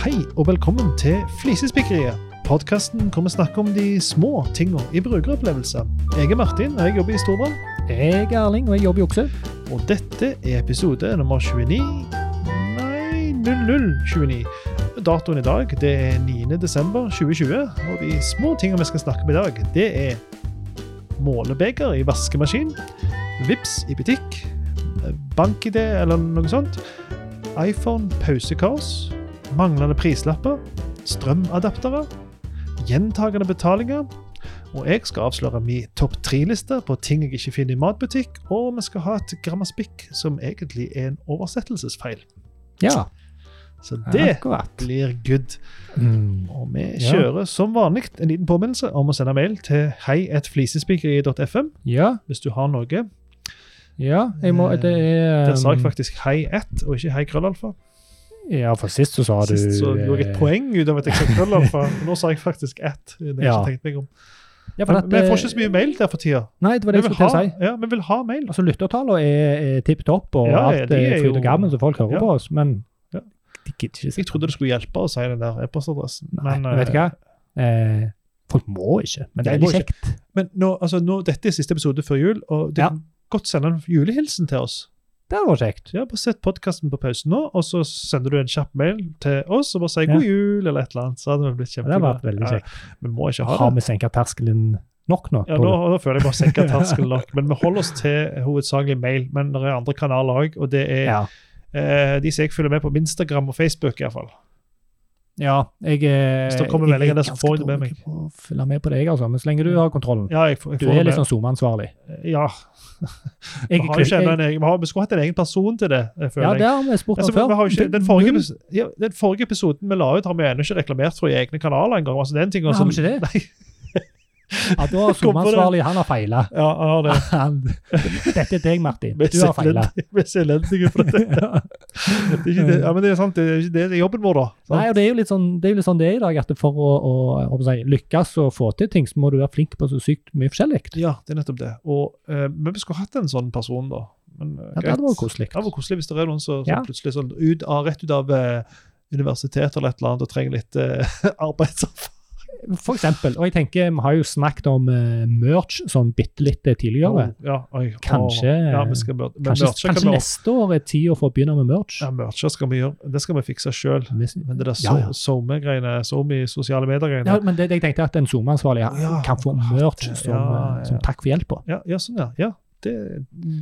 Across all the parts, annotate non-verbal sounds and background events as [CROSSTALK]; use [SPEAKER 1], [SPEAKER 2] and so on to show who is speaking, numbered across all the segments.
[SPEAKER 1] Hei og velkommen til Flisespikkeriet. Podkasten hvor vi snakker om de små tinga i brukeropplevelser. Jeg er Martin, og jeg jobber i Storbrann.
[SPEAKER 2] Jeg er Erling, og jeg jobber i Okse.
[SPEAKER 1] Og dette er episode nummer 29 Nei, 0029. Datoen i dag det er 9. desember 2020, og de små tinga vi skal snakke om i dag, det er målebeger i vaskemaskin, VIPS i butikk, bank-ID eller noe sånt, iPhone pausekors, manglende prislapper, strømadaptere, gjentagende betalinger, og jeg skal avsløre min topp tre-liste på ting jeg ikke finner i matbutikk, og vi skal ha et grammaspikk som egentlig er en oversettelsesfeil.
[SPEAKER 2] Ja,
[SPEAKER 1] Så det
[SPEAKER 2] akkurat.
[SPEAKER 1] blir good.
[SPEAKER 2] Mm.
[SPEAKER 1] Og vi
[SPEAKER 2] Ja.
[SPEAKER 1] kjører som vanlig en liten påminnelse om å sende mail til heietflisespikkeri.fm
[SPEAKER 2] Ja,
[SPEAKER 1] hvis du har noe.
[SPEAKER 2] ja, jeg må, det er
[SPEAKER 1] Der sa jeg
[SPEAKER 2] um,
[SPEAKER 1] faktisk heiet og ikke hei krøllalfa.
[SPEAKER 2] Ja, for sist så sa du
[SPEAKER 1] Sist så gjorde jeg
[SPEAKER 2] eh,
[SPEAKER 1] et poeng ut av at jeg sa
[SPEAKER 2] [LAUGHS]
[SPEAKER 1] krøllalfa. Nå sa jeg faktisk ett. Det har jeg
[SPEAKER 2] Ja.
[SPEAKER 1] ikke tenkt meg om.
[SPEAKER 2] Ja, for
[SPEAKER 1] Men
[SPEAKER 2] at,
[SPEAKER 1] vi får ikke
[SPEAKER 2] eh,
[SPEAKER 1] så mye mail der for tida.
[SPEAKER 2] Nei, det var
[SPEAKER 1] Vi
[SPEAKER 2] det jeg
[SPEAKER 1] vil,
[SPEAKER 2] skulle til
[SPEAKER 1] ha,
[SPEAKER 2] å si.
[SPEAKER 1] ja, vi vil ha mail.
[SPEAKER 2] Altså, Lyttertallene er, er tipp topp, og
[SPEAKER 1] Ja, ja,
[SPEAKER 2] alt
[SPEAKER 1] de
[SPEAKER 2] er
[SPEAKER 1] er
[SPEAKER 2] fryd og
[SPEAKER 1] jo-
[SPEAKER 2] gammen, så folk hører
[SPEAKER 1] Ja.
[SPEAKER 2] på oss, men
[SPEAKER 1] Ja.
[SPEAKER 2] de gidder ikke
[SPEAKER 1] Jeg trodde det skulle hjelpe å si den der e-postadressen.
[SPEAKER 2] Nei, men vet du hva? Eh, folk må ikke, men det
[SPEAKER 1] Nei,
[SPEAKER 2] er
[SPEAKER 1] de
[SPEAKER 2] veldig
[SPEAKER 1] må
[SPEAKER 2] kjekt.
[SPEAKER 1] men nå, altså, nå, dette er siste episode før jul, og du
[SPEAKER 2] Ja.
[SPEAKER 1] kan godt sende en julehilsen til oss.
[SPEAKER 2] Det hadde vært kjekt.
[SPEAKER 1] Ja, bare Sett podkasten på pausen nå, og så sender du en kjapp mail til oss og bare sier
[SPEAKER 2] Ja.
[SPEAKER 1] 'god jul' eller et eller annet. Så hadde vi blitt
[SPEAKER 2] Det hadde
[SPEAKER 1] kjempeglade.
[SPEAKER 2] vært veldig kjekt.
[SPEAKER 1] Ja, vi må ikke ha
[SPEAKER 2] Har
[SPEAKER 1] det.
[SPEAKER 2] vi senket terskelen nok nå?
[SPEAKER 1] Ja,
[SPEAKER 2] tror
[SPEAKER 1] nå,
[SPEAKER 2] du?
[SPEAKER 1] nå føler jeg bare senker
[SPEAKER 2] [LAUGHS]
[SPEAKER 1] terskelen nok. Men vi holder oss til hovedsakelig mail. Men det er andre kanaler òg, og det er
[SPEAKER 2] ja.
[SPEAKER 1] eh, de som jeg følger med på Instagram og Facebook. I hvert fall.
[SPEAKER 2] Ja, jeg eh,
[SPEAKER 1] Hvis det kommer
[SPEAKER 2] jeg er
[SPEAKER 1] meldinger der, så
[SPEAKER 2] ganske
[SPEAKER 1] får jeg det med
[SPEAKER 2] dårlig på å følge med på deg, altså. Men så lenge du har kontrollen.
[SPEAKER 1] Ja, jeg, får- jeg
[SPEAKER 2] Du
[SPEAKER 1] får
[SPEAKER 2] er
[SPEAKER 1] det
[SPEAKER 2] litt sånn SoMe-ansvarlig.
[SPEAKER 1] med. Ja, vi,
[SPEAKER 2] Jeg-
[SPEAKER 1] har jo ikke enda
[SPEAKER 2] jeg-
[SPEAKER 1] en egen, vi, har, vi skulle hatt en egen person til det, jeg føler
[SPEAKER 2] Ja,
[SPEAKER 1] jeg.
[SPEAKER 2] det har vi spurt
[SPEAKER 1] Altså,
[SPEAKER 2] om
[SPEAKER 1] vi, vi har jo
[SPEAKER 2] før.
[SPEAKER 1] ikke, den, forrige, epis- ja, den forrige episoden vi la ut, har vi jo ennå ikke reklamert for i egne kanaler engang. Altså, den tingen
[SPEAKER 2] Nei, har vi
[SPEAKER 1] som-
[SPEAKER 2] ikke
[SPEAKER 1] [LAUGHS]
[SPEAKER 2] det?
[SPEAKER 1] Nei, [LAUGHS]
[SPEAKER 2] Ja, da har SoMe-ansvarlig, han har feila.
[SPEAKER 1] ja, han har det.
[SPEAKER 2] Dette er deg, Martin.
[SPEAKER 1] Vi er
[SPEAKER 2] [LAUGHS] Du har
[SPEAKER 1] [LAUGHS]
[SPEAKER 2] feila.
[SPEAKER 1] selend- Vi er så elendige for dette. [LAUGHS] Det er ikke det. Ja, men det er sant. Det er, ikke det, det er jobben vår, da. Sant?
[SPEAKER 2] Nei, og Det er jo litt sånn det er, jo litt sånn det er i dag, at for å, å, hva skal jeg si, lykkes og få til ting, så må du være flink på så sykt mye forskjellig.
[SPEAKER 1] Ja, det er nettopp det. Og eh, men vi skulle hatt en sånn person, da. Men, eh,
[SPEAKER 2] Ja, det
[SPEAKER 1] greit.
[SPEAKER 2] hadde vært koselig.
[SPEAKER 1] Det hadde vært koselig hvis det er noen som som
[SPEAKER 2] Ja.
[SPEAKER 1] plutselig sånn ut av, rett ut av eh, universitetet eller et eller annet og trenger litt eh, [LAUGHS] arbeidserfaring.
[SPEAKER 2] For eksempel, og jeg tenker, Vi har jo snakket om eh, merch sånn bitte litt eh, tidligere.
[SPEAKER 1] Ja, oi, å.
[SPEAKER 2] Kanskje-
[SPEAKER 1] ja, vi skal, mør- men
[SPEAKER 2] Kanskje,
[SPEAKER 1] mercher kan vi
[SPEAKER 2] kanskje
[SPEAKER 1] ordne.
[SPEAKER 2] neste år er tida for å begynne med merch.
[SPEAKER 1] Ja, mercher skal vi gjøre. Det skal vi fikse sjøl.
[SPEAKER 2] Hvis-
[SPEAKER 1] Men det der so
[SPEAKER 2] Ja, ja.
[SPEAKER 1] SoMe-greiene, SoMe i sosiale medier-greiene
[SPEAKER 2] Ja, men det, jeg tenkte at en SoMe-ansvarlig
[SPEAKER 1] Ja,
[SPEAKER 2] kan få merch
[SPEAKER 1] ja,
[SPEAKER 2] som, eh,
[SPEAKER 1] ja, ja.
[SPEAKER 2] som takk for hjelpa.
[SPEAKER 1] ja, ja, sånn, ja. ja. Det,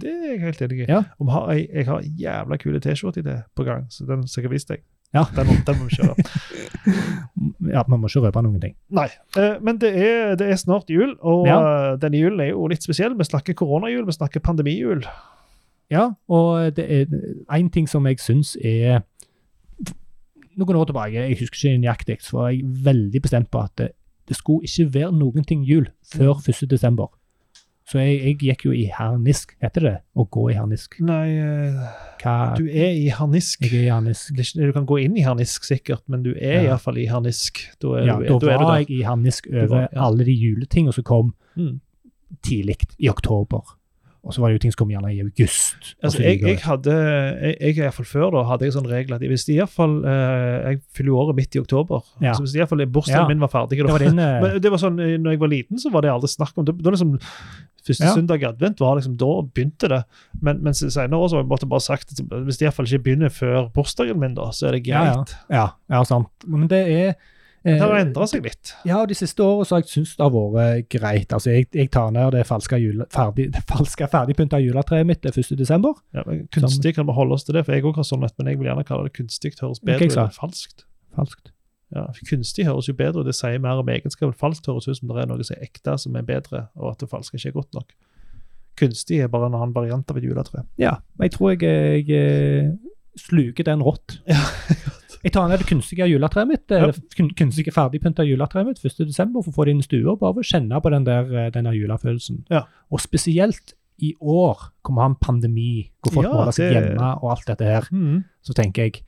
[SPEAKER 1] det er jeg helt enig i.
[SPEAKER 2] Ja.
[SPEAKER 1] Og vi har, ei- jeg har en jævla kule T-skjorte-idé på gang, så den skal jeg vise deg.
[SPEAKER 2] Ja.
[SPEAKER 1] Den, må- den må vi
[SPEAKER 2] [LAUGHS]
[SPEAKER 1] kjøre.
[SPEAKER 2] Ja, man må ikke røpe noen ting.
[SPEAKER 1] Nei. eh, Men det er, det er snart jul, og
[SPEAKER 2] Ja.
[SPEAKER 1] eh, denne julen er jo litt spesiell. Vi snakker koronajul, vi snakker pandemijul.
[SPEAKER 2] Ja, og det er én ting som jeg syns er Noen år tilbake, jeg husker ikke nøyaktig, så var jeg veldig bestemt på at det, det skulle ikke være noen ting jul før
[SPEAKER 1] Mm.
[SPEAKER 2] 1. desember. Så jeg, jeg gikk jo i harnisk, heter det å gå i harnisk?
[SPEAKER 1] Nei, eh,
[SPEAKER 2] Hva
[SPEAKER 1] du er i harnisk.
[SPEAKER 2] Jeg er i harnisk.
[SPEAKER 1] Det er ikke- Du kan gå inn i harnisk, sikkert, men du er
[SPEAKER 2] Ja.
[SPEAKER 1] iallfall i harnisk. Da er
[SPEAKER 2] Ja,
[SPEAKER 1] du,
[SPEAKER 2] da
[SPEAKER 1] da er du
[SPEAKER 2] var
[SPEAKER 1] der.
[SPEAKER 2] jeg i harnisk
[SPEAKER 1] var-
[SPEAKER 2] over
[SPEAKER 1] ja.
[SPEAKER 2] alle de juletingene som kom
[SPEAKER 1] Mm.
[SPEAKER 2] tidlig i oktober. Og så var det jo ting som kom gjerne i august. og
[SPEAKER 1] Altså,
[SPEAKER 2] så
[SPEAKER 1] jeg,
[SPEAKER 2] videre.
[SPEAKER 1] jeg hadde, jeg, jeg i hvert fall før da, hadde jeg sånn regel at hvis det i hvert fall, eh, jeg fyller jo året midt i oktober,
[SPEAKER 2] Ja.
[SPEAKER 1] så hvis det i hvert fall bursdagen
[SPEAKER 2] Ja.
[SPEAKER 1] min var ferdig
[SPEAKER 2] det
[SPEAKER 1] da.
[SPEAKER 2] var din eh,
[SPEAKER 1] [LAUGHS] Men det var sånn, eh, når jeg var liten så var det aldri snakk om det. Da liksom, første
[SPEAKER 2] Ja.
[SPEAKER 1] søndag i advent var liksom, da begynte det. Men, men senere år så har jeg bare, bare sagt, at hvis det i hvert fall ikke begynner før bursdagen min da, så er det
[SPEAKER 2] Ja, ja.
[SPEAKER 1] greit.
[SPEAKER 2] ja, ja, sant. Men det er
[SPEAKER 1] Det har
[SPEAKER 2] eh,
[SPEAKER 1] endret seg litt.
[SPEAKER 2] Ja, de siste årene så har jeg syntes det har vært greit. Altså, jeg, jeg tar ned det falske, jule, ferdig, [LAUGHS] det falske ferdigpynta juletreet mitt det 1. desember.
[SPEAKER 1] Ja, men kunstig kan vi holde oss til det, for jeg også har sånn at, men jeg vil gjerne kalle det kunstig, det høres bedre
[SPEAKER 2] jeg
[SPEAKER 1] ut
[SPEAKER 2] sa.
[SPEAKER 1] enn falskt.
[SPEAKER 2] Falskt.
[SPEAKER 1] Ja, for Kunstig høres jo bedre ut, det sier mer om egenskapen. Falskt høres ut som det er noe som er ekte, som er bedre, og at det falske ikke er godt nok. Kunstig er bare en annen variant av et juletre.
[SPEAKER 2] Ja, men jeg tror jeg, eh, jeg eh, sluker den
[SPEAKER 1] [LAUGHS]
[SPEAKER 2] rått. Jeg tar ned det kunstige juletreet mitt, eh,
[SPEAKER 1] Ja.
[SPEAKER 2] det kun- kunstige ferdigpynta juletreet mitt 1. desember for å få det inn i stua og bare kjenne på den der, eh, den der julefølelsen.
[SPEAKER 1] Ja.
[SPEAKER 2] Og spesielt i år, hvor vi har en pandemi, hvor folk
[SPEAKER 1] Ja,
[SPEAKER 2] måler seg
[SPEAKER 1] det-
[SPEAKER 2] hjemme og alt dette her,
[SPEAKER 1] Mm.
[SPEAKER 2] så tenker jeg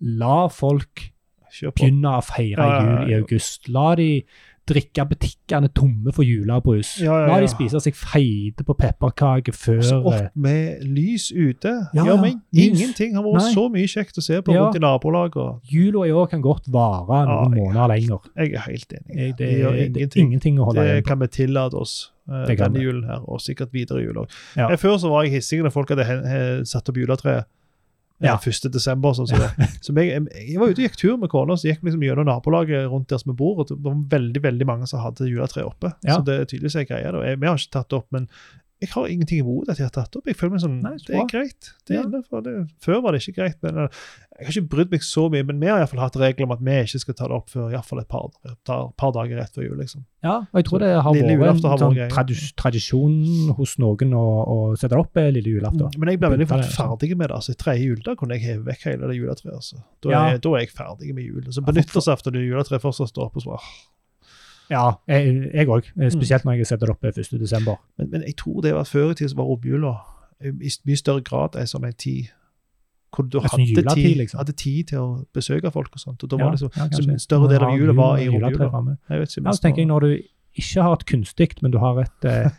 [SPEAKER 2] la folk
[SPEAKER 1] Kjør på.
[SPEAKER 2] begynne å feire
[SPEAKER 1] Ja, ja, ja,
[SPEAKER 2] jul i
[SPEAKER 1] ja.
[SPEAKER 2] august. La de drikke butikkene tomme for julebrus.
[SPEAKER 1] Ja, ja,
[SPEAKER 2] La
[SPEAKER 1] ja.
[SPEAKER 2] de spise seg feite på pepperkaker før
[SPEAKER 1] Så opp med lys ute.
[SPEAKER 2] eh.
[SPEAKER 1] Ja,
[SPEAKER 2] Ja, ja.
[SPEAKER 1] men
[SPEAKER 2] Lys.
[SPEAKER 1] ingenting har vært
[SPEAKER 2] Nei.
[SPEAKER 1] så mye kjekt å se på
[SPEAKER 2] Ja.
[SPEAKER 1] rundt i nabolaget.
[SPEAKER 2] Jula i år kan godt vare
[SPEAKER 1] Ah, Ja,
[SPEAKER 2] noen
[SPEAKER 1] jeg-
[SPEAKER 2] måneder lenger.
[SPEAKER 1] Jeg er helt enig.
[SPEAKER 2] Jeg, det,
[SPEAKER 1] Vi gjør
[SPEAKER 2] er
[SPEAKER 1] ingenting.
[SPEAKER 2] ingenting. ingenting å holde
[SPEAKER 1] Det
[SPEAKER 2] igjen på.
[SPEAKER 1] kan vi tillate oss eh,
[SPEAKER 2] Det kan
[SPEAKER 1] denne
[SPEAKER 2] vi.
[SPEAKER 1] julen her, og sikkert videre jul òg.
[SPEAKER 2] Ja.
[SPEAKER 1] Før så var jeg hissig når folk hadde hen- eh, satt opp juletreet. eh,
[SPEAKER 2] Ja.
[SPEAKER 1] 1. desember, sånn som
[SPEAKER 2] [LAUGHS]
[SPEAKER 1] det. Så jeg, jeg var ute og gikk tur med kona, så gikk vi liksom gjennom nabolaget rundt der som vi bor, og det var veldig veldig mange som hadde juletre oppe.
[SPEAKER 2] Ja.
[SPEAKER 1] Så det er tydeligvis en greie. da. Jeg, vi har ikke tatt det opp, men jeg har ingenting imot at jeg har tatt det opp. Jeg føler meg sånn,
[SPEAKER 2] Nei, så
[SPEAKER 1] Det er greit. Det er
[SPEAKER 2] Ja.
[SPEAKER 1] innenfor. Det. Før var det ikke greit. men eh, Jeg har ikke brydd meg så mye, men vi har i hvert fall hatt regler om at vi ikke skal ta det opp før i hvert fall et par, par, par dager rett før jul. liksom.
[SPEAKER 2] Ja, og jeg tror det har
[SPEAKER 1] Lille
[SPEAKER 2] vært
[SPEAKER 1] julaften
[SPEAKER 2] en
[SPEAKER 1] har vært
[SPEAKER 2] sånn
[SPEAKER 1] greie.
[SPEAKER 2] tradi- tradisjon hos noen å, å sette det opp eh, lille julaften.
[SPEAKER 1] Mm. Men jeg ble veldig
[SPEAKER 2] Pynta
[SPEAKER 1] fort
[SPEAKER 2] det, liksom.
[SPEAKER 1] ferdig med det. altså I tredje juledag kunne jeg heve vekk hele det juletreet. altså. Da er,
[SPEAKER 2] Ja.
[SPEAKER 1] da er jeg ferdig med julen. Så benyttelsesaften når juletreet fortsatt står oppe. og så bare, ah.
[SPEAKER 2] Ja, jeg òg.
[SPEAKER 1] Mm.
[SPEAKER 2] Spesielt når jeg setter det opp eh, 1. desember.
[SPEAKER 1] Men, men jeg tror det var før i tida så var romjula eh, i s- mye større grad ei sånn ei tid hvor du
[SPEAKER 2] En
[SPEAKER 1] hadde,
[SPEAKER 2] sånn juletid,
[SPEAKER 1] tid,
[SPEAKER 2] liksom.
[SPEAKER 1] hadde tid til å besøke folk og sånt. og da
[SPEAKER 2] Ja,
[SPEAKER 1] var det så,
[SPEAKER 2] ja,
[SPEAKER 1] så
[SPEAKER 2] kanskje.
[SPEAKER 1] en større del av
[SPEAKER 2] Ja,
[SPEAKER 1] jula var i
[SPEAKER 2] og juletre
[SPEAKER 1] romjula.
[SPEAKER 2] framme.
[SPEAKER 1] Jeg vet ikke,
[SPEAKER 2] Ja, så tenker jeg når du ikke har et kunstig, men du har et
[SPEAKER 1] [LAUGHS]
[SPEAKER 2] eh,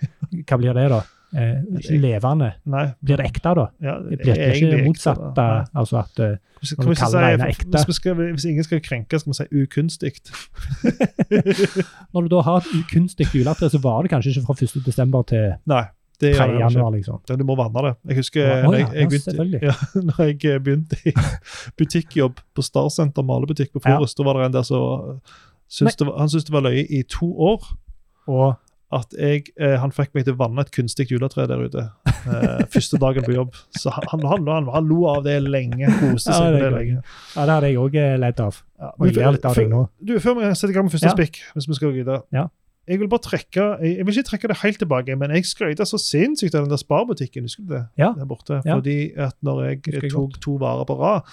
[SPEAKER 2] Hva blir det, da? Eh, ikke levende.
[SPEAKER 1] Nei,
[SPEAKER 2] Blir det ekte, da?
[SPEAKER 1] ja,
[SPEAKER 2] Det blir det ikke
[SPEAKER 1] egentlig
[SPEAKER 2] motsatt,
[SPEAKER 1] ekte, da.
[SPEAKER 2] da.
[SPEAKER 1] Nei.
[SPEAKER 2] altså at eh,
[SPEAKER 1] Hvis,
[SPEAKER 2] Når
[SPEAKER 1] kan vi
[SPEAKER 2] du
[SPEAKER 1] ikke
[SPEAKER 2] kaller det
[SPEAKER 1] si-
[SPEAKER 2] ene
[SPEAKER 1] for-
[SPEAKER 2] ekte.
[SPEAKER 1] hvis, vi skal, hvis ingen skal krenke, skal vi si ukunstig.
[SPEAKER 2] [LAUGHS] Når du da har et ukunstig juletre, så var det kanskje ikke fra 1. desember til
[SPEAKER 1] Nei. Det
[SPEAKER 2] 3.
[SPEAKER 1] gjør jeg ikke.
[SPEAKER 2] januar, liksom.
[SPEAKER 1] Ja, du må vanne det. Jeg husker
[SPEAKER 2] Ja,
[SPEAKER 1] når
[SPEAKER 2] ja,
[SPEAKER 1] jeg, jeg
[SPEAKER 2] ja,
[SPEAKER 1] begynte,
[SPEAKER 2] selvfølgelig.
[SPEAKER 1] [LAUGHS] ja, når jeg eh, begynte i [LAUGHS] butikkjobb på Starsenter malebutikk på
[SPEAKER 2] Ja.
[SPEAKER 1] Forest, da var det en der som syntes det var, han syntes det var løye i to år
[SPEAKER 2] Og
[SPEAKER 1] at jeg, eh, han fikk meg til å vanne et kunstig juletre der ute. Eh,
[SPEAKER 2] [LAUGHS]
[SPEAKER 1] første dagen på jobb. Så han, han, han, han, lo av det lenge. Koste
[SPEAKER 2] Ja,
[SPEAKER 1] seg med
[SPEAKER 2] det er
[SPEAKER 1] det
[SPEAKER 2] gøy.
[SPEAKER 1] lenge.
[SPEAKER 2] ja, det hadde jeg òg ledd av.
[SPEAKER 1] Ja,
[SPEAKER 2] Og jeg
[SPEAKER 1] men
[SPEAKER 2] ler litt av
[SPEAKER 1] før-
[SPEAKER 2] deg nå.
[SPEAKER 1] du, Før vi setter i gang med første
[SPEAKER 2] Ja.
[SPEAKER 1] spikk, hvis vi skal gidde
[SPEAKER 2] Ja.
[SPEAKER 1] Jeg vil bare trekke, jeg, jeg vil ikke trekke det helt tilbake, men jeg skrøyta så sinnssykt av den der sparbutikken. Husker du det?
[SPEAKER 2] Ja.
[SPEAKER 1] Der borte.
[SPEAKER 2] Ja.
[SPEAKER 1] Fordi at når jeg,
[SPEAKER 2] Husker jeg
[SPEAKER 1] tok to varer på rad,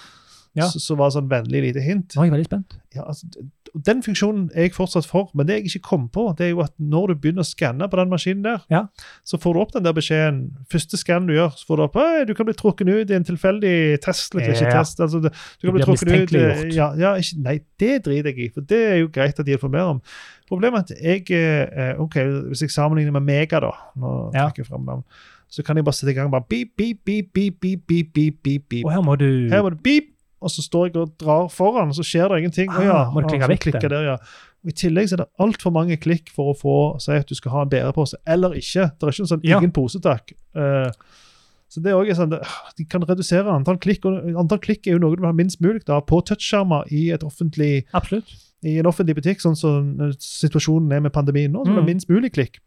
[SPEAKER 2] Ja.
[SPEAKER 1] så, så var det sånn vennlig lite hint.
[SPEAKER 2] Nå er jeg veldig spent.
[SPEAKER 1] Ja, altså, d- den funksjonen er jeg fortsatt for, men det jeg ikke kom på, det er jo at når du begynner å skanne på den maskinen der,
[SPEAKER 2] Ja.
[SPEAKER 1] så får du opp den der beskjeden. Første skann du gjør, så får du opp «Hei, du kan bli trukket ut i en tilfeldig test. Liksom, ikke
[SPEAKER 2] Ja.
[SPEAKER 1] test altså, det- du
[SPEAKER 2] Du
[SPEAKER 1] kan bli
[SPEAKER 2] blir
[SPEAKER 1] trukket ut eh,
[SPEAKER 2] mistenkeliggjort.
[SPEAKER 1] ja, ja, ikke, Nei, det driter jeg i, for det er jo greit at de informerer om. Problemet er at jeg eh, eh, ok, Hvis jeg sammenligner med Mega, da, nå
[SPEAKER 2] Ja.
[SPEAKER 1] trekker jeg frem navn, så kan jeg bare sette i gang bare beep, beep, beep, beep, beep, beep, beep, beep, beep.
[SPEAKER 2] Og her må du
[SPEAKER 1] Her var det beep, og så står jeg og drar foran, og så skjer det ingenting. Å ja,
[SPEAKER 2] Ah, må du
[SPEAKER 1] og
[SPEAKER 2] klikke
[SPEAKER 1] så
[SPEAKER 2] vekk
[SPEAKER 1] klikker
[SPEAKER 2] den?
[SPEAKER 1] Der, ja. Og I tillegg så er det altfor mange klikk for å få si at du skal ha en bærepose eller ikke. Det er ikke en sånn
[SPEAKER 2] Ja.
[SPEAKER 1] ingen pose, takk. Eh, så det er også sånn, det, De kan redusere antall klikk, og antall klikk er jo noe du vil ha minst mulig av på touchskjermer i, et offentlig-
[SPEAKER 2] Absolutt.
[SPEAKER 1] i en offentlig butikk, sånn som eh, situasjonen er med pandemien nå. så vil du ha
[SPEAKER 2] Mm.
[SPEAKER 1] minst mulig klikk.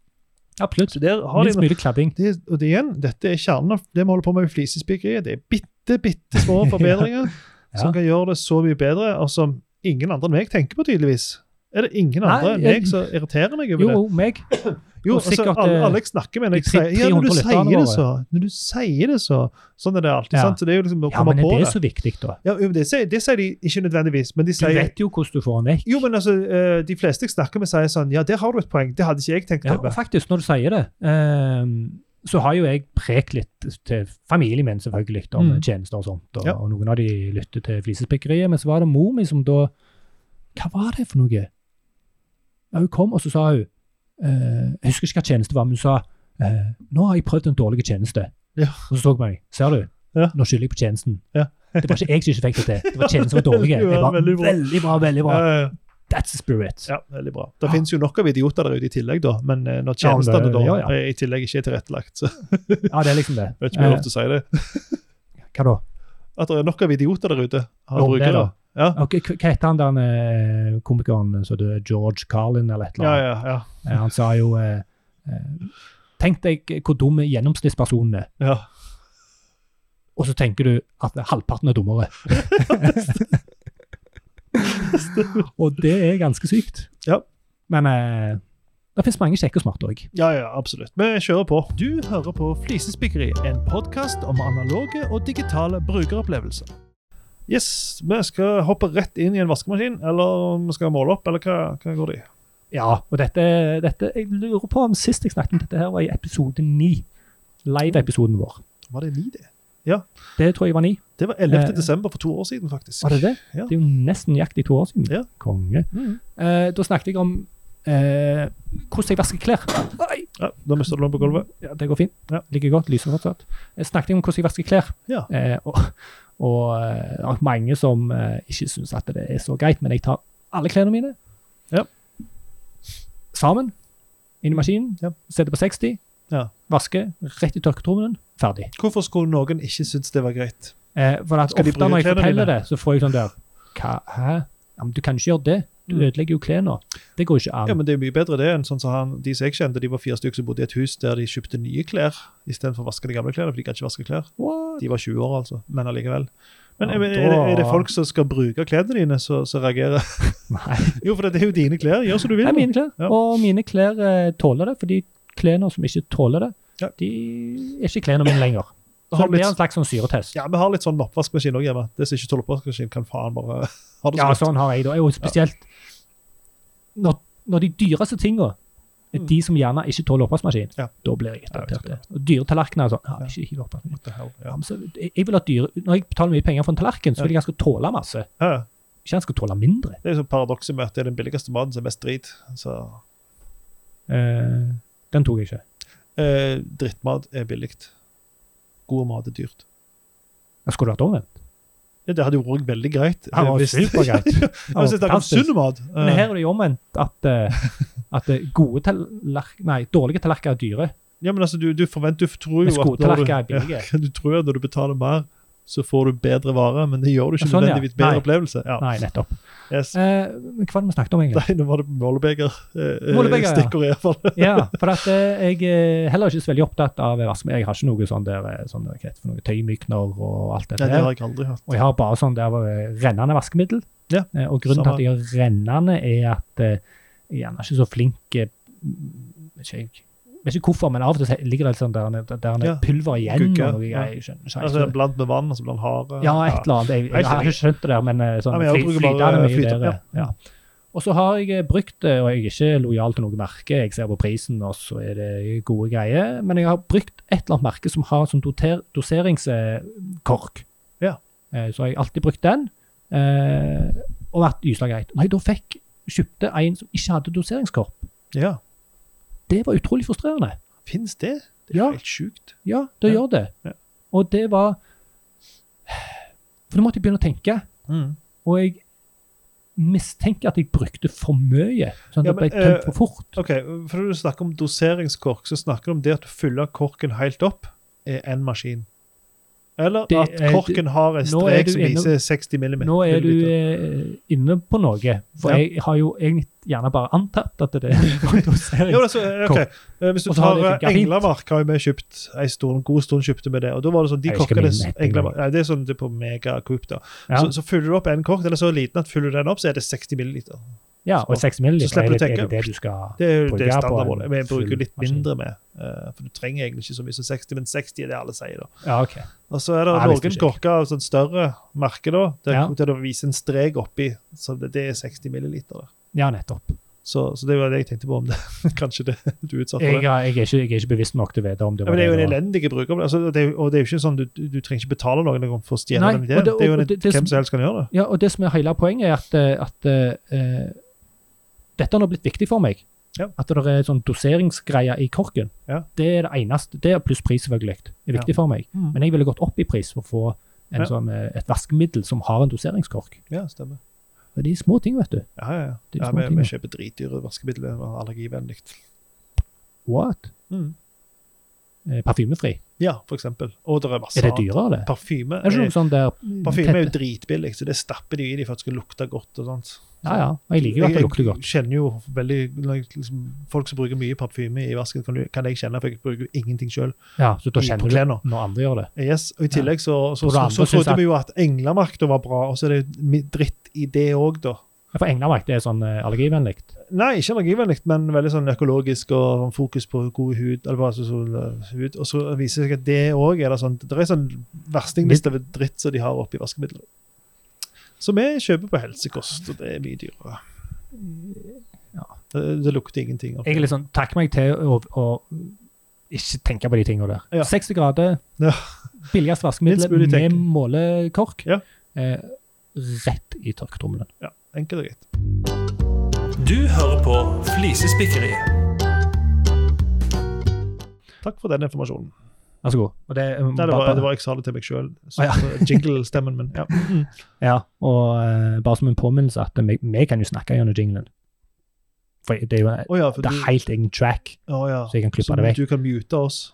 [SPEAKER 2] Absolutt.
[SPEAKER 1] Så der har de
[SPEAKER 2] Minst mulig kladding.
[SPEAKER 1] det, og det igjen, dette er kjernen av det vi holder på med i flisespikkeriet. Det er bitte, bitte
[SPEAKER 2] [LAUGHS]
[SPEAKER 1] små forbedringer
[SPEAKER 2] Ja.
[SPEAKER 1] som kan gjøre det så mye bedre, og som ingen andre enn meg tenker på, tydeligvis. Er det ingen
[SPEAKER 2] Nei,
[SPEAKER 1] andre enn
[SPEAKER 2] jeg-
[SPEAKER 1] meg som irriterer meg over
[SPEAKER 2] Jo, meg.
[SPEAKER 1] det? Jo,
[SPEAKER 2] og
[SPEAKER 1] altså,
[SPEAKER 2] sikkert,
[SPEAKER 1] alle,
[SPEAKER 2] eh,
[SPEAKER 1] alle jeg snakker med, når jeg
[SPEAKER 2] de tre-
[SPEAKER 1] sier ja, når du
[SPEAKER 2] 300
[SPEAKER 1] sier det
[SPEAKER 2] lytterne
[SPEAKER 1] så, når du sier det så, sånn er det alltid,
[SPEAKER 2] eh." Ja.
[SPEAKER 1] sant? Så det er jo liksom å
[SPEAKER 2] Ja,
[SPEAKER 1] komme
[SPEAKER 2] men er
[SPEAKER 1] på
[SPEAKER 2] det
[SPEAKER 1] det.
[SPEAKER 2] så viktig, da?
[SPEAKER 1] Ja, jo, men det, sier, det sier de ikke nødvendigvis, men de
[SPEAKER 2] Du
[SPEAKER 1] sier
[SPEAKER 2] vet jo hvordan du får den vekk.
[SPEAKER 1] jo, men altså, eh, De fleste jeg snakker med, sier sånn Ja, der har du et poeng. Det hadde ikke jeg tenkt
[SPEAKER 2] Ja,
[SPEAKER 1] over.
[SPEAKER 2] og faktisk, når du sier det, ehm, så har jo jeg prekt litt til familien min, selvfølgelig, om
[SPEAKER 1] Mm.
[SPEAKER 2] tjenester og sånt. Og,
[SPEAKER 1] Ja.
[SPEAKER 2] og noen av de lytter til flisespikkeriet. Men så var det mor mi som da Hva var det for noe? Ja, hun kom, og så sa hun eh, Jeg husker ikke hva tjeneste var, men hun sa eh, Nå har jeg prøvd en dårlig tjeneste.
[SPEAKER 1] Ja.
[SPEAKER 2] Og så så hun på meg. Ser du?
[SPEAKER 1] Ja.
[SPEAKER 2] Nå skylder jeg på tjenesten.
[SPEAKER 1] Ja.
[SPEAKER 2] det var ikke jeg som ikke fikk det til. Det var
[SPEAKER 1] [LAUGHS]
[SPEAKER 2] tjenesten som var dårlig.
[SPEAKER 1] Ja,
[SPEAKER 2] Jeg var
[SPEAKER 1] veldig
[SPEAKER 2] veldig
[SPEAKER 1] bra.
[SPEAKER 2] bra, veldig bra.
[SPEAKER 1] Ja, ja, ja.
[SPEAKER 2] That's the spirit.
[SPEAKER 1] Ja, veldig bra. Det
[SPEAKER 2] Ja.
[SPEAKER 1] finnes jo nok av idioter der ute i tillegg, da. Men eh, når
[SPEAKER 2] Ja, men det-
[SPEAKER 1] tjenestene da
[SPEAKER 2] ja, ja.
[SPEAKER 1] eh, i tillegg ikke er tilrettelagt, så [LAUGHS] jeg
[SPEAKER 2] Ja, det er liksom det.
[SPEAKER 1] vet ikke om jeg har
[SPEAKER 2] Eh,
[SPEAKER 1] lov til å si det.
[SPEAKER 2] hva da?
[SPEAKER 1] At det er nok av idioter der ute.
[SPEAKER 2] Jo,
[SPEAKER 1] Av
[SPEAKER 2] det
[SPEAKER 1] brukere.
[SPEAKER 2] da.
[SPEAKER 1] Ja.
[SPEAKER 2] Ok, k- hva heter han den eh, komikeren som døde? George Carlin, eller et eller
[SPEAKER 1] Ja,
[SPEAKER 2] annet?
[SPEAKER 1] ja, ja.
[SPEAKER 2] Eh, Han sa jo eh, eh, Tenk deg hvor dum gjennomsnittspersonen er,
[SPEAKER 1] ja.
[SPEAKER 2] og så tenker du at halvparten er dummere.
[SPEAKER 1] [LAUGHS]
[SPEAKER 2] og det er ganske sykt.
[SPEAKER 1] Ja.
[SPEAKER 2] Men eh, det finnes mange kjekke og smarte òg.
[SPEAKER 1] Ja, ja, absolutt. Vi kjører på. Du hører på Flisespikkeri, en podkast om analoge og digitale brukeropplevelser. Yes, vi skal hoppe rett inn i en vaskemaskin, eller vi skal måle opp, eller hva, hva går det i?
[SPEAKER 2] Ja, og dette, dette Jeg lurer på om sist jeg snakket om dette, her var i episode ni. Live-episoden vår.
[SPEAKER 1] Var det ni, det?
[SPEAKER 2] Det tror jeg var ni.
[SPEAKER 1] Det var 11.
[SPEAKER 2] Eh.
[SPEAKER 1] desember for to år siden, faktisk.
[SPEAKER 2] Var det det?
[SPEAKER 1] Ja.
[SPEAKER 2] Det er jo nesten nøyaktig to år siden.
[SPEAKER 1] Ja.
[SPEAKER 2] Konge.
[SPEAKER 1] Mhm.
[SPEAKER 2] Eh, da snakket jeg om eh, eh, hvordan jeg vasker klær. Oi,
[SPEAKER 1] Ja, da mister du lån på gulvet.
[SPEAKER 2] ja, det går fint.
[SPEAKER 1] Ja.
[SPEAKER 2] Ligger godt, lyser fortsatt. Jeg snakket om hvordan jeg vasker klær.
[SPEAKER 1] Ja.
[SPEAKER 2] Eh, og, og eh, det er mange som eh, ikke syns at det er så greit, men jeg tar alle klærne mine
[SPEAKER 1] Ja.
[SPEAKER 2] sammen inn i maskinen,
[SPEAKER 1] Ja.
[SPEAKER 2] setter på 60,
[SPEAKER 1] Ja.
[SPEAKER 2] vasker, rett i tørketrommelen, ferdig.
[SPEAKER 1] Hvorfor skulle noen ikke synes det var greit?
[SPEAKER 2] Eh, for at
[SPEAKER 1] Skal de
[SPEAKER 2] ofte
[SPEAKER 1] bruke
[SPEAKER 2] når jeg
[SPEAKER 1] klærne
[SPEAKER 2] forteller
[SPEAKER 1] dine?
[SPEAKER 2] det, så får jeg sånn der Hva? Hæ? Ja, men du kan ikke gjøre det. Du
[SPEAKER 1] Mm.
[SPEAKER 2] ødelegger jo klærne. Det går ikke
[SPEAKER 1] Ja,
[SPEAKER 2] an.
[SPEAKER 1] men Det er mye bedre det enn sånn som han, de som jeg kjente, de var fire stykker som bodde i et hus der de kjøpte nye klær istedenfor å vaske de gamle klærne. for de kan ikke vaske klær.
[SPEAKER 2] What?
[SPEAKER 1] De var 20 år, altså, men allikevel. Men
[SPEAKER 2] Ja,
[SPEAKER 1] er, er, det, er det
[SPEAKER 2] da-
[SPEAKER 1] folk som skal bruke klærne dine, som som reagerer?
[SPEAKER 2] [LAUGHS] Nei,
[SPEAKER 1] Jo, for det er jo dine klær. Gjør som du
[SPEAKER 2] det
[SPEAKER 1] vil.
[SPEAKER 2] er mine klær.
[SPEAKER 1] Ja.
[SPEAKER 2] Og mine klær eh, tåler det, for de klærne som ikke tåler det,
[SPEAKER 1] Ja.
[SPEAKER 2] de er ikke klærne mine lenger.
[SPEAKER 1] Det
[SPEAKER 2] Så
[SPEAKER 1] har
[SPEAKER 2] det blir en
[SPEAKER 1] litt,
[SPEAKER 2] slags sånn syretest.
[SPEAKER 1] ja, Vi har litt sånn oppvaskmaskin òg hjemme. Det som ikke tåler oppvaskmaskin, kan faen bare [LAUGHS] ha det
[SPEAKER 2] Ja,
[SPEAKER 1] sånn.
[SPEAKER 2] sånn har jeg det. Og spesielt når, når de dyreste tinga er
[SPEAKER 1] Mm.
[SPEAKER 2] de som gjerne ikke tåler oppvaskmaskin.
[SPEAKER 1] Ja.
[SPEAKER 2] Da blir jeg
[SPEAKER 1] Ja, jeg vet
[SPEAKER 2] irritert. Og dyre tallerkener og sånn. Ja,
[SPEAKER 1] Ja.
[SPEAKER 2] ikke hiv oppvaskmaskin.
[SPEAKER 1] What the hell,
[SPEAKER 2] Ja,
[SPEAKER 1] Ja.
[SPEAKER 2] men så, jeg jeg vil at dyre, Når jeg betaler mye penger for en tallerken, så vil jeg han skal tåle masse.
[SPEAKER 1] Ja.
[SPEAKER 2] Ikke han skal tåle mindre.
[SPEAKER 1] Det er jo sånn paradokset med at det er den billigste maten som er mest drit. Så
[SPEAKER 2] Eh, den tok jeg ikke.
[SPEAKER 1] eh, drittmat er billig. God mat er dyrt.
[SPEAKER 2] Jeg skulle vært omvendt.
[SPEAKER 1] Ja, det hadde jo vært veldig greit.
[SPEAKER 2] Han var
[SPEAKER 1] eh, hvis-
[SPEAKER 2] supergreit.
[SPEAKER 1] [LAUGHS] Ja, Hvis jeg snakker om
[SPEAKER 2] Fantastisk.
[SPEAKER 1] sunn mat
[SPEAKER 2] Men
[SPEAKER 1] eh,
[SPEAKER 2] her er det jo omvendt at, eh, at eh, gode tallerk- nei, dårlige tallerkener er dyre,
[SPEAKER 1] Ja, men altså, du, du forventer, du tror jo
[SPEAKER 2] mens gode
[SPEAKER 1] at når du,
[SPEAKER 2] tallerkener er billige.
[SPEAKER 1] ja, du tror at når du betaler mer, så får du bedre vare, men det gjør du ikke
[SPEAKER 2] Ja, sånn, ja.
[SPEAKER 1] nødvendigvis bedre
[SPEAKER 2] Nei.
[SPEAKER 1] opplevelse. Ja.
[SPEAKER 2] Nei, nettopp.
[SPEAKER 1] Yes.
[SPEAKER 2] Eh, men hva var det vi snakket om,
[SPEAKER 1] [LAUGHS]
[SPEAKER 2] egentlig?
[SPEAKER 1] Nei, nå var det målebeger. Eh, eh,
[SPEAKER 2] Målebeger, ja.
[SPEAKER 1] Stikkord i hvert fall.
[SPEAKER 2] Ja, for at eh, jeg er heller ikke så veldig opptatt av vaskemidler. Jeg har ikke noe sånn der, eh, sånn der hva heter det for noe tøymykner og alt
[SPEAKER 1] Nei,
[SPEAKER 2] dette.
[SPEAKER 1] det
[SPEAKER 2] her.
[SPEAKER 1] har jeg aldri hatt.
[SPEAKER 2] Og jeg har bare sånn der eh, rennende vaskemiddel.
[SPEAKER 1] Ja,
[SPEAKER 2] Eh, og grunnen
[SPEAKER 1] samme.
[SPEAKER 2] til at jeg har rennende, er at eh, jeg er gjerne ikke så flink eh, mm, vet ikke, jeg, vet ikke hvorfor, men av og til så ligger det litt sånn der, der, der
[SPEAKER 1] Ja.
[SPEAKER 2] pulver igjen.
[SPEAKER 1] Gugge,
[SPEAKER 2] og noe
[SPEAKER 1] ja.
[SPEAKER 2] greier, jeg skjønner ikke
[SPEAKER 1] Altså,
[SPEAKER 2] helt.
[SPEAKER 1] blant med vann, altså blant hare.
[SPEAKER 2] Ja, et eller annet. Jeg, jeg,
[SPEAKER 1] Jeg
[SPEAKER 2] har ikke skjønt det der, men eh, sånn
[SPEAKER 1] Ja, men jeg
[SPEAKER 2] fly-
[SPEAKER 1] bruker bare,
[SPEAKER 2] flytende mye
[SPEAKER 1] flytende,
[SPEAKER 2] bedre. Ja. Og så har jeg eh, brukt det, og jeg er ikke lojal til noe merke. Jeg ser på prisen, og så er det gode greier. Men jeg har brukt et eller annet merke som har sånn doter, doseringskork.
[SPEAKER 1] Ja.
[SPEAKER 2] Eh, Så har jeg alltid brukt den, eh, og vært gyselig greit. Når jeg da fikk, kjøpte en som ikke hadde doseringskork,
[SPEAKER 1] Ja.
[SPEAKER 2] det var utrolig frustrerende.
[SPEAKER 1] Fins det? Det er
[SPEAKER 2] Ja.
[SPEAKER 1] helt sjukt.
[SPEAKER 2] Ja, det
[SPEAKER 1] Ja.
[SPEAKER 2] gjør det.
[SPEAKER 1] Ja.
[SPEAKER 2] Og det var For nå måtte jeg begynne å tenke. Og jeg mistenker at jeg brukte for mye, sånn at
[SPEAKER 1] Ja,
[SPEAKER 2] det
[SPEAKER 1] men, eh,
[SPEAKER 2] ble tømt for fort.
[SPEAKER 1] OK, for når du snakker om doseringskork, så snakker du om det at du fyller korken helt opp, er én maskin. Eller
[SPEAKER 2] Det
[SPEAKER 1] at
[SPEAKER 2] er-
[SPEAKER 1] korken har en
[SPEAKER 2] Nå er
[SPEAKER 1] strek
[SPEAKER 2] du
[SPEAKER 1] som
[SPEAKER 2] inne-
[SPEAKER 1] viser 60 millimeter.
[SPEAKER 2] Nå er du eh, inne på noe, for
[SPEAKER 1] Ja.
[SPEAKER 2] jeg har jo egentlig gjerne bare antatt
[SPEAKER 1] [LAUGHS]
[SPEAKER 2] at det er
[SPEAKER 1] Jo,
[SPEAKER 2] dosering.
[SPEAKER 1] altså, ok. Eh, Hvis du
[SPEAKER 2] Og så har
[SPEAKER 1] tar
[SPEAKER 2] de
[SPEAKER 1] eh,
[SPEAKER 2] funket fint.
[SPEAKER 1] Englamark, har jo vi kjøpt en stor, en god stund kjøpte vi det. og da var det sånn, de
[SPEAKER 2] Jeg husker
[SPEAKER 1] korkene,
[SPEAKER 2] min netting,
[SPEAKER 1] Englamark, nei, Det er sånn det er på megacoop. da.
[SPEAKER 2] Ja,
[SPEAKER 1] Så, så fyller du opp en kork, den er så liten at fyller du den opp, så er det 60 milliliter.
[SPEAKER 2] ja, og 6 ml
[SPEAKER 1] Så slipper
[SPEAKER 2] er,
[SPEAKER 1] du
[SPEAKER 2] det- er
[SPEAKER 1] tenke.
[SPEAKER 2] det det du skal
[SPEAKER 1] Det er jo det
[SPEAKER 2] Bruker på
[SPEAKER 1] standardmålet.
[SPEAKER 2] en
[SPEAKER 1] Vi bruker
[SPEAKER 2] full
[SPEAKER 1] jo litt
[SPEAKER 2] maskin.
[SPEAKER 1] mindre med, eh, for du trenger egentlig ikke så mye som 60, men 60 er det alle sier. da.
[SPEAKER 2] Ja, OK.
[SPEAKER 1] Og så er det
[SPEAKER 2] Nei, jeg visste
[SPEAKER 1] noen
[SPEAKER 2] ikke.
[SPEAKER 1] korker av sånn større merke da, der,
[SPEAKER 2] Ja.
[SPEAKER 1] der det viser en strek oppi, så det, det er 60 milliliter. da.
[SPEAKER 2] Ja, nettopp.
[SPEAKER 1] Så, så det var det jeg tenkte på om det. [LAUGHS] Kanskje det du er utsatt for. det.
[SPEAKER 2] Jeg, har- jeg, er ikke, jeg er ikke bevisst nok til å vite om det
[SPEAKER 1] Ja,
[SPEAKER 2] var
[SPEAKER 1] men Det er jo en
[SPEAKER 2] det var.
[SPEAKER 1] elendig bruk. av det. Altså, det er, jo- og det er jo ikke sånn du, du trenger ikke betale noen for å stjele
[SPEAKER 2] Nei,
[SPEAKER 1] den ideen. Det,
[SPEAKER 2] og det-
[SPEAKER 1] er jo
[SPEAKER 2] og
[SPEAKER 1] en,
[SPEAKER 2] det- det som-
[SPEAKER 1] hvem som helst kan gjøre det.
[SPEAKER 2] Ja, og det som er hele poenget, er at, eh, at eh, dette har nå blitt viktig for meg.
[SPEAKER 1] Ja.
[SPEAKER 2] At det er sånn doseringsgreier i korken.
[SPEAKER 1] Ja.
[SPEAKER 2] Det er det eneste. Det pluss pris, selvfølgelig. er viktig for meg. Men jeg ville gått opp i pris for å få en
[SPEAKER 1] Ja.
[SPEAKER 2] sånn, eh, et vaskemiddel som har en doseringskork.
[SPEAKER 1] Ja, stemmer.
[SPEAKER 2] Det er de små ting, vet du.
[SPEAKER 1] Ja, ja, ja.
[SPEAKER 2] Det er
[SPEAKER 1] ja
[SPEAKER 2] små
[SPEAKER 1] vi,
[SPEAKER 2] ting,
[SPEAKER 1] vi
[SPEAKER 2] ja.
[SPEAKER 1] kjøper dritdyre vaskemidler. og Allergivennlig.
[SPEAKER 2] What? Eh, Parfymefri.
[SPEAKER 1] Ja, for eksempel. Og det er masse
[SPEAKER 2] Er det
[SPEAKER 1] annet.
[SPEAKER 2] dyrere, det?
[SPEAKER 1] Parfyme
[SPEAKER 2] Er det ikke
[SPEAKER 1] er,
[SPEAKER 2] noe sånn der
[SPEAKER 1] parfyme er jo dritbillig, så det stapper de i de for at det skal lukte godt. og sånt.
[SPEAKER 2] Ja, ja. Og jeg liker jo at det lukter godt.
[SPEAKER 1] Jeg kjenner jo veldig liksom, Folk som bruker mye parfyme i vasken, kan, du- kan jeg kjenne, for jeg bruker jo ingenting sjøl.
[SPEAKER 2] Ja, så da
[SPEAKER 1] i- på
[SPEAKER 2] kjenner du
[SPEAKER 1] klærne.
[SPEAKER 2] når andre gjør det.
[SPEAKER 1] Yes, og I tillegg så, så,
[SPEAKER 2] Og det
[SPEAKER 1] så,
[SPEAKER 2] andre
[SPEAKER 1] så
[SPEAKER 2] synes
[SPEAKER 1] trodde
[SPEAKER 2] jeg-
[SPEAKER 1] vi jo at Englamark da var bra, og så er det jo mi- dritt i det òg, da.
[SPEAKER 2] Ja, For Englamark det er sånn eh, allergivennlig.
[SPEAKER 1] Nei, ikke energivennlig, men veldig sånn økologisk og sånn fokus på god hud. eller bare så- så, eh, hud. Og så viser det seg at det òg er det sånn Det er sånn verstingliste over dritt som de har oppi vaskemidler. Så vi kjøper på helsekost, og det er mye dyrere.
[SPEAKER 2] Ja.
[SPEAKER 1] Det, det lukter ingenting. av
[SPEAKER 2] Jeg er litt sånn Takk meg til å, å ikke tenke på de tingene der.
[SPEAKER 1] Ja.
[SPEAKER 2] 60 grader,
[SPEAKER 1] Ja.
[SPEAKER 2] billigst
[SPEAKER 1] Minst mulig
[SPEAKER 2] vaskemiddel med
[SPEAKER 1] tenking.
[SPEAKER 2] målekork.
[SPEAKER 1] Ja.
[SPEAKER 2] Eh, rett i tørketrommelen.
[SPEAKER 1] Enkelt og greit.
[SPEAKER 3] Du hører på Flisespikkeriet.
[SPEAKER 1] Takk for den informasjonen.
[SPEAKER 2] Vær så god. Og det, um,
[SPEAKER 1] Nei, det, var, det var jeg sa det til meg sjøl.
[SPEAKER 2] Å, ja.
[SPEAKER 1] Jingle-stemmen min. Ja. Mm.
[SPEAKER 2] Ja, og eh, bare som en påminnelse at vi, vi kan jo snakke gjennom jinglen. For det er jo en-
[SPEAKER 1] Å ja, for
[SPEAKER 2] det
[SPEAKER 1] du,
[SPEAKER 2] er helt egen track,
[SPEAKER 1] å, ja.
[SPEAKER 2] så jeg kan klippe
[SPEAKER 1] Så
[SPEAKER 2] det vekk.
[SPEAKER 1] du kan mute oss.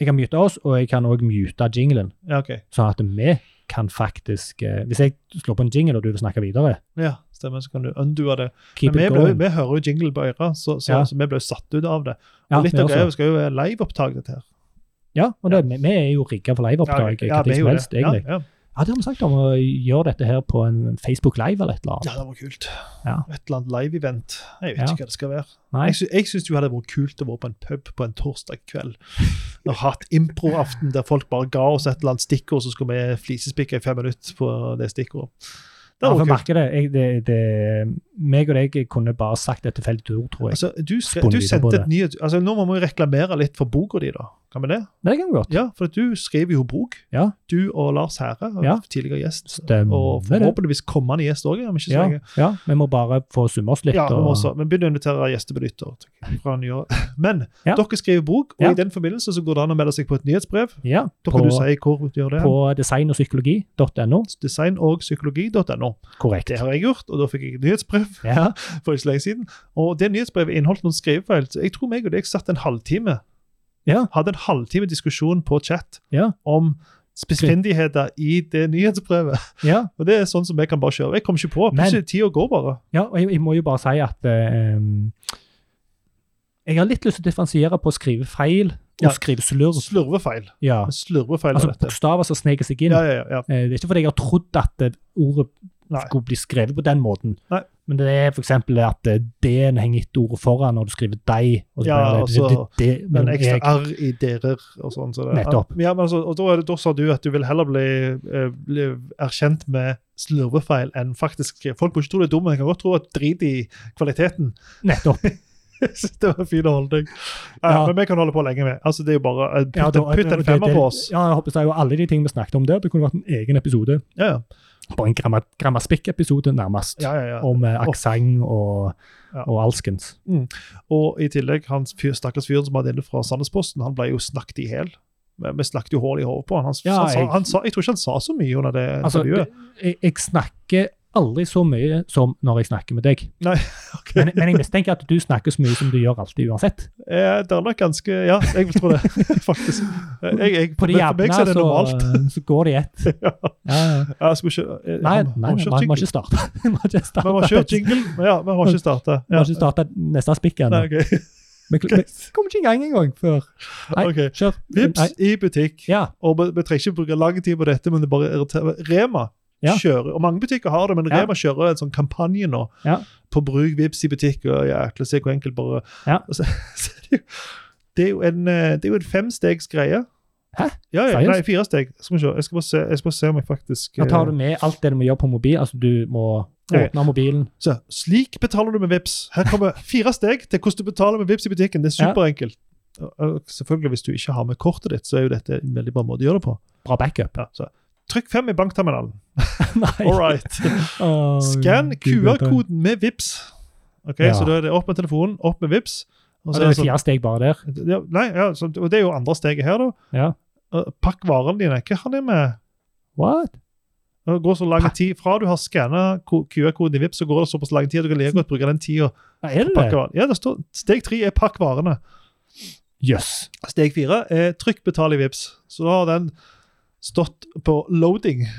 [SPEAKER 2] Jeg kan mute oss, og jeg kan òg mute jinglen,
[SPEAKER 1] Ja, OK.
[SPEAKER 2] sånn at vi kan faktisk eh, Hvis jeg slår på en jingle og du vil snakke videre,
[SPEAKER 1] Ja, stemmer. Så kan du undoe det.
[SPEAKER 2] keep
[SPEAKER 1] Men vi,
[SPEAKER 2] it
[SPEAKER 1] ble,
[SPEAKER 2] going.
[SPEAKER 1] vi hører jo jingle på øret, så, så,
[SPEAKER 2] Ja.
[SPEAKER 1] så vi ble jo satt ut av det. Og
[SPEAKER 2] Ja,
[SPEAKER 1] litt
[SPEAKER 2] vi
[SPEAKER 1] av
[SPEAKER 2] også.
[SPEAKER 1] greia, Vi skal jo være liveopptak, dette her.
[SPEAKER 2] Ja, og det, vi, vi er jo rigga for liveopptak. Ja,
[SPEAKER 1] vi er
[SPEAKER 2] som
[SPEAKER 1] jo det.
[SPEAKER 2] helst, egentlig.
[SPEAKER 1] Ja, ja.
[SPEAKER 2] Ja, det har vi sagt om å gjøre dette her på en Facebook Live eller et eller annet.
[SPEAKER 1] ja, det var kult.
[SPEAKER 2] Ja.
[SPEAKER 1] Et eller annet live-event. Jeg vet
[SPEAKER 2] Ja.
[SPEAKER 1] ikke hva det skal være.
[SPEAKER 2] Nei,
[SPEAKER 1] Jeg, sy jeg syns det hadde vært kult å være på en pub på en torsdag kveld og hatt improaften der folk bare ga oss et eller annet stikkord, så skulle vi flisespikke i fem minutter på det stikkordet. Det
[SPEAKER 2] ja,
[SPEAKER 1] hadde vært
[SPEAKER 2] for
[SPEAKER 1] kult.
[SPEAKER 2] merker det. Jeg, det, det meg og deg kunne bare sagt et tilfeldig ord, tror jeg.
[SPEAKER 1] Altså, du, skre,
[SPEAKER 2] Spon
[SPEAKER 1] du
[SPEAKER 2] videre på
[SPEAKER 1] sendte
[SPEAKER 2] det.
[SPEAKER 1] et nyhet... Altså, nå må vi reklamere litt for boka di, da. Kan vi det?
[SPEAKER 2] Det kan vi godt.
[SPEAKER 1] Ja, for at du skriver jo bok.
[SPEAKER 2] Ja.
[SPEAKER 1] Du og Lars Herre,
[SPEAKER 2] Ja.
[SPEAKER 1] tidligere gjest.
[SPEAKER 2] Stemmer
[SPEAKER 1] Og
[SPEAKER 2] det.
[SPEAKER 1] forhåpentligvis kommende gjest òg, om ikke så
[SPEAKER 2] Ja,
[SPEAKER 1] lenge.
[SPEAKER 2] ja, vi må bare få summe oss litt.
[SPEAKER 1] Ja, men,
[SPEAKER 2] og-
[SPEAKER 1] også, men begynn å invitere gjestebenyttere. fra nyåret. Men
[SPEAKER 2] Ja.
[SPEAKER 1] dere skriver bok, og
[SPEAKER 2] Ja.
[SPEAKER 1] i den forbindelse så går det an å melde seg på et nyhetsbrev.
[SPEAKER 2] Ja,
[SPEAKER 1] Da
[SPEAKER 2] på,
[SPEAKER 1] kan du si hvor du gjør det.
[SPEAKER 2] på designogsykologi.no.
[SPEAKER 1] Design og psykologi.no.
[SPEAKER 2] Korrekt.
[SPEAKER 1] Det har jeg gjort, og da fikk jeg et nyhetsbrev
[SPEAKER 2] Ja,
[SPEAKER 1] for ikke så lenge siden. Og det nyhetsbrevet inneholdt noen skrivefeil. så Jeg tror meg og deg satt en halvtime
[SPEAKER 2] Ja.
[SPEAKER 1] hadde en halvtime diskusjon på chat
[SPEAKER 2] Ja.
[SPEAKER 1] om spissfindigheter i det nyhetsbrevet.
[SPEAKER 2] ja,
[SPEAKER 1] Og det er sånn som jeg kan bare kjøre. Jeg kom ikke på.
[SPEAKER 2] Men-
[SPEAKER 1] Plutselig tida går bare.
[SPEAKER 2] ja og jeg, jeg må jo bare si at eh, jeg har litt lyst til å differensiere på å skrive feil og
[SPEAKER 1] Ja.
[SPEAKER 2] skrive slurv.
[SPEAKER 1] Slurvefeil.
[SPEAKER 2] Ja.
[SPEAKER 1] Slurvefeil
[SPEAKER 2] Altså
[SPEAKER 1] av dette.
[SPEAKER 2] bokstaver som sneker seg inn.
[SPEAKER 1] Ja, ja, ja, ja.
[SPEAKER 2] Eh, Det er ikke fordi jeg har trodd at det ordet
[SPEAKER 1] Nei.
[SPEAKER 2] skulle bli skrevet på den måten.
[SPEAKER 1] Nei.
[SPEAKER 2] Men det er f.eks. at eh, D-en henger etter ordet foran når du skriver deg. Og så
[SPEAKER 1] Ja,
[SPEAKER 2] blir det,
[SPEAKER 1] altså,
[SPEAKER 2] det, det,
[SPEAKER 1] Men ekstra
[SPEAKER 2] jeg,
[SPEAKER 1] R i derer og sånn. Så det,
[SPEAKER 2] Nettopp.
[SPEAKER 1] Ja, men altså, og da, er det, da sa du at du vil heller bli, eh, bli erkjent med slurvefeil enn faktisk Folk må ikke tro du er dum, men jeg kan godt tro at du driter i kvaliteten.
[SPEAKER 2] nettopp.
[SPEAKER 1] [LAUGHS] Jeg synes det var en fin holdning. Ja,
[SPEAKER 2] Ja.
[SPEAKER 1] Men vi kan holde på lenge med. Altså, det er jo bare eh, Putt,
[SPEAKER 2] Ja, da-
[SPEAKER 1] en- putt en
[SPEAKER 2] det-
[SPEAKER 1] femmer
[SPEAKER 2] det-
[SPEAKER 1] på oss.
[SPEAKER 2] Ja, jeg håper det er jo alle de tingene vi snakket om der. Det kunne vært en egen episode.
[SPEAKER 1] Ja, ja.
[SPEAKER 2] Bare en gramma, grammatikk-episode, nærmest.
[SPEAKER 1] ja, ja, ja.
[SPEAKER 2] Om eh, aksent og,
[SPEAKER 1] Ja.
[SPEAKER 2] og alskens.
[SPEAKER 1] Og i tillegg, han fyr, stakkars fyren som hadde inne fra Sandnesposten, han ble jo snakket i hjel. Vi vi snakket jo hull i hodet på han. Han,
[SPEAKER 2] Ja,
[SPEAKER 1] han, sa,
[SPEAKER 2] jeg-
[SPEAKER 1] han sa, jeg tror ikke han sa så mye under det
[SPEAKER 2] Altså,
[SPEAKER 1] intervjuet.
[SPEAKER 2] jeg, jeg snakker aldri så mye som når jeg snakker med deg.
[SPEAKER 1] Nei, [LAUGHS] ok.
[SPEAKER 2] Men, men jeg mistenker at du snakker så mye som du gjør alltid uansett.
[SPEAKER 1] Eh, det er nok ganske Ja, jeg vil tro det, [LAUGHS] faktisk. Eh, Jeg, jeg,
[SPEAKER 2] På det
[SPEAKER 1] men for
[SPEAKER 2] jevne
[SPEAKER 1] meg så er det
[SPEAKER 2] så, eh,
[SPEAKER 1] normalt.
[SPEAKER 2] så går det i ett.
[SPEAKER 1] [LAUGHS] Ja.
[SPEAKER 2] Ja, ja.
[SPEAKER 1] Jeg skulle ikke eh,
[SPEAKER 2] Nei,
[SPEAKER 1] har-
[SPEAKER 2] nei,
[SPEAKER 1] har
[SPEAKER 2] vi
[SPEAKER 1] kjørt
[SPEAKER 2] har
[SPEAKER 1] jingle.
[SPEAKER 2] ikke [LAUGHS] starta. Vi har ikke
[SPEAKER 1] Vi har kjørt
[SPEAKER 2] [LAUGHS] startet-
[SPEAKER 1] jingle, men ja, vi har ikke starta.
[SPEAKER 2] vi har ikke starta neste spikk ennå. Vi vi kom ikke i gang engang før. Nei,
[SPEAKER 1] [LAUGHS] Ok.
[SPEAKER 2] kjør. Nei,
[SPEAKER 1] Vips i butikk.
[SPEAKER 2] Ja,
[SPEAKER 1] Og vi vi trenger ikke bruke lang tid på dette, men det bare irriterer meg. Rema
[SPEAKER 2] Ja.
[SPEAKER 1] kjører, og mange butikker har det, men
[SPEAKER 2] Ja.
[SPEAKER 1] Rema kjører en sånn kampanje nå
[SPEAKER 2] Ja.
[SPEAKER 1] på bruk Vipps i butikk. og jækla, se hvor enkelt bare
[SPEAKER 2] Ja.
[SPEAKER 1] Og [LAUGHS] så, så er det, jo, det, er jo en, eh, det er jo en femstegs greie.
[SPEAKER 2] Hæ?
[SPEAKER 1] Ja, ja,
[SPEAKER 2] Seriøst?
[SPEAKER 1] nei, fire steg. Skal vi se. Jeg skal bare se, jeg skal bare se om jeg faktisk
[SPEAKER 2] Da tar du
[SPEAKER 1] eh,
[SPEAKER 2] med alt det du må gjøre på mobil. Altså, du må
[SPEAKER 1] Ja, ja.
[SPEAKER 2] åpne mobilen.
[SPEAKER 1] så, Slik betaler du med Vipps. Her kommer fire steg til hvordan du betaler med Vipps i butikken. Det er
[SPEAKER 2] Ja.
[SPEAKER 1] superenkelt. Og- og Selvfølgelig, Hvis du ikke har med kortet ditt, så er jo dette en veldig bra måte å gjøre det på.
[SPEAKER 2] Bra backup. [LAUGHS]
[SPEAKER 1] Ja, så. Trykk fem i bankterminalen.
[SPEAKER 2] Nei.
[SPEAKER 1] All right.
[SPEAKER 2] [LAUGHS] Åh,
[SPEAKER 1] Skann
[SPEAKER 2] Gud, vet du.
[SPEAKER 1] QR-koden med VIPS. Ok,
[SPEAKER 2] Ja.
[SPEAKER 1] Så da er det opp med telefonen, opp med VIPS. Og
[SPEAKER 2] Ja,
[SPEAKER 1] så
[SPEAKER 2] det
[SPEAKER 1] er
[SPEAKER 2] er
[SPEAKER 1] det sånn,
[SPEAKER 2] fire steg bare der.
[SPEAKER 1] ja, nei, ja, så, og det er jo andre steget her, da.
[SPEAKER 2] Ja.
[SPEAKER 1] Uh, Pakk varene dine. Hva har det med
[SPEAKER 2] What?
[SPEAKER 1] Det går så lang
[SPEAKER 2] Pakk-
[SPEAKER 1] tid fra du har skanna QR-koden i VIPS, så går det såpass lang tid at du kan like godt bruke den tida.
[SPEAKER 2] Ja, er det
[SPEAKER 1] Pakke
[SPEAKER 2] det?
[SPEAKER 1] varene. Ja, det står, steg tre er pakk varene.
[SPEAKER 2] Jøss.
[SPEAKER 1] Steg fire er trykk betal i VIPS. Så da har den stått på loading. [LAUGHS]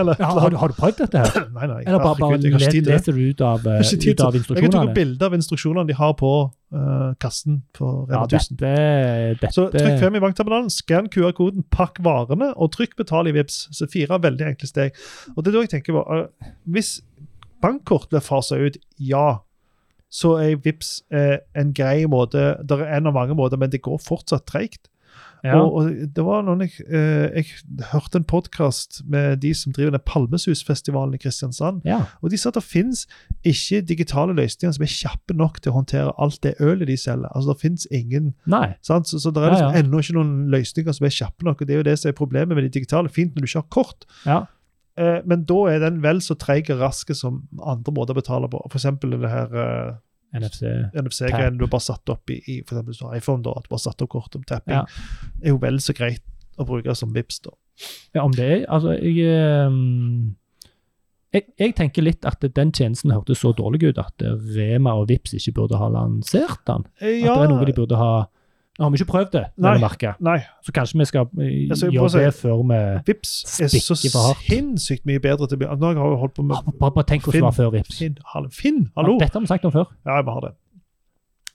[SPEAKER 1] Eller et
[SPEAKER 2] Ja,
[SPEAKER 1] eller
[SPEAKER 2] har,
[SPEAKER 1] annet.
[SPEAKER 2] du- har du prøvd dette her?
[SPEAKER 1] [CLEARS THROAT] Nei, nei.
[SPEAKER 2] Eller bare, bare
[SPEAKER 1] herregud, jeg har ikke tid
[SPEAKER 2] le-
[SPEAKER 1] til det.
[SPEAKER 2] leser du ut av, eh,
[SPEAKER 1] Jeg har ikke tid
[SPEAKER 2] ut
[SPEAKER 1] til-
[SPEAKER 2] av
[SPEAKER 1] Jeg tok
[SPEAKER 2] instruksjonene?
[SPEAKER 1] bilde av instruksjonene de har på eh, kassen på
[SPEAKER 2] Ja,
[SPEAKER 1] Rema 1000.
[SPEAKER 2] dette, dette
[SPEAKER 1] Så trykk 5 i bankterminalen, skann QR-koden, pakk varene og trykk 'betal' i Vipps. Så fire veldig enkle steg. Og det er da jeg tenker på, eh, Hvis bankkort blir fasa ut, ja, så er Vipps eh, en grei måte. Det er en av mange måter, men det går fortsatt treigt.
[SPEAKER 2] Ja.
[SPEAKER 1] Og, og det var noen jeg, eh, jeg hørte en podkast med de som driver den Palmesusfestivalen i Kristiansand.
[SPEAKER 2] ja.
[SPEAKER 1] Og de sa at det finnes ikke digitale løsninger som er kjappe nok til å håndtere alt det ølet de selger. Altså, det finnes ingen,
[SPEAKER 2] Nei.
[SPEAKER 1] sant? Så, så det er
[SPEAKER 2] Ja,
[SPEAKER 1] liksom
[SPEAKER 2] ja.
[SPEAKER 1] ennå ikke noen løsninger som er kjappe nok, og det er jo det som er problemet med de digitale. Fint når du ikke har kort,
[SPEAKER 2] Ja.
[SPEAKER 1] Eh, men da er den vel så treig og rask som andre måter å betale på. F.eks. det her eh,
[SPEAKER 2] NFC.
[SPEAKER 1] NFC-greiene du har bare satt opp i, i for eksempel hvis du har iPhone, da, at du bare satt opp kort om tapping,
[SPEAKER 2] Ja.
[SPEAKER 1] er jo vel så greit å bruke som Vipps da.
[SPEAKER 2] Ja, om det er Altså, jeg ehm, jeg, jeg tenker litt at den tjenesten hørtes så dårlig ut at Rema og Vips ikke burde ha lansert den.
[SPEAKER 1] Eh,
[SPEAKER 2] At det er noe de burde ha Nå har vi ikke prøvd det,
[SPEAKER 1] Nei.
[SPEAKER 2] vil jeg merke.
[SPEAKER 1] Nei,
[SPEAKER 2] så kanskje vi skal eh,
[SPEAKER 1] Jeg skal
[SPEAKER 2] gjøre
[SPEAKER 1] bare si-
[SPEAKER 2] det før vi
[SPEAKER 1] Vipps er
[SPEAKER 2] Spikke
[SPEAKER 1] så
[SPEAKER 2] for hardt.
[SPEAKER 1] sinnssykt mye bedre til å begynne. Nå har jeg holdt på
[SPEAKER 2] Ah,
[SPEAKER 1] med
[SPEAKER 2] Bare, bare tenk hvordan det var før Vips.
[SPEAKER 1] Finn, hall- Finn hallo!
[SPEAKER 2] Ja, Dette har vi sagt om før.
[SPEAKER 1] Ja, jeg må ha det.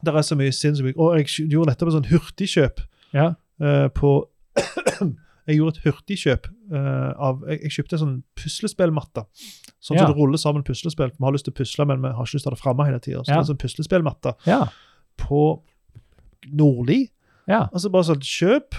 [SPEAKER 1] Det er så mye sinnssykt mye. Og jeg kjø- gjorde nettopp et sånn hurtigkjøp
[SPEAKER 2] Ja.
[SPEAKER 1] eh, på [COUGHS] Jeg gjorde et hurtigkjøp eh, av Jeg, jeg kjøpte en sånn puslespillmatte. Sånn
[SPEAKER 2] Ja.
[SPEAKER 1] som det ruller sammen puslespill. Vi har lyst til å pusle, men vi har ikke lyst til å ha det framme hele tida. Så
[SPEAKER 2] Ja.
[SPEAKER 1] det er en sånn puslespillmatte
[SPEAKER 2] Ja.
[SPEAKER 1] på Nordli.
[SPEAKER 2] ja.
[SPEAKER 1] Og så bare sånn kjøp,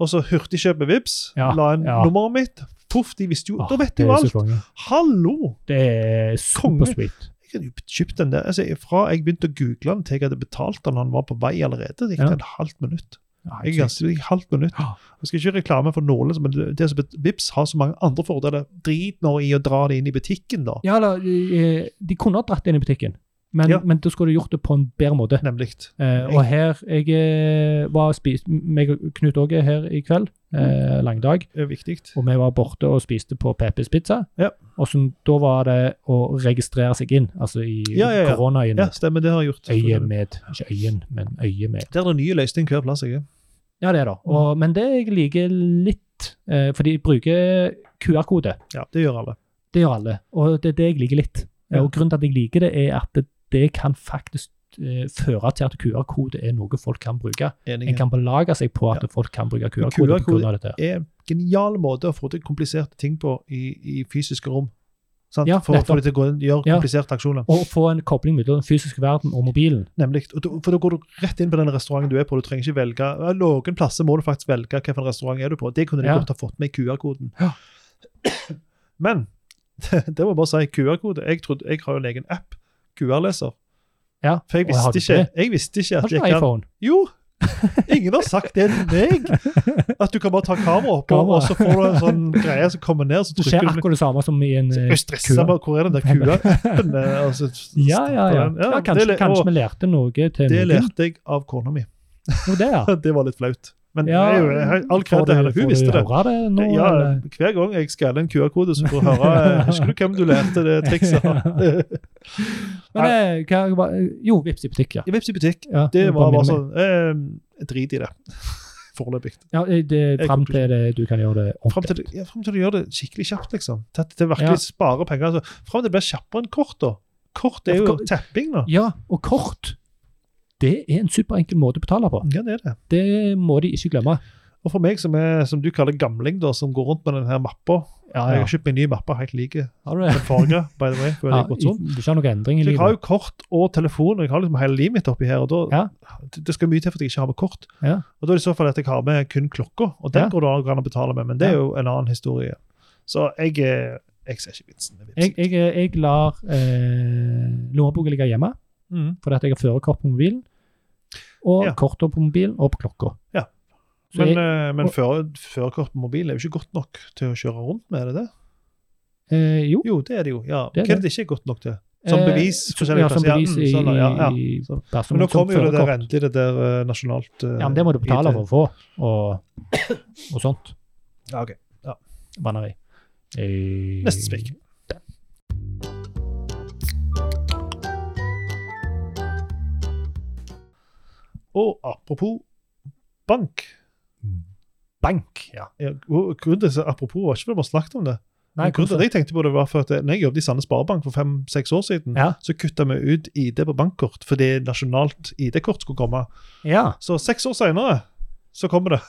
[SPEAKER 1] og så hurtigkjøp med Vipps.
[SPEAKER 2] Ja,
[SPEAKER 1] La inn
[SPEAKER 2] ja.
[SPEAKER 1] nummeret mitt. Poff, de visste jo
[SPEAKER 2] Åh,
[SPEAKER 1] Da vet de
[SPEAKER 2] det
[SPEAKER 1] jo
[SPEAKER 2] er så
[SPEAKER 1] alt!
[SPEAKER 2] konge.
[SPEAKER 1] Hallo!
[SPEAKER 2] Det er
[SPEAKER 1] Konge.
[SPEAKER 2] supersweet.
[SPEAKER 1] Jeg hadde jo kjøpt den der. Altså, fra jeg begynte å google den til jeg hadde betalt den, han var på vei allerede, det gikk
[SPEAKER 2] Ja.
[SPEAKER 1] det et halvt minutt.
[SPEAKER 2] Ja,
[SPEAKER 1] Jeg er ganske, det gikk et halvt minutt.
[SPEAKER 2] Ja.
[SPEAKER 1] Jeg skal ikke reklame for nåle, men det, det som Vips har så mange andre fordeler. Drit nå i å dra det inn i butikken, da.
[SPEAKER 2] Ja, eller eh, De kunne ha dratt det inn i butikken, men,
[SPEAKER 1] Ja.
[SPEAKER 2] men da skulle du gjort det på en bedre måte.
[SPEAKER 1] Nemlig.
[SPEAKER 2] Eh, og her Jeg eh, var og spiste meg og Knut Åge er her i kveld.
[SPEAKER 1] Mm.
[SPEAKER 2] Eh, langdag.
[SPEAKER 1] Det er viktig.
[SPEAKER 2] Og vi var borte og spiste på Peppes Pizza.
[SPEAKER 1] Ja.
[SPEAKER 2] Og som, da var det å registrere seg inn, altså i
[SPEAKER 1] Ja, ja, ja.
[SPEAKER 2] koronaøyene.
[SPEAKER 1] Ja, stemmer, det har jeg gjort.
[SPEAKER 2] Øye med. Ikke øyen, men øye med.
[SPEAKER 1] Der er det nye løsning hver plass jeg er.
[SPEAKER 2] Ja, det er det. Og, men det jeg liker litt, eh, for de bruker QR-kode.
[SPEAKER 1] Ja, det gjør alle.
[SPEAKER 2] Det gjør alle. Og det er det jeg liker litt.
[SPEAKER 1] Ja.
[SPEAKER 2] Og grunnen til at jeg liker det, er at det, det kan faktisk eh, føre til at QR-kode er noe folk kan bruke. En
[SPEAKER 1] Enig.
[SPEAKER 2] kan belage seg på at folk kan bruke QR-kode
[SPEAKER 1] QR-kode
[SPEAKER 2] pga. dette. her.
[SPEAKER 1] er en genial måte å få til kompliserte ting på i, i fysiske rom. Sant?
[SPEAKER 2] Ja,
[SPEAKER 1] for å
[SPEAKER 2] nettopp.
[SPEAKER 1] få dem til å gå inn, gjøre
[SPEAKER 2] Ja.
[SPEAKER 1] kompliserte aksjoner.
[SPEAKER 2] Og få en kobling mellom den fysiske verden og mobilen.
[SPEAKER 1] Nemlig. Og da- For da går du rett inn på den restauranten du er på. Du trenger ikke velge, ja, Noen plasser må du faktisk velge hvilken restaurant er du på. Det kunne de
[SPEAKER 2] Ja.
[SPEAKER 1] godt ha fått med i QR-koden.
[SPEAKER 2] Ja.
[SPEAKER 1] [CLEARS THROAT] Men [LAUGHS] det må jeg bare si QR-kode. Jeg, trodde- jeg har jo en egen app, QR-leser.
[SPEAKER 2] Ja,
[SPEAKER 1] For jeg
[SPEAKER 2] og har
[SPEAKER 1] visste,
[SPEAKER 2] du
[SPEAKER 1] ikke,
[SPEAKER 2] det?
[SPEAKER 1] jeg visste ikke
[SPEAKER 2] Har
[SPEAKER 1] at
[SPEAKER 2] du
[SPEAKER 1] jeg
[SPEAKER 2] ikke
[SPEAKER 1] kan
[SPEAKER 2] iPhone?
[SPEAKER 1] Jo! Ingen har sagt det til
[SPEAKER 2] [LAUGHS]
[SPEAKER 1] meg! At du kan bare ta kameraet opp, og,
[SPEAKER 2] Kamera.
[SPEAKER 1] og så får du en sånn greie som kommer ned. så
[SPEAKER 2] Det skjer
[SPEAKER 1] trykker du
[SPEAKER 2] akkurat det samme som i en
[SPEAKER 1] jeg
[SPEAKER 2] eh,
[SPEAKER 1] er stressa
[SPEAKER 2] QR.
[SPEAKER 1] med hvor er den der QR-appen altså,
[SPEAKER 2] [LAUGHS] Ja, ja, ja. ja kanskje
[SPEAKER 1] det,
[SPEAKER 2] kanskje vi lærte noe til
[SPEAKER 1] det
[SPEAKER 2] noen.
[SPEAKER 1] lærte jeg av kona mi.
[SPEAKER 2] Jo, det, [LAUGHS] ja.
[SPEAKER 1] [LAUGHS] Det var litt flaut. Men
[SPEAKER 2] Ja,
[SPEAKER 1] jeg, jeg, all
[SPEAKER 2] Får
[SPEAKER 1] kred
[SPEAKER 2] du-
[SPEAKER 1] til henne. Hun
[SPEAKER 2] får
[SPEAKER 1] visste
[SPEAKER 2] du
[SPEAKER 1] det.
[SPEAKER 2] høre det nå,
[SPEAKER 1] ja,
[SPEAKER 2] eller?
[SPEAKER 1] hver gang jeg skaller en QR-kode, så får jeg høre eh, [LAUGHS] Husker du hvem du lærte det trikset av?
[SPEAKER 2] [LAUGHS] Men eh, hva, hva- jo, Vipps i butikk, ja.
[SPEAKER 1] I Vipps i butikk.
[SPEAKER 2] ja
[SPEAKER 1] Det
[SPEAKER 2] jeg
[SPEAKER 1] var bare
[SPEAKER 2] minner meg.
[SPEAKER 1] sånn eh, Drit i det. [LAUGHS] Foreløpig.
[SPEAKER 2] ja, det, Fram til det, du kan gjøre det
[SPEAKER 1] Fram
[SPEAKER 2] ordentlig.
[SPEAKER 1] til, ja, frem til du gjør det skikkelig kjapt, liksom. Til at det virkelig sparer penger. Altså, Fram til det blir kjappere enn kort, da. Kort er
[SPEAKER 2] Ja,
[SPEAKER 1] jo
[SPEAKER 2] for kort-
[SPEAKER 1] tapping, da.
[SPEAKER 2] Ja, og kort. Det er en superenkel måte å betale på.
[SPEAKER 1] Ja, det er det.
[SPEAKER 2] Det må de ikke glemme.
[SPEAKER 1] Og for meg som er, som du kaller gamling, da, som går rundt med den her mappa
[SPEAKER 2] Ja,
[SPEAKER 1] Jeg
[SPEAKER 2] ja.
[SPEAKER 1] har kjøpt meg en ny mappe, helt lik den
[SPEAKER 2] Har du det?
[SPEAKER 1] forrige, by the way. før
[SPEAKER 2] Ja,
[SPEAKER 1] jeg gikk bort sånn.
[SPEAKER 2] du ikke har noen endring i
[SPEAKER 1] Så jeg har
[SPEAKER 2] livet?
[SPEAKER 1] jo kort og telefon, og jeg har liksom hele livet mitt oppi her. og da, det, det skal mye til for at jeg ikke har med kort.
[SPEAKER 2] Ja.
[SPEAKER 1] Og Da er det i så fall at jeg har med kun klokka, og den
[SPEAKER 2] Ja.
[SPEAKER 1] går det an å betale med, men det er jo en annen historie. Så jeg, eh, jeg ser ikke vitsen. med
[SPEAKER 2] Jeg,
[SPEAKER 1] Vipps.
[SPEAKER 2] jeg, jeg lar eh, lommeboka ligge hjemme,
[SPEAKER 1] Mm.
[SPEAKER 2] fordi at jeg har førerkort på mobilen. Og
[SPEAKER 1] Ja.
[SPEAKER 2] kortet på mobilen og på klokka.
[SPEAKER 1] Ja.
[SPEAKER 2] Så
[SPEAKER 1] Men,
[SPEAKER 2] jeg,
[SPEAKER 1] eh, men
[SPEAKER 2] og-
[SPEAKER 1] føre- førerkort på mobilen er jo ikke godt nok til å kjøre rundt med, er det det?
[SPEAKER 2] eh, jo,
[SPEAKER 1] Jo, det er det jo. ja.
[SPEAKER 2] Det er
[SPEAKER 1] Hva
[SPEAKER 2] det.
[SPEAKER 1] er det ikke er godt nok til? Som
[SPEAKER 2] Eh,
[SPEAKER 1] bevis?
[SPEAKER 2] så-
[SPEAKER 1] forskjellige
[SPEAKER 2] ja, som
[SPEAKER 1] plasser.
[SPEAKER 2] bevis
[SPEAKER 1] mm,
[SPEAKER 2] i,
[SPEAKER 1] sånn, ja, ja.
[SPEAKER 2] i-
[SPEAKER 1] Så-
[SPEAKER 2] person-
[SPEAKER 1] Men nå
[SPEAKER 2] som
[SPEAKER 1] kommer jo det der
[SPEAKER 2] førerkort.
[SPEAKER 1] endelig, det der eh, nasjonalt eh,
[SPEAKER 2] Ja, men det må du betale
[SPEAKER 1] IT.
[SPEAKER 2] for å få, og, og sånt.
[SPEAKER 1] Ja, ok.
[SPEAKER 2] Banneri. Eh,
[SPEAKER 1] Neste spik. Og apropos bank
[SPEAKER 2] Bank, ja.
[SPEAKER 1] Ja, og grunnen til, apropos var ikke fordi vi har snakket om det.
[SPEAKER 2] Nei,
[SPEAKER 1] Men grunnen til
[SPEAKER 2] hvorfor?
[SPEAKER 1] at jeg tenkte på det var for at når jeg jobbet i Sande Sparebank for fem-seks år siden,
[SPEAKER 2] Ja.
[SPEAKER 1] så kutta vi ut ID på bankkort fordi nasjonalt ID-kort skulle komme.
[SPEAKER 2] Ja.
[SPEAKER 1] Så seks år senere så kommer det.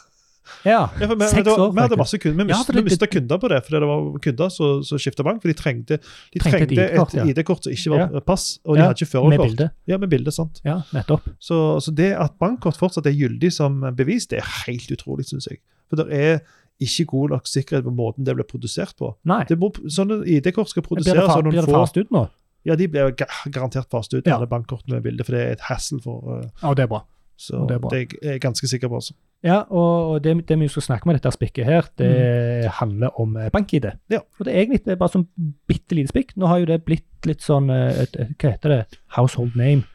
[SPEAKER 2] ja.
[SPEAKER 1] Ja, for vi,
[SPEAKER 2] Seks
[SPEAKER 1] det var,
[SPEAKER 2] år,
[SPEAKER 1] vi hadde
[SPEAKER 2] faktisk.
[SPEAKER 1] masse kunder, vi
[SPEAKER 2] Ja,
[SPEAKER 1] mist,
[SPEAKER 2] for det-
[SPEAKER 1] vi mistet kunder på det fordi det var kunder som som skiftet bank. For de trengte, de
[SPEAKER 2] Trengte
[SPEAKER 1] trengte,
[SPEAKER 2] et ID-kort,
[SPEAKER 1] et
[SPEAKER 2] ja.
[SPEAKER 1] ID-kort som ikke var pass, og de
[SPEAKER 2] Ja,
[SPEAKER 1] hadde ikke
[SPEAKER 2] Med
[SPEAKER 1] førerkort.
[SPEAKER 2] bilde.
[SPEAKER 1] Ja, med bilde, sant.
[SPEAKER 2] Ja, nettopp.
[SPEAKER 1] Så, så det at bankkort fortsatt er gyldig som bevis, det er helt utrolig, syns jeg. For det er ikke god nok sikkerhet på måten det blir produsert på.
[SPEAKER 2] Nei.
[SPEAKER 1] Det må, sånne ID-kort skal
[SPEAKER 2] Blir
[SPEAKER 1] produseres
[SPEAKER 2] det, fa
[SPEAKER 1] sånn
[SPEAKER 2] blir
[SPEAKER 1] noen
[SPEAKER 2] det
[SPEAKER 1] få
[SPEAKER 2] fast ut nå?
[SPEAKER 1] Ja, de blir jo ga- garantert fast ut,
[SPEAKER 2] Ja.
[SPEAKER 1] alle bankkortene med bilde, for det er et hassle for eh,
[SPEAKER 2] Ja, det er bra.
[SPEAKER 1] Så
[SPEAKER 2] Og det
[SPEAKER 1] det
[SPEAKER 2] er
[SPEAKER 1] er,
[SPEAKER 2] bra.
[SPEAKER 1] jeg er ganske sikker på. Altså.
[SPEAKER 2] Ja, og, og det, det vi skal snakke om i dette spikket her, det handler om eh, bank-ID.
[SPEAKER 1] Mm. Ja.
[SPEAKER 2] Og det er egentlig det er bare sånn bitte lite spikk. Nå har jo det blitt litt sånn eh, et, et, Hva heter det? Household name.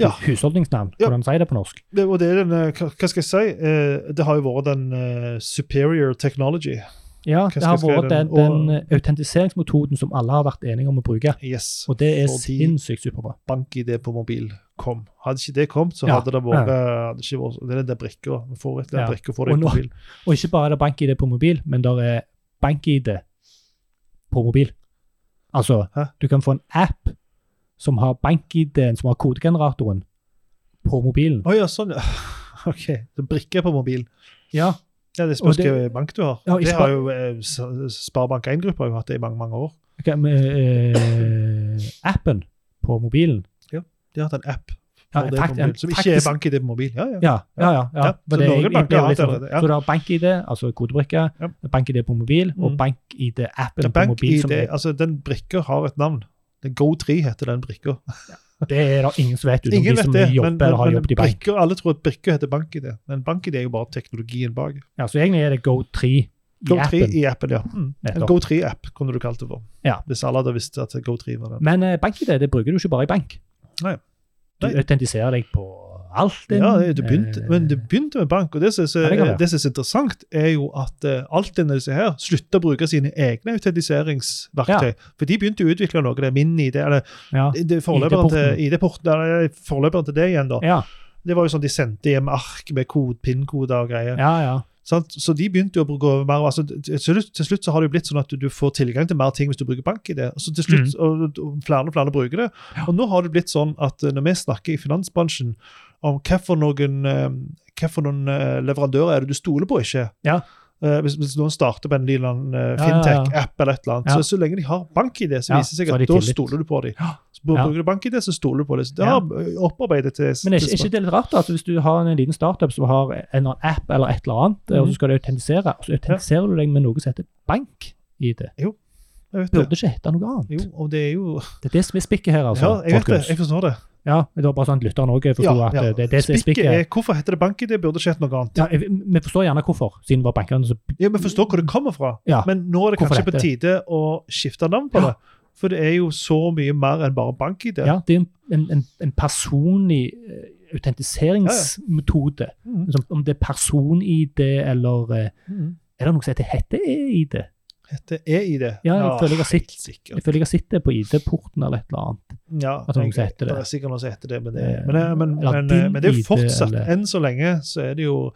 [SPEAKER 1] Ja.
[SPEAKER 2] Husholdningsnavn,
[SPEAKER 1] Ja.
[SPEAKER 2] hvordan sier det på norsk?
[SPEAKER 1] Det, og det er den, eh, hva hva skal jeg si, eh, det har jo vært den eh, superior technology.
[SPEAKER 2] Ja,
[SPEAKER 1] Hva skal
[SPEAKER 2] det har
[SPEAKER 1] jeg
[SPEAKER 2] vært
[SPEAKER 1] skrive
[SPEAKER 2] den,
[SPEAKER 1] den? Og-
[SPEAKER 2] den autentiseringsmetoden som alle har vært enige om å bruke.
[SPEAKER 1] Yes.
[SPEAKER 2] Og det er
[SPEAKER 1] Fordi-
[SPEAKER 2] sinnssykt superbra.
[SPEAKER 1] BankID på mobil kom. Hadde ikke det kommet, så
[SPEAKER 2] Ja.
[SPEAKER 1] hadde det vært eh, hadde ikke vært- Det er den der brikka. Vi får rett og
[SPEAKER 2] Ja.
[SPEAKER 1] slett brikka for det
[SPEAKER 2] Og
[SPEAKER 1] i
[SPEAKER 2] nå-
[SPEAKER 1] mobil.
[SPEAKER 2] Og ikke bare er det bank-ID på mobil, men der er bank-ID på mobil. Altså,
[SPEAKER 1] Hæ?
[SPEAKER 2] du kan få en app som har bank-ID-en, som har kodegeneratoren, på mobilen.
[SPEAKER 1] Å ja, sånn, ja. [LAUGHS] OK. Så brikke på mobil.
[SPEAKER 2] Ja,
[SPEAKER 1] Ja, Det spørs
[SPEAKER 2] Og det-
[SPEAKER 1] hvilken bank du har.
[SPEAKER 2] Ja, i
[SPEAKER 1] det
[SPEAKER 2] Spar-
[SPEAKER 1] har jo eh, S- Sparebank1-gruppa har jo hatt det i mange mange år.
[SPEAKER 2] ok, men, eh, appen på mobilen.
[SPEAKER 1] De har hatt en app
[SPEAKER 2] Ja,
[SPEAKER 1] for det
[SPEAKER 2] fakt-
[SPEAKER 1] på mobil,
[SPEAKER 2] en-
[SPEAKER 1] som ikke
[SPEAKER 2] faktisk-
[SPEAKER 1] er BankID på mobil. Ja, ja.
[SPEAKER 2] Ja, ja, ja. ja.
[SPEAKER 1] Ja,
[SPEAKER 2] For
[SPEAKER 1] så
[SPEAKER 2] det er
[SPEAKER 1] Norge
[SPEAKER 2] egentlig
[SPEAKER 1] Bank
[SPEAKER 2] bare
[SPEAKER 1] har
[SPEAKER 2] litt
[SPEAKER 1] hatt
[SPEAKER 2] sånn-
[SPEAKER 1] allerede, ja.
[SPEAKER 2] Så du har bank-ID, altså kodebrikke, bank-ID på mobil, og
[SPEAKER 1] Mm.
[SPEAKER 2] bank-ID-appen på mobil.
[SPEAKER 1] BankID
[SPEAKER 2] Som er,
[SPEAKER 1] Altså, den brikka har et navn. Den Go3 heter den brikka.
[SPEAKER 2] det er det ingen som vet, utenom
[SPEAKER 1] Ingen
[SPEAKER 2] de
[SPEAKER 1] vet
[SPEAKER 2] som
[SPEAKER 1] det,
[SPEAKER 2] jobber
[SPEAKER 1] men,
[SPEAKER 2] eller har
[SPEAKER 1] men, men
[SPEAKER 2] jobbet i bank.
[SPEAKER 1] brikker, alle tror at brikka heter BankID, men BankID er jo bare teknologien bak.
[SPEAKER 2] Ja, så egentlig er det Go3 i
[SPEAKER 1] Go3
[SPEAKER 2] appen.
[SPEAKER 1] i appen, ja. Mm. En
[SPEAKER 2] Nettopp.
[SPEAKER 1] Go3-app kunne du kalt det for.
[SPEAKER 2] Ja.
[SPEAKER 1] Hvis alle hadde visst at Go3 var den.
[SPEAKER 2] Men eh, bank-ID det bruker du ikke bare i bank.
[SPEAKER 1] Nei.
[SPEAKER 2] Du
[SPEAKER 1] Nei.
[SPEAKER 2] autentiserer deg på alt. din,
[SPEAKER 1] Ja, det, det begynte,
[SPEAKER 2] eh,
[SPEAKER 1] men det begynte med bank, og det som er så-
[SPEAKER 2] Ja, det kan være.
[SPEAKER 1] det som er så interessant, er jo at eh, alt denne disse her slutta å bruke sine egne autentiseringsverktøy. For de begynte jo å utvikle noe, det er min idé, eller
[SPEAKER 2] ja.
[SPEAKER 1] det- det er forløperen
[SPEAKER 2] ID-porten.
[SPEAKER 1] til ID-porten, eller forløperen til det igjen, da.
[SPEAKER 2] Ja,
[SPEAKER 1] Det var jo sånn de sendte hjem ark med kod, pin-koder og greier.
[SPEAKER 2] ja, ja.
[SPEAKER 1] Sant? Så de begynte jo å bruke mer altså, til, slutt, til slutt så har det jo blitt sånn at du, du får tilgang til mer ting hvis du bruker bank-ID. Så til
[SPEAKER 2] Mm.
[SPEAKER 1] slutt, og, og flere og flere bruker det. Og nå har det blitt sånn at eh, når vi snakker i finansbransjen om hva for noen, eh, hva for noen eh, leverandører er det du stoler på og ikke
[SPEAKER 2] Ja.
[SPEAKER 1] Eh, hvis, hvis noen starter på en lille eh,
[SPEAKER 2] Ja, ja, ja.
[SPEAKER 1] fintech-app eller et eller annet,
[SPEAKER 2] Ja.
[SPEAKER 1] så, så lenge de har bank-ID, så
[SPEAKER 2] Ja,
[SPEAKER 1] viser det seg
[SPEAKER 2] så har
[SPEAKER 1] at
[SPEAKER 2] de
[SPEAKER 1] da
[SPEAKER 2] tillit.
[SPEAKER 1] stoler du på dem.
[SPEAKER 2] Ja.
[SPEAKER 1] Så br-
[SPEAKER 2] Ja.
[SPEAKER 1] Bruker du bank-ID, så stoler du på dem. Så det har
[SPEAKER 2] Ja.
[SPEAKER 1] eh, opparbeidet til
[SPEAKER 2] Men er ikke, er ikke det litt rart? da? Altså, hvis du har en liten startup som har en eller annen app eller et eller annet, eh, og
[SPEAKER 1] Mhm.
[SPEAKER 2] så skal du autentisere, og så autentiserer du deg med noe som heter bank-ID.
[SPEAKER 1] Jeg vet det.
[SPEAKER 2] Burde ikke hete noe annet.
[SPEAKER 1] Jo, og det er jo
[SPEAKER 2] Det er det som er spikket her, altså.
[SPEAKER 1] Ja, jeg vet det.
[SPEAKER 2] folkens.
[SPEAKER 1] Jeg forstår det.
[SPEAKER 2] Ja, det var bare sånn at lytteren òg forsto
[SPEAKER 1] Ja,
[SPEAKER 2] at
[SPEAKER 1] ja.
[SPEAKER 2] eh, det er det som er
[SPEAKER 1] Spikket
[SPEAKER 2] spikket.
[SPEAKER 1] er, hvorfor heter det bank-ID? Burde skjedd noe annet.
[SPEAKER 2] Ja, jeg- vi forstår gjerne hvorfor, siden det var bankene som
[SPEAKER 1] Ja, Vi forstår hvor det kommer fra,
[SPEAKER 2] Ja.
[SPEAKER 1] men nå er det
[SPEAKER 2] Hvorfor
[SPEAKER 1] kanskje på tide å skifte navn på
[SPEAKER 2] Ja.
[SPEAKER 1] det. For det er jo så mye mer enn bare bank-ID.
[SPEAKER 2] Ja, det er en, en, en, en personlig eh, autentiseringsmetode.
[SPEAKER 1] Mhm.
[SPEAKER 2] Som- Om det er person-ID eller eh,
[SPEAKER 1] Mhm.
[SPEAKER 2] Er det noe som heter E hette-ID?
[SPEAKER 1] Heter E e-ID.
[SPEAKER 2] Ja, jeg føler jeg har sett-
[SPEAKER 1] helt
[SPEAKER 2] Jeg
[SPEAKER 1] sikkert.
[SPEAKER 2] føler jeg har sett det på ID-porten eller et eller annet.
[SPEAKER 1] Ja,
[SPEAKER 2] at noen
[SPEAKER 1] jeg-
[SPEAKER 2] som heter det. Eh,
[SPEAKER 1] Det er sikkert noen som heter det, men det, men, det- men,
[SPEAKER 2] Eller
[SPEAKER 1] men, eh,
[SPEAKER 2] din
[SPEAKER 1] men det er jo
[SPEAKER 2] ID,
[SPEAKER 1] fortsatt
[SPEAKER 2] eller-
[SPEAKER 1] Enn så lenge så er det jo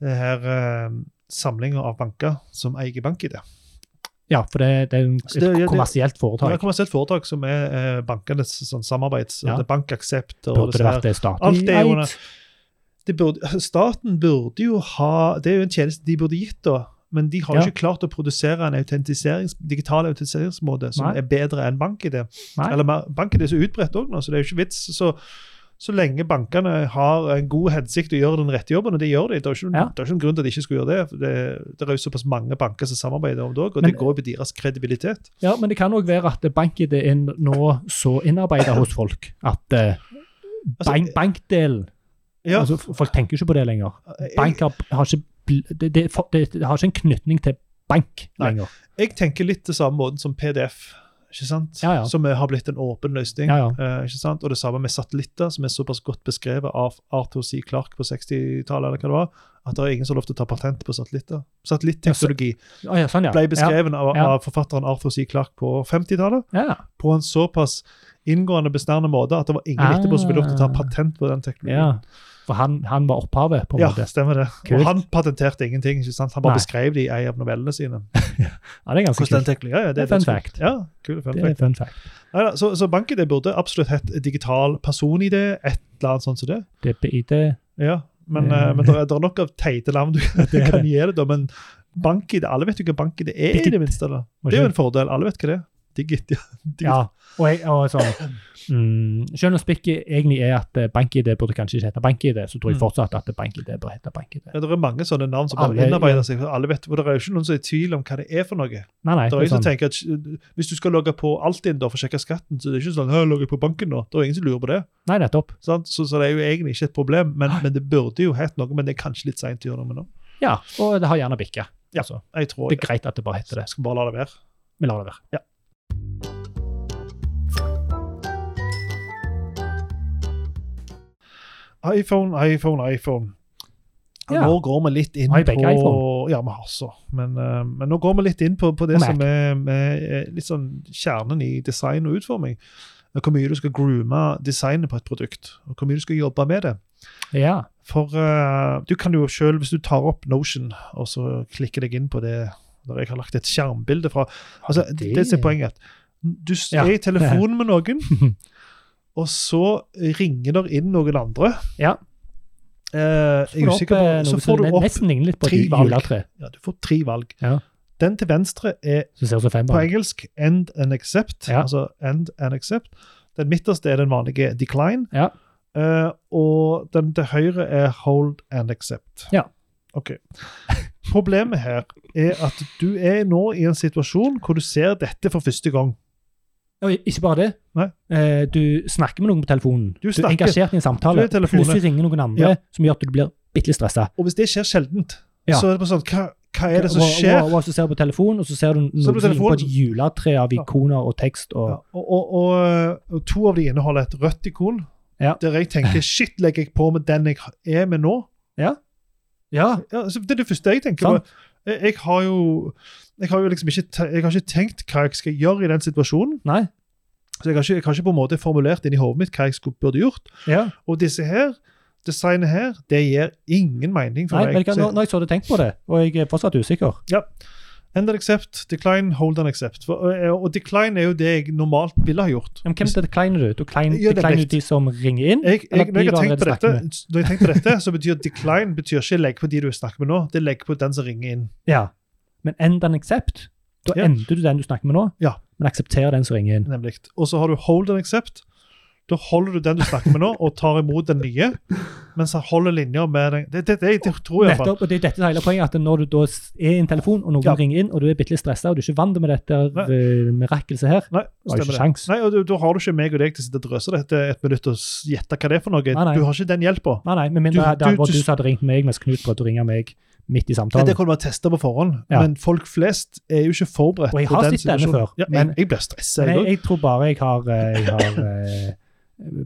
[SPEAKER 1] det her eh, samlinga av banker som eier bank-ID.
[SPEAKER 2] Ja, for det, det er jo
[SPEAKER 1] Så Altså, det- ja,
[SPEAKER 2] et
[SPEAKER 1] det-
[SPEAKER 2] kommersielt
[SPEAKER 1] Det
[SPEAKER 2] foretak.
[SPEAKER 1] kommer til et foretak som er eh, bankenes sånn, samarbeid. Så
[SPEAKER 2] Ja.
[SPEAKER 1] det er bankaksept og
[SPEAKER 2] Burde
[SPEAKER 1] disse
[SPEAKER 2] det
[SPEAKER 1] her.
[SPEAKER 2] vært det statlig
[SPEAKER 1] Alt er jo
[SPEAKER 2] eid?
[SPEAKER 1] under- det burde, staten burde jo ha Det er jo en tjeneste de burde gitt, da. Men de har jo
[SPEAKER 2] Ja.
[SPEAKER 1] ikke klart å produsere en autentiserings, digital autentiseringsmåte som
[SPEAKER 2] Nei.
[SPEAKER 1] er bedre enn bank-ID.
[SPEAKER 2] Nei.
[SPEAKER 1] Eller mer- bank-ID er så utbredt òg nå, så det er jo ikke vits. Så, så lenge bankene har en god hensikt og gjør den rette jobben, og det gjør de Det er jo ikke,
[SPEAKER 2] Ja.
[SPEAKER 1] det er ikke noen grunn til at de ikke skulle gjøre det. for Det, det er jo såpass mange banker som samarbeider om det òg, og
[SPEAKER 2] Men-
[SPEAKER 1] det går jo på deres kredibilitet.
[SPEAKER 2] Ja, men det kan òg være at bank-ID er nå så innarbeida hos folk at eh,
[SPEAKER 1] Altså,
[SPEAKER 2] bank, bankdelen
[SPEAKER 1] Ja,
[SPEAKER 2] altså, Folk tenker jo ikke på det lenger.
[SPEAKER 1] jeg-
[SPEAKER 2] Bank har, har ikke bl- det, det, for- det, det har ikke en knytning til bank
[SPEAKER 1] Nei.
[SPEAKER 2] lenger.
[SPEAKER 1] jeg tenker litt til samme måten som PDF, ikke sant?
[SPEAKER 2] Ja, ja.
[SPEAKER 1] som eh, har blitt en åpen løsning.
[SPEAKER 2] Ja, ja.
[SPEAKER 1] Eh, ikke sant? Og det samme med satellitter, som er såpass godt beskrevet av Arthur C. Clarke på 60-tallet, eller hva det var, at det er ingen som har lov til å ta patent på satellitter. Satellitteknologi
[SPEAKER 2] Å, ja, sånn, ja.
[SPEAKER 1] ble beskrevet av,
[SPEAKER 2] Ja.
[SPEAKER 1] av forfatteren Arthur C. Clarke på 50-tallet
[SPEAKER 2] Ja, ja.
[SPEAKER 1] på en såpass inngående bestående måte at det var ingen
[SPEAKER 2] Ah.
[SPEAKER 1] etterpå som ville lov til å ta patent på den
[SPEAKER 2] ja.
[SPEAKER 1] teknologien.
[SPEAKER 2] For han, han var opphavet, på
[SPEAKER 1] Mm.
[SPEAKER 2] en
[SPEAKER 1] Ja,
[SPEAKER 2] måte.
[SPEAKER 1] stemmer det.
[SPEAKER 2] Kult.
[SPEAKER 1] Og han patenterte ingenting. ikke sant? Han bare
[SPEAKER 2] Nei.
[SPEAKER 1] beskrev det i en av novellene sine.
[SPEAKER 2] Ja, det er ganske
[SPEAKER 1] Hvordan den
[SPEAKER 2] kult.
[SPEAKER 1] teknologien, ja, ja, det,
[SPEAKER 2] Det er fun
[SPEAKER 1] litt kult.
[SPEAKER 2] fact.
[SPEAKER 1] Ja, kul fun
[SPEAKER 2] Det
[SPEAKER 1] fact.
[SPEAKER 2] er fun fact.
[SPEAKER 1] Neida, så, så bank-ID burde absolutt hett digital person-ID, et eller annet sånt som det.
[SPEAKER 2] DPID
[SPEAKER 1] Ja, men,
[SPEAKER 2] Ja.
[SPEAKER 1] eh, men det er, der er nok av teite navn du [LAUGHS]
[SPEAKER 2] det er
[SPEAKER 1] kan gi det, da. Men bank-ID, alle vet jo hva bank-ID er, i det minste. da. Det er jo en fordel. Alle vet hva det er. Digit, ja. Digit.
[SPEAKER 2] Ja, og, jeg, og sånn, mm, selv om spikket egentlig er at eh, BankID burde kanskje ikke hete BankID, så tror jeg
[SPEAKER 1] Mm.
[SPEAKER 2] fortsatt at BankID bør hete BankID.
[SPEAKER 1] Ja, det er mange sånne navn som bare
[SPEAKER 2] Alle-
[SPEAKER 1] innarbeider seg. for Alle vet, og Det er jo ikke noen som er i tvil om hva det er for noe.
[SPEAKER 2] Nei, nei,
[SPEAKER 1] Det
[SPEAKER 2] det
[SPEAKER 1] er
[SPEAKER 2] er
[SPEAKER 1] ingen som
[SPEAKER 2] sånn,
[SPEAKER 1] tenker at eh, Hvis du skal logge på Altinn da for å sjekke skatten, så det er ikke sånn «Hæ, logger jeg på banken nå. Det er ingen som lurer på det.
[SPEAKER 2] nei, nettopp.
[SPEAKER 1] Sant? Så, så det er jo egentlig ikke et problem, men, men det burde jo hett noe. Men det er kanskje litt seint å gjøre noe med nå.
[SPEAKER 2] Ja, og det har gjerne bikka.
[SPEAKER 1] Ja.
[SPEAKER 2] Altså,
[SPEAKER 1] Jeg tror
[SPEAKER 2] det
[SPEAKER 1] jeg
[SPEAKER 2] er greit at det bare heter det.
[SPEAKER 1] skal bare la det være.
[SPEAKER 2] Vi lar det være.
[SPEAKER 1] iPhone, iPhone, iPhone. Og
[SPEAKER 2] Ja.
[SPEAKER 1] Nå går vi litt inn
[SPEAKER 2] Har vi begge
[SPEAKER 1] på
[SPEAKER 2] iPhone?
[SPEAKER 1] Ja, vi har så. Men, eh, men nå går vi litt inn på, på det
[SPEAKER 2] Og Mac.
[SPEAKER 1] som er, er litt sånn kjernen i design og utforming. Og Hvor mye du skal groome designet på et produkt, og hvor mye du skal jobbe med det.
[SPEAKER 2] Ja,
[SPEAKER 1] For eh, du kan jo sjøl, hvis du tar opp Notion og så klikker deg inn på det der jeg har lagt et skjermbilde fra altså, Det,
[SPEAKER 2] det-
[SPEAKER 1] det som er poenget. Du s-
[SPEAKER 2] Ja.
[SPEAKER 1] er i telefon med
[SPEAKER 2] [LAUGHS]
[SPEAKER 1] noen, og så ringer der inn noen andre.
[SPEAKER 2] Ja.
[SPEAKER 1] Eh, jeg er
[SPEAKER 2] Får du
[SPEAKER 1] usikker
[SPEAKER 2] opp, eh,
[SPEAKER 1] på, så
[SPEAKER 2] noe
[SPEAKER 1] får
[SPEAKER 2] som
[SPEAKER 1] du
[SPEAKER 2] ne-
[SPEAKER 1] opp
[SPEAKER 2] nesten ligner litt på et
[SPEAKER 1] tre valg.
[SPEAKER 2] juletre
[SPEAKER 1] ja, Du får tre valg.
[SPEAKER 2] Ja.
[SPEAKER 1] Den til venstre er
[SPEAKER 2] som ser ut som
[SPEAKER 1] på
[SPEAKER 2] femmeren.
[SPEAKER 1] engelsk 'end and accept'.
[SPEAKER 2] Ja.
[SPEAKER 1] Altså end and accept. Den midterste er den vanlige 'decline'.
[SPEAKER 2] Ja.
[SPEAKER 1] Eh, og den til høyre er 'hold and accept'.
[SPEAKER 2] Ja.
[SPEAKER 1] Ok. [LAUGHS] Problemet her er at du er nå i en situasjon hvor du ser dette for første gang.
[SPEAKER 2] Og ikke bare det.
[SPEAKER 1] Nei.
[SPEAKER 2] Eh, du snakker med noen på telefonen.
[SPEAKER 1] Du
[SPEAKER 2] Du, er
[SPEAKER 1] snakker.
[SPEAKER 2] engasjert i en
[SPEAKER 1] Du
[SPEAKER 2] samtale.
[SPEAKER 1] er i telefonen.
[SPEAKER 2] Plutselig ringer noen andre
[SPEAKER 1] Ja.
[SPEAKER 2] som gjør at du blir bitte litt stressa.
[SPEAKER 1] Og hvis det skjer sjeldent,
[SPEAKER 2] Ja.
[SPEAKER 1] så er det bare sånn Hva, hva er det som skjer?
[SPEAKER 2] Og, og, og så ser du på telefonen, og så ser du noe
[SPEAKER 1] Så på
[SPEAKER 2] som ligner
[SPEAKER 1] telefonen-
[SPEAKER 2] på et juletre av
[SPEAKER 1] Ja.
[SPEAKER 2] ikoner og tekst. Og,
[SPEAKER 1] Ja, og, og, og, og to av de inneholder et rødt ikon,
[SPEAKER 2] Ja.
[SPEAKER 1] der jeg tenker shit, legger jeg på med den jeg er med nå?
[SPEAKER 2] ja.
[SPEAKER 1] Ja, altså, det er det første jeg tenker.
[SPEAKER 2] Sant.
[SPEAKER 1] bare, Jeg, jeg har jo jeg har jo liksom ikke, te- jeg har ikke tenkt hva jeg skal gjøre i den situasjonen.
[SPEAKER 2] Nei.
[SPEAKER 1] så Jeg har ikke, jeg har ikke på en måte formulert inn i hodet mitt hva jeg skulle, burde gjort.
[SPEAKER 2] Ja.
[SPEAKER 1] Og disse her, designet her, det gir ingen mening for
[SPEAKER 2] Nei,
[SPEAKER 1] meg.
[SPEAKER 2] vet du hva,
[SPEAKER 1] Så-
[SPEAKER 2] nå, når jeg så det, tenkt på det, og jeg er fortsatt usikker.
[SPEAKER 1] End and accept, decline, hold and accept. For, og, og decline er jo det jeg normalt ville ha gjort.
[SPEAKER 2] Men hvem decliner du? Du klein-
[SPEAKER 1] Ja, det er
[SPEAKER 2] decliner
[SPEAKER 1] riktig.
[SPEAKER 2] du de som ringer inn?
[SPEAKER 1] jeg, jeg,
[SPEAKER 2] Eller
[SPEAKER 1] når, jeg
[SPEAKER 2] de
[SPEAKER 1] har
[SPEAKER 2] du
[SPEAKER 1] tenkt på
[SPEAKER 2] allerede
[SPEAKER 1] dette, [LAUGHS]
[SPEAKER 2] snakker
[SPEAKER 1] når jeg har tenkt på dette, så betyr decline betyr ikke legg på de du snakker med nå, det er legg på den som ringer inn.
[SPEAKER 2] Ja. Men end and accept. Da
[SPEAKER 1] Ja.
[SPEAKER 2] ender du den du snakker med nå,
[SPEAKER 1] Ja.
[SPEAKER 2] men aksepterer den som ringer inn.
[SPEAKER 1] nemlig. Og så har du hold and accept. Da holder du den du snakker med nå, og tar imot den nye. Mens han holder linja med den Det, det, det, det tror jeg iallfall.
[SPEAKER 2] Nettopp, og det er dette som er hele poenget, at når du da s- er i en telefon, og noen
[SPEAKER 1] Ja.
[SPEAKER 2] ringer inn, og du er bitte litt stressa, og du er ikke vant med dette eh, mirakelset her,
[SPEAKER 1] Nei,
[SPEAKER 2] har du
[SPEAKER 1] stemmer
[SPEAKER 2] ikke
[SPEAKER 1] det.
[SPEAKER 2] sjans.
[SPEAKER 1] Nei, og du- Da har du ikke meg og deg til å sitte og drøse dette et minutt og s- gjette hva det er for noe.
[SPEAKER 2] Nei, nei.
[SPEAKER 1] Du har ikke den hjelpa.
[SPEAKER 2] Nei, nei, med
[SPEAKER 1] Du-
[SPEAKER 2] mindre det hadde
[SPEAKER 1] du-
[SPEAKER 2] vært
[SPEAKER 1] du-
[SPEAKER 2] du som hadde ringt meg, mens Knut prøvde å ringe meg midt i
[SPEAKER 1] Det
[SPEAKER 2] samtalen.
[SPEAKER 1] kan du bare teste på forhånd,
[SPEAKER 2] Ja.
[SPEAKER 1] men folk flest er jo ikke forberedt.
[SPEAKER 2] Og jeg
[SPEAKER 1] på
[SPEAKER 2] har
[SPEAKER 1] den
[SPEAKER 2] sett denne
[SPEAKER 1] situasjonen.
[SPEAKER 2] før,
[SPEAKER 1] Ja, jeg,
[SPEAKER 2] men-
[SPEAKER 1] jeg blir stressa,
[SPEAKER 2] Men
[SPEAKER 1] jeg
[SPEAKER 2] jeg,
[SPEAKER 1] òg.
[SPEAKER 2] jeg tror bare jeg har, eh, jeg har eh,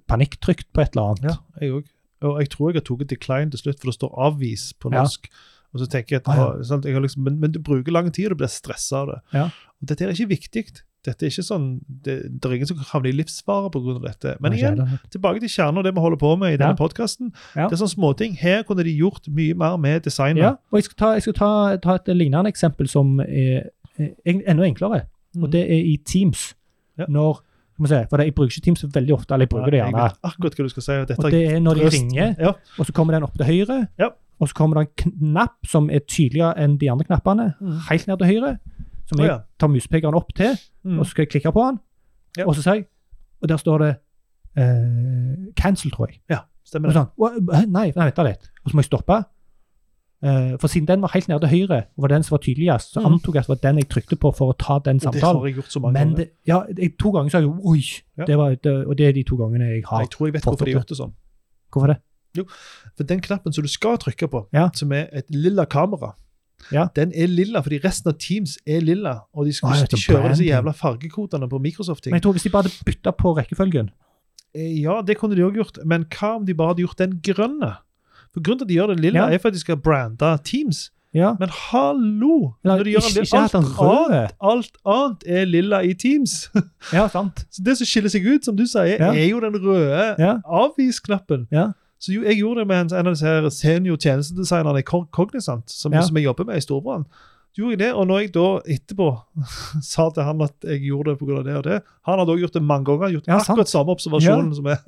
[SPEAKER 2] panikktrykk på et eller annet.
[SPEAKER 1] Ja, jeg òg. Og jeg tror jeg har tatt decline til slutt, for det står avvis på
[SPEAKER 2] Ja.
[SPEAKER 1] norsk. Og så tenker jeg at,
[SPEAKER 2] Ah, ja.
[SPEAKER 1] ah, sant, jeg har liksom, men, men du bruker lang tid, og du blir stressa av det.
[SPEAKER 2] Ja.
[SPEAKER 1] Og dette er ikke viktig. Dette er ikke sånn, det, det er ingen som havner i livsfare pga. dette. Men
[SPEAKER 2] Ikke
[SPEAKER 1] igjen,
[SPEAKER 2] heller.
[SPEAKER 1] tilbake til kjernen og det vi holder på med i denne
[SPEAKER 2] Ja.
[SPEAKER 1] podcasten. podkasten.
[SPEAKER 2] Ja.
[SPEAKER 1] Det er sånne småting. Her kunne de gjort mye mer med designet.
[SPEAKER 2] Ja, og jeg skal ta, jeg skal ta, ta et lignende eksempel som er, er egentlig enda enklere,
[SPEAKER 1] Mhm.
[SPEAKER 2] og det er i Teams.
[SPEAKER 1] Ja.
[SPEAKER 2] Når, skal vi se, for jeg bruker ikke Teams veldig ofte, eller jeg bruker det
[SPEAKER 1] Jeg
[SPEAKER 2] gjerne.
[SPEAKER 1] vet akkurat hva du skal si. og Dette
[SPEAKER 2] Og det er når de
[SPEAKER 1] trøst.
[SPEAKER 2] ringer,
[SPEAKER 1] Ja.
[SPEAKER 2] og så kommer den opp til høyre,
[SPEAKER 1] Ja.
[SPEAKER 2] og så kommer det en knapp som er tydeligere enn de andre knappene,
[SPEAKER 1] Mhm.
[SPEAKER 2] helt ned til høyre, som
[SPEAKER 1] Å,
[SPEAKER 2] jeg
[SPEAKER 1] ja.
[SPEAKER 2] tar muspekeren opp til,
[SPEAKER 1] Mm.
[SPEAKER 2] og så skal jeg klikke på den,
[SPEAKER 1] Ja.
[SPEAKER 2] og så sier jeg, og der står det eh, cancel, tror jeg.
[SPEAKER 1] ja,
[SPEAKER 2] Og
[SPEAKER 1] stemmer det.
[SPEAKER 2] sånn, «Hva? Hæ? nei, nei, vent da litt. Og så må jeg stoppe. Eh, for siden den var helt nede til høyre, og var den som var tydeligst, så
[SPEAKER 1] Mhm.
[SPEAKER 2] antok jeg at det var den jeg trykte på for å ta den
[SPEAKER 1] Og det har
[SPEAKER 2] samtalen.
[SPEAKER 1] jeg gjort så mange
[SPEAKER 2] Men
[SPEAKER 1] ganger.
[SPEAKER 2] det, ja, jeg, to ganger så har jeg jo Oi!
[SPEAKER 1] Ja.
[SPEAKER 2] Det var, det, og det er de to gangene jeg har.
[SPEAKER 1] Jeg tror jeg vet
[SPEAKER 2] fått
[SPEAKER 1] hvorfor de har
[SPEAKER 2] opp
[SPEAKER 1] gjort det sånn.
[SPEAKER 2] Hvorfor det?
[SPEAKER 1] For den knappen som du skal trykke på,
[SPEAKER 2] Ja.
[SPEAKER 1] som er et lilla kamera,
[SPEAKER 2] Ja.
[SPEAKER 1] den er lilla fordi resten av Teams er lilla. Og de, skulle,
[SPEAKER 2] Å, ja, det
[SPEAKER 1] de
[SPEAKER 2] er
[SPEAKER 1] kjører disse
[SPEAKER 2] branding.
[SPEAKER 1] jævla fargekodene på Microsoft-ting.
[SPEAKER 2] Men jeg tror Hvis de bare hadde bytta på rekkefølgen
[SPEAKER 1] Eh, Ja, det kunne de òg gjort, men hva om de bare hadde gjort den grønne? For Grunnen til at de gjør den lilla,
[SPEAKER 2] Ja.
[SPEAKER 1] er for at de skal brande Teams.
[SPEAKER 2] ja.
[SPEAKER 1] Men hallo!
[SPEAKER 2] Eller
[SPEAKER 1] Når de gjør
[SPEAKER 2] ikke-
[SPEAKER 1] den lilla-
[SPEAKER 2] ikke hatt den
[SPEAKER 1] alt,
[SPEAKER 2] røde.
[SPEAKER 1] annet, alt annet er lilla i Teams. [LAUGHS]
[SPEAKER 2] ja, sant.
[SPEAKER 1] Så det som skiller seg ut, som du sier,
[SPEAKER 2] Ja.
[SPEAKER 1] er jo den røde
[SPEAKER 2] Ja.
[SPEAKER 1] avvis-knappen.
[SPEAKER 2] Ja.
[SPEAKER 1] Så jo, jeg gjorde det med en, en av disse her senior tjenestedesignerne i Cog- Cognizant, som,
[SPEAKER 2] Ja.
[SPEAKER 1] som jeg jobber med i Storbrann. Så gjorde jeg det, Og når jeg da etterpå [LAUGHS] sa til han at jeg gjorde det pga. det og det Han hadde også gjort det mange ganger. gjort
[SPEAKER 2] Ja, sant.
[SPEAKER 1] akkurat samme observasjon som jeg.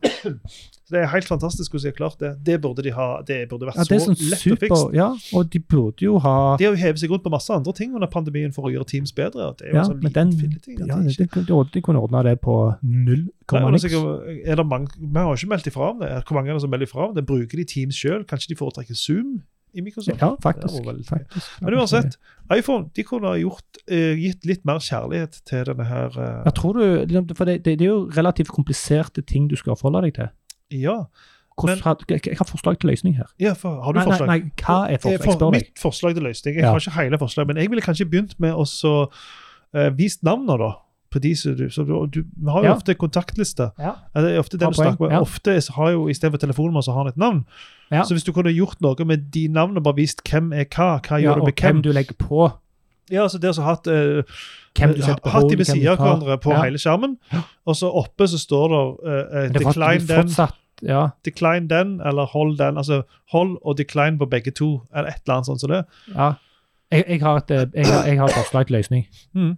[SPEAKER 1] [CLEARS THROAT] Så det er helt fantastisk hvordan de har klart det. Det burde de ha, det burde vært
[SPEAKER 2] Ja, det er
[SPEAKER 1] så
[SPEAKER 2] sånn
[SPEAKER 1] lett å
[SPEAKER 2] super,
[SPEAKER 1] fikse.
[SPEAKER 2] ja, og de burde jo ha
[SPEAKER 1] De har jo hevet seg rundt på masse andre ting under pandemien for å gjøre Teams bedre. og Det er jo
[SPEAKER 2] ja,
[SPEAKER 1] en sånn
[SPEAKER 2] men
[SPEAKER 1] liten
[SPEAKER 2] den,
[SPEAKER 1] filleting. at
[SPEAKER 2] ja,
[SPEAKER 1] de
[SPEAKER 2] de,
[SPEAKER 1] ikke-
[SPEAKER 2] de, de kunne ordna det på null
[SPEAKER 1] Nei,
[SPEAKER 2] komma
[SPEAKER 1] men
[SPEAKER 2] niks.
[SPEAKER 1] altså, er det mange, Vi har jo ikke meldt ifra om det. Hvor mange er det som melder ifra om det? Bruker de Teams sjøl? Kanskje de foretrekker Zoom i Microsoft?
[SPEAKER 2] Ja, faktisk.
[SPEAKER 1] Det var veldig-
[SPEAKER 2] faktisk.
[SPEAKER 1] Men uansett, iPhone de kunne ha gjort, eh, gitt litt mer kjærlighet til denne her eh,
[SPEAKER 2] Ja, tror du, liksom, for det, det, det er jo relativt kompliserte ting du skal forholde deg til.
[SPEAKER 1] Ja.
[SPEAKER 2] Hvordan,
[SPEAKER 1] Men-
[SPEAKER 2] had- hva hva er forslag til løsning her?
[SPEAKER 1] ja for, har du
[SPEAKER 2] nei,
[SPEAKER 1] forslag?
[SPEAKER 2] Nei, nei, hva er
[SPEAKER 1] Eh,
[SPEAKER 2] forslag? Jeg spør deg.
[SPEAKER 1] mitt forslag til løsning Jeg
[SPEAKER 2] Ja.
[SPEAKER 1] har ikke hele forslaget, men jeg ville kanskje begynt med å så, eh, vist navnene, da. På de som du, så du, du vi har jo
[SPEAKER 2] Ja.
[SPEAKER 1] ofte kontaktliste.
[SPEAKER 2] Ja.
[SPEAKER 1] Ja, Det er ofte det
[SPEAKER 2] Bra
[SPEAKER 1] du snakker med.
[SPEAKER 2] poeng, ja.
[SPEAKER 1] Ofte så har jo, I stedet for telefonnummer så har han et navn.
[SPEAKER 2] Ja.
[SPEAKER 1] Så hvis du kunne gjort noe med de navnene, bare vist hvem er hva, hva gjør
[SPEAKER 2] Ja,
[SPEAKER 1] du
[SPEAKER 2] og
[SPEAKER 1] med hvem?
[SPEAKER 2] hvem du legger på,
[SPEAKER 1] Ja, så det å så hatt, eh,
[SPEAKER 2] hvem du setter på
[SPEAKER 1] hatt de
[SPEAKER 2] hodet,
[SPEAKER 1] ved
[SPEAKER 2] hvem du
[SPEAKER 1] siden av
[SPEAKER 2] tar.
[SPEAKER 1] hverandre på
[SPEAKER 2] Ja.
[SPEAKER 1] hele skjermen, og så oppe så står det eh, eh,
[SPEAKER 2] Det var
[SPEAKER 1] decline, den,
[SPEAKER 2] fortsatt, ja.
[SPEAKER 1] decline den, eller hold den. Altså hold og decline på begge to, eller et eller annet sånt som det.
[SPEAKER 2] ja. Jeg, jeg, har et, eh, jeg, har, jeg har et forslag til løsning. [LAUGHS]
[SPEAKER 1] Mm.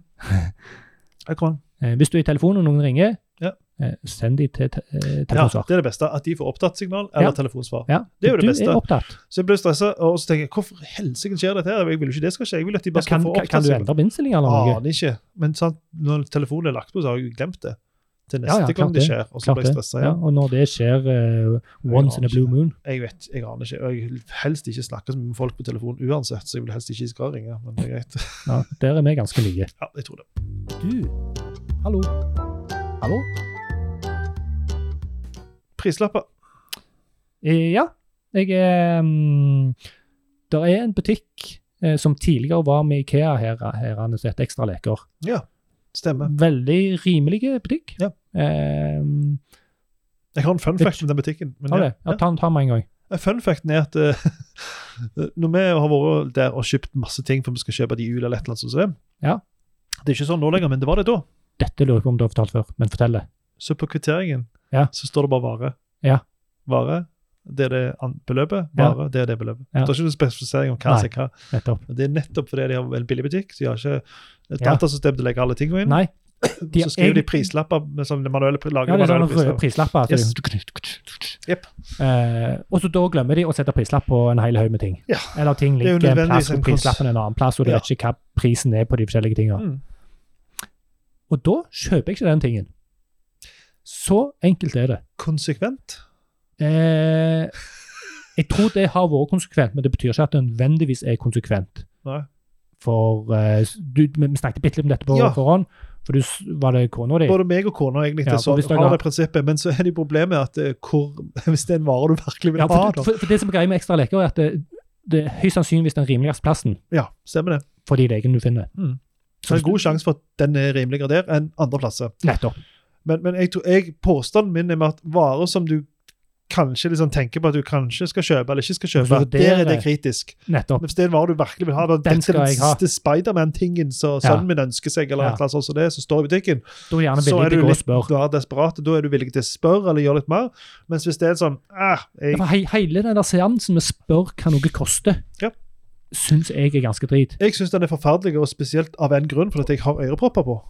[SPEAKER 1] Jeg kan.
[SPEAKER 2] Eh, Hvis du er i telefonen og noen ringer,
[SPEAKER 1] Ja.
[SPEAKER 2] eh, send de til te- eh,
[SPEAKER 1] Ja,
[SPEAKER 2] telefonsvar.
[SPEAKER 1] det er det beste. At de får opptattsignal eller
[SPEAKER 2] Ja.
[SPEAKER 1] telefonsvar.
[SPEAKER 2] Ja.
[SPEAKER 1] Det er jo det
[SPEAKER 2] du
[SPEAKER 1] beste.
[SPEAKER 2] Er opptatt.
[SPEAKER 1] Så jeg ble stressa, og så tenker jeg hvorfor i helsike skjer dette her? Jeg vil jo ikke det skal skje. Jeg vil at de bare skal
[SPEAKER 2] Kan,
[SPEAKER 1] få
[SPEAKER 2] kan, kan du
[SPEAKER 1] opptattsignal.
[SPEAKER 2] endre på innstillinger eller noe?
[SPEAKER 1] Aner ikke. Men sant, når telefonen er lagt på, så har jeg jo glemt det. Til
[SPEAKER 2] Ja,
[SPEAKER 1] neste
[SPEAKER 2] ja,
[SPEAKER 1] gang
[SPEAKER 2] klart
[SPEAKER 1] det
[SPEAKER 2] det.
[SPEAKER 1] skjer. Og så
[SPEAKER 2] Klart
[SPEAKER 1] blir jeg
[SPEAKER 2] det.
[SPEAKER 1] stressa
[SPEAKER 2] Ja,
[SPEAKER 1] igjen.
[SPEAKER 2] og når det skjer eh, once in a
[SPEAKER 1] aner
[SPEAKER 2] blue
[SPEAKER 1] ikke.
[SPEAKER 2] moon
[SPEAKER 1] Jeg vet, jeg aner ikke. Og jeg vil helst ikke snakke med folk på telefon uansett, så jeg vil helst ikke skal ringe. Men det er greit. [LAUGHS]
[SPEAKER 2] ja, Der er vi ganske like.
[SPEAKER 1] Ja, jeg tror det.
[SPEAKER 2] Du, hallo. Hallo?
[SPEAKER 1] Prislapper.
[SPEAKER 2] Eh, Ja, jeg er Det er en butikk eh, som tidligere var med Ikea her, her han heter Ekstra Leker.
[SPEAKER 1] Stemmer.
[SPEAKER 2] Veldig rimelige butikk.
[SPEAKER 1] Ja.
[SPEAKER 2] Eh,
[SPEAKER 1] Jeg har en fun
[SPEAKER 2] Det-
[SPEAKER 1] fact om den butikken. Men
[SPEAKER 2] har
[SPEAKER 1] ja,
[SPEAKER 2] det? Ja, ta, ta meg en gang.
[SPEAKER 1] ja. Fun facten er at eh, [LAUGHS] når vi har vært der og kjøpt masse ting for vi skal kjøpe det i jul eller et eller annet sånt, som det,
[SPEAKER 2] Ja.
[SPEAKER 1] det er ikke sånn nå lenger, men det var det da.
[SPEAKER 2] Dette lurer jeg på om du har fortalt før, men fortell det.
[SPEAKER 1] Så på kvitteringen
[SPEAKER 2] Ja.
[SPEAKER 1] så står det bare vare.
[SPEAKER 2] Ja.
[SPEAKER 1] Vare, det er det an- beløpet.
[SPEAKER 2] Ja.
[SPEAKER 1] Vare, det er det beløpet.
[SPEAKER 2] Ja.
[SPEAKER 1] Det er ikke noen spesifisering om hva
[SPEAKER 2] Nei.
[SPEAKER 1] som er hva.
[SPEAKER 2] Nettopp.
[SPEAKER 1] Og Det er nettopp fordi de har en billig butikk, så de har ikke et
[SPEAKER 2] Ja.
[SPEAKER 1] datasystem til å legge alle tingene inn.
[SPEAKER 2] Nei.
[SPEAKER 1] Og så skriver de
[SPEAKER 2] egentlig-
[SPEAKER 1] prislapper med sånne manuelle, pri- lager
[SPEAKER 2] Ja, det er
[SPEAKER 1] manuelle
[SPEAKER 2] sånne røde
[SPEAKER 1] prislapper.
[SPEAKER 2] prislapper. så
[SPEAKER 1] Yes.
[SPEAKER 2] det-
[SPEAKER 1] Jepp.
[SPEAKER 2] Eh, og så da glemmer de å sette prislapp på en hel haug med ting.
[SPEAKER 1] Ja.
[SPEAKER 2] Eller ting
[SPEAKER 1] Det er jo
[SPEAKER 2] ligger en
[SPEAKER 1] nødvendigvis
[SPEAKER 2] plass,
[SPEAKER 1] en
[SPEAKER 2] og prislappen en annen plass, og du
[SPEAKER 1] Ja.
[SPEAKER 2] vet ikke hva prisen er på de forskjellige tingene.
[SPEAKER 1] Mm.
[SPEAKER 2] Og da kjøper jeg ikke den tingen. Så enkelt er det.
[SPEAKER 1] Konsekvent.
[SPEAKER 2] Eh, jeg tror det har vært konsekvent, men det betyr ikke at det nødvendigvis er konsekvent.
[SPEAKER 1] Nei.
[SPEAKER 2] For eh, du, Vi vi snakket bitte litt om dette på
[SPEAKER 1] Ja.
[SPEAKER 2] forhånd, for du s- var det kona di?
[SPEAKER 1] Både meg og kona egentlig
[SPEAKER 2] Ja,
[SPEAKER 1] til
[SPEAKER 2] for
[SPEAKER 1] sånn,
[SPEAKER 2] hvis dere-
[SPEAKER 1] har det prinsippet, men så er det jo problemet at eh, hvor, [LAUGHS] hvis det er en vare du virkelig vil ha,
[SPEAKER 2] Ja, for,
[SPEAKER 1] da
[SPEAKER 2] for, for det som er greia med ekstra leker, er at det, det er høyst sannsynligvis den rimeligste plassen
[SPEAKER 1] Ja, stemmer det.
[SPEAKER 2] for de legene du finner.
[SPEAKER 1] Mm. Så
[SPEAKER 2] Så
[SPEAKER 1] det er en god sjanse for at den er rimeligere der enn andre plasser.
[SPEAKER 2] Nettopp.
[SPEAKER 1] Men, men jeg, tror- jeg, påstanden min er med at varer som du kanskje liksom tenker på at du kanskje skal kjøpe eller ikke skal kjøpe,
[SPEAKER 2] Vurderer.
[SPEAKER 1] der er det kritisk.
[SPEAKER 2] nettopp.
[SPEAKER 1] Men hvis det er en vare du virkelig vil ha, da,
[SPEAKER 2] Den
[SPEAKER 1] dette er
[SPEAKER 2] skal
[SPEAKER 1] den
[SPEAKER 2] jeg ha.
[SPEAKER 1] siste Spiderman-tingen som
[SPEAKER 2] Ja.
[SPEAKER 1] sønnen min ønsker seg, eller
[SPEAKER 2] Ja.
[SPEAKER 1] et eller annet sånt som det, som står i butikken,
[SPEAKER 2] Da er gjerne
[SPEAKER 1] så
[SPEAKER 2] villig
[SPEAKER 1] er
[SPEAKER 2] til
[SPEAKER 1] du
[SPEAKER 2] å gå og
[SPEAKER 1] litt
[SPEAKER 2] spørre.
[SPEAKER 1] da er desperat, da er du villig til å spørre eller gjøre litt mer. Mens hvis det er en sånn ah,
[SPEAKER 2] Ja,
[SPEAKER 1] jeg,
[SPEAKER 2] for he hele den der seansen med spør hva noe koster,
[SPEAKER 1] Ja.
[SPEAKER 2] syns jeg er ganske drit.
[SPEAKER 1] jeg syns den er forferdelig, og spesielt av en grunn, fordi at jeg har ørepropper på.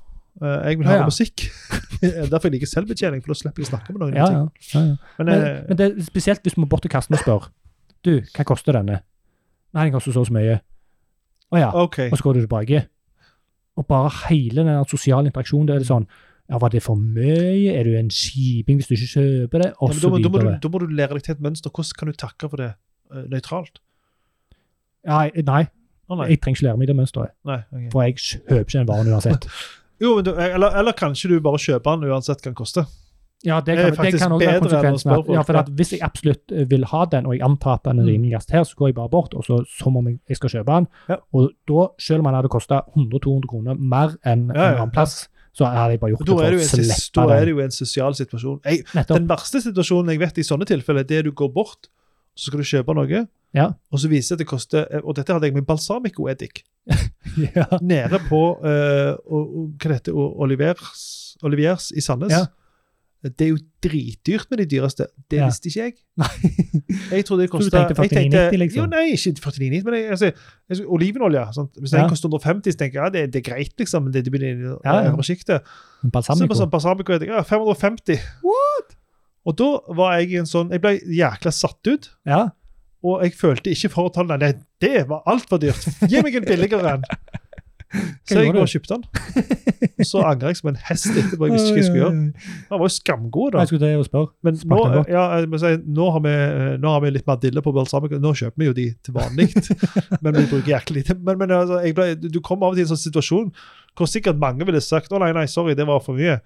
[SPEAKER 1] Eh, Jeg vil
[SPEAKER 2] Ja,
[SPEAKER 1] høre
[SPEAKER 2] ja.
[SPEAKER 1] musikk. [LAUGHS] Derfor jeg liker selvbetjening, for da slipper jeg å snakke med noen. om
[SPEAKER 2] Ja,
[SPEAKER 1] ting.
[SPEAKER 2] ja. ja, ja.
[SPEAKER 1] Men,
[SPEAKER 2] Men,
[SPEAKER 1] eh,
[SPEAKER 2] men det er spesielt hvis vi må bort til kassen og spør. Du, hva koster denne? Nei, den koster så og så mye. Å ja.
[SPEAKER 1] OK.
[SPEAKER 2] Og så går du tilbake. Og bare hele den der sosiale interaksjonen, det er det sånn Ja, var det for mye? Er du en kjiping hvis du ikke kjøper det?
[SPEAKER 1] Ja,
[SPEAKER 2] Og
[SPEAKER 1] men
[SPEAKER 2] så
[SPEAKER 1] da, må, da, må du,
[SPEAKER 2] videre.
[SPEAKER 1] da må du lære deg til et mønster. Hvordan kan du takke for det eh, nøytralt?
[SPEAKER 2] Nei, nei,
[SPEAKER 1] Å, nei.
[SPEAKER 2] jeg trenger ikke lære meg det mønsteret.
[SPEAKER 1] nei ok.
[SPEAKER 2] For jeg kjøper ikke den
[SPEAKER 1] [LAUGHS]
[SPEAKER 2] varen uansett.
[SPEAKER 1] Jo, men du, eller, eller kanskje du bare kjøper den uansett hva den koster.
[SPEAKER 2] Ja,
[SPEAKER 1] Det
[SPEAKER 2] det
[SPEAKER 1] er
[SPEAKER 2] kan, det
[SPEAKER 1] faktisk
[SPEAKER 2] kan også
[SPEAKER 1] bedre enn
[SPEAKER 2] være
[SPEAKER 1] å
[SPEAKER 2] konsekvensen.
[SPEAKER 1] spørre
[SPEAKER 2] At, ja,
[SPEAKER 1] folk,
[SPEAKER 2] for
[SPEAKER 1] ja.
[SPEAKER 2] at Hvis jeg absolutt eh, vil ha den, og jeg antar at den er
[SPEAKER 1] Mm.
[SPEAKER 2] rimeligst her, så går jeg bare bort, og så som om jeg- jeg skal kjøpe den.
[SPEAKER 1] Ja.
[SPEAKER 2] Og da, selv om den hadde kosta 100-200 kroner mer enn
[SPEAKER 1] Ja, ja.
[SPEAKER 2] en annen plass, så hadde jeg bare gjort
[SPEAKER 1] Da er, det
[SPEAKER 2] det
[SPEAKER 1] jo en,
[SPEAKER 2] for
[SPEAKER 1] sis-
[SPEAKER 2] å
[SPEAKER 1] da
[SPEAKER 2] slippe
[SPEAKER 1] er
[SPEAKER 2] den.
[SPEAKER 1] det jo en sosial situasjon. Jeg, [LAUGHS]
[SPEAKER 2] Nettopp.
[SPEAKER 1] den verste situasjonen jeg vet i sånne tilfeller, det er du går bort, så skal du kjøpe noe,
[SPEAKER 2] Ja.
[SPEAKER 1] og så viser det at det koster eh, Og dette hadde jeg med balsamicoeddik
[SPEAKER 2] Ja.
[SPEAKER 1] nede på eh, og, og, hva det heter, og Olivers, Oliviers i Sandnes.
[SPEAKER 2] Ja.
[SPEAKER 1] Det er jo dritdyrt med de dyreste. Det
[SPEAKER 2] Ja.
[SPEAKER 1] visste ikke jeg. [LAUGHS] Jeg trodde det
[SPEAKER 2] Så du
[SPEAKER 1] kosta
[SPEAKER 2] tenkte 49,90 liksom?
[SPEAKER 1] Jo, nei, ikke 49,90, men jeg, altså, jeg, synes olivenolje sant? Hvis
[SPEAKER 2] Ja.
[SPEAKER 1] den koster 150, så tenker jeg ja, det, det er greit, liksom. men Det, det begynner i det
[SPEAKER 2] Ja, ja.
[SPEAKER 1] øvre sjiktet. Så er det
[SPEAKER 2] Balsamico.
[SPEAKER 1] bare sånn balsamico jeg tenker, ja, 550. What? Og da var jeg i en sånn Jeg ble jækla satt ut.
[SPEAKER 2] Ja.
[SPEAKER 1] Og jeg følte ikke for å ta den. Nei, det var altfor dyrt! Gi meg en billigere
[SPEAKER 2] [LAUGHS]
[SPEAKER 1] en! Så jeg
[SPEAKER 2] gjorde
[SPEAKER 1] bare
[SPEAKER 2] du?
[SPEAKER 1] kjøpte den. Og så angrer jeg som en hest etterpå. Jeg visste ikke hva jeg skulle gjøre. Han var jo skamgod,
[SPEAKER 2] Jeg
[SPEAKER 1] da.
[SPEAKER 2] skulle til å spørre.
[SPEAKER 1] Men nå,
[SPEAKER 2] smakte godt.
[SPEAKER 1] ja, jeg må si, nå, har vi, eh, nå har vi litt Madille på balsamico. Nå kjøper vi jo de til
[SPEAKER 2] [LAUGHS]
[SPEAKER 1] vanlig, men vi bruker jæklig lite. Men, men altså, jeg ble, du kommer av og til i en sånn situasjon hvor sikkert mange ville sagt å nei, nei, sorry, det var for mye.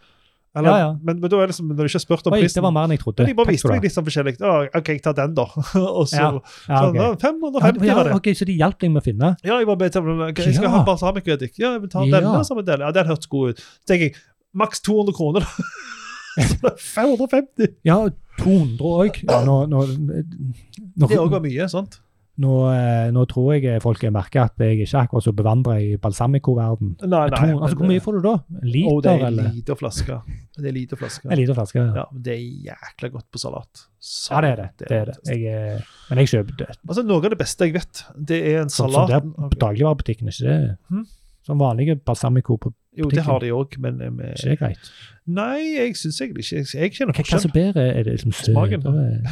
[SPEAKER 1] Eller,
[SPEAKER 2] Ja, ja.
[SPEAKER 1] Men, men da er det liksom, når du ikke har spurt om
[SPEAKER 2] Oi, det
[SPEAKER 1] prisen
[SPEAKER 2] var mer enn jeg trodde.
[SPEAKER 1] men de bare
[SPEAKER 2] Takk
[SPEAKER 1] viste
[SPEAKER 2] skal du
[SPEAKER 1] meg litt sånn forskjellig. Å, OK, jeg tar den, da. [LAUGHS] og så
[SPEAKER 2] Ja, ha.
[SPEAKER 1] sånn,
[SPEAKER 2] Ja,
[SPEAKER 1] «Å,
[SPEAKER 2] ok.
[SPEAKER 1] 550
[SPEAKER 2] ja,
[SPEAKER 1] var det.
[SPEAKER 2] ok, Så de hjalp deg med å finne?
[SPEAKER 1] Ja, jeg bare bet om den. Jeg skal
[SPEAKER 2] Ja.
[SPEAKER 1] ha balsamicoeddik. Ja, jeg betaler
[SPEAKER 2] Ja.
[SPEAKER 1] denne som en del. Ja, den hørtes god ut. Så tenker jeg maks 200 kroner, da. [LAUGHS] Så det er 550!
[SPEAKER 2] Ja, 200 òg. Ja, nå, nå, nå,
[SPEAKER 1] Det òg
[SPEAKER 2] nå,
[SPEAKER 1] var mye, sant?
[SPEAKER 2] eh, nå tror jeg folk merker at jeg ikke er akkurat så bevandra i balsamico-verden.
[SPEAKER 1] Nei, nei.
[SPEAKER 2] 200
[SPEAKER 1] men-
[SPEAKER 2] Altså,
[SPEAKER 1] eh,
[SPEAKER 2] Hvor mye får du da? En liter,
[SPEAKER 1] Å, det er en
[SPEAKER 2] eller?
[SPEAKER 1] liten flaske. Det er en liten flaske.
[SPEAKER 2] En liter flaske? Ja.
[SPEAKER 1] Ja, men det er jækla godt på salat.
[SPEAKER 2] ja, det er det. det, er det.
[SPEAKER 1] fantastisk.
[SPEAKER 2] Jeg, eh, men jeg kjøper det.
[SPEAKER 1] Altså, Noe av det beste jeg vet, det er en
[SPEAKER 2] Sånn som
[SPEAKER 1] salat
[SPEAKER 2] det er på dagligvarebutikken, ikke det?
[SPEAKER 1] Mhm.
[SPEAKER 2] Som vanlige balsamico på
[SPEAKER 1] Jo, det har de òg, men eh, med-
[SPEAKER 2] ikke er greit.
[SPEAKER 1] Nei, jeg syns egentlig ikke Jeg- Jeg kjenner
[SPEAKER 2] Hva, hva
[SPEAKER 1] forskjell.
[SPEAKER 2] som bedre er det liksom
[SPEAKER 1] Smaken. [LAUGHS]
[SPEAKER 2] søtere?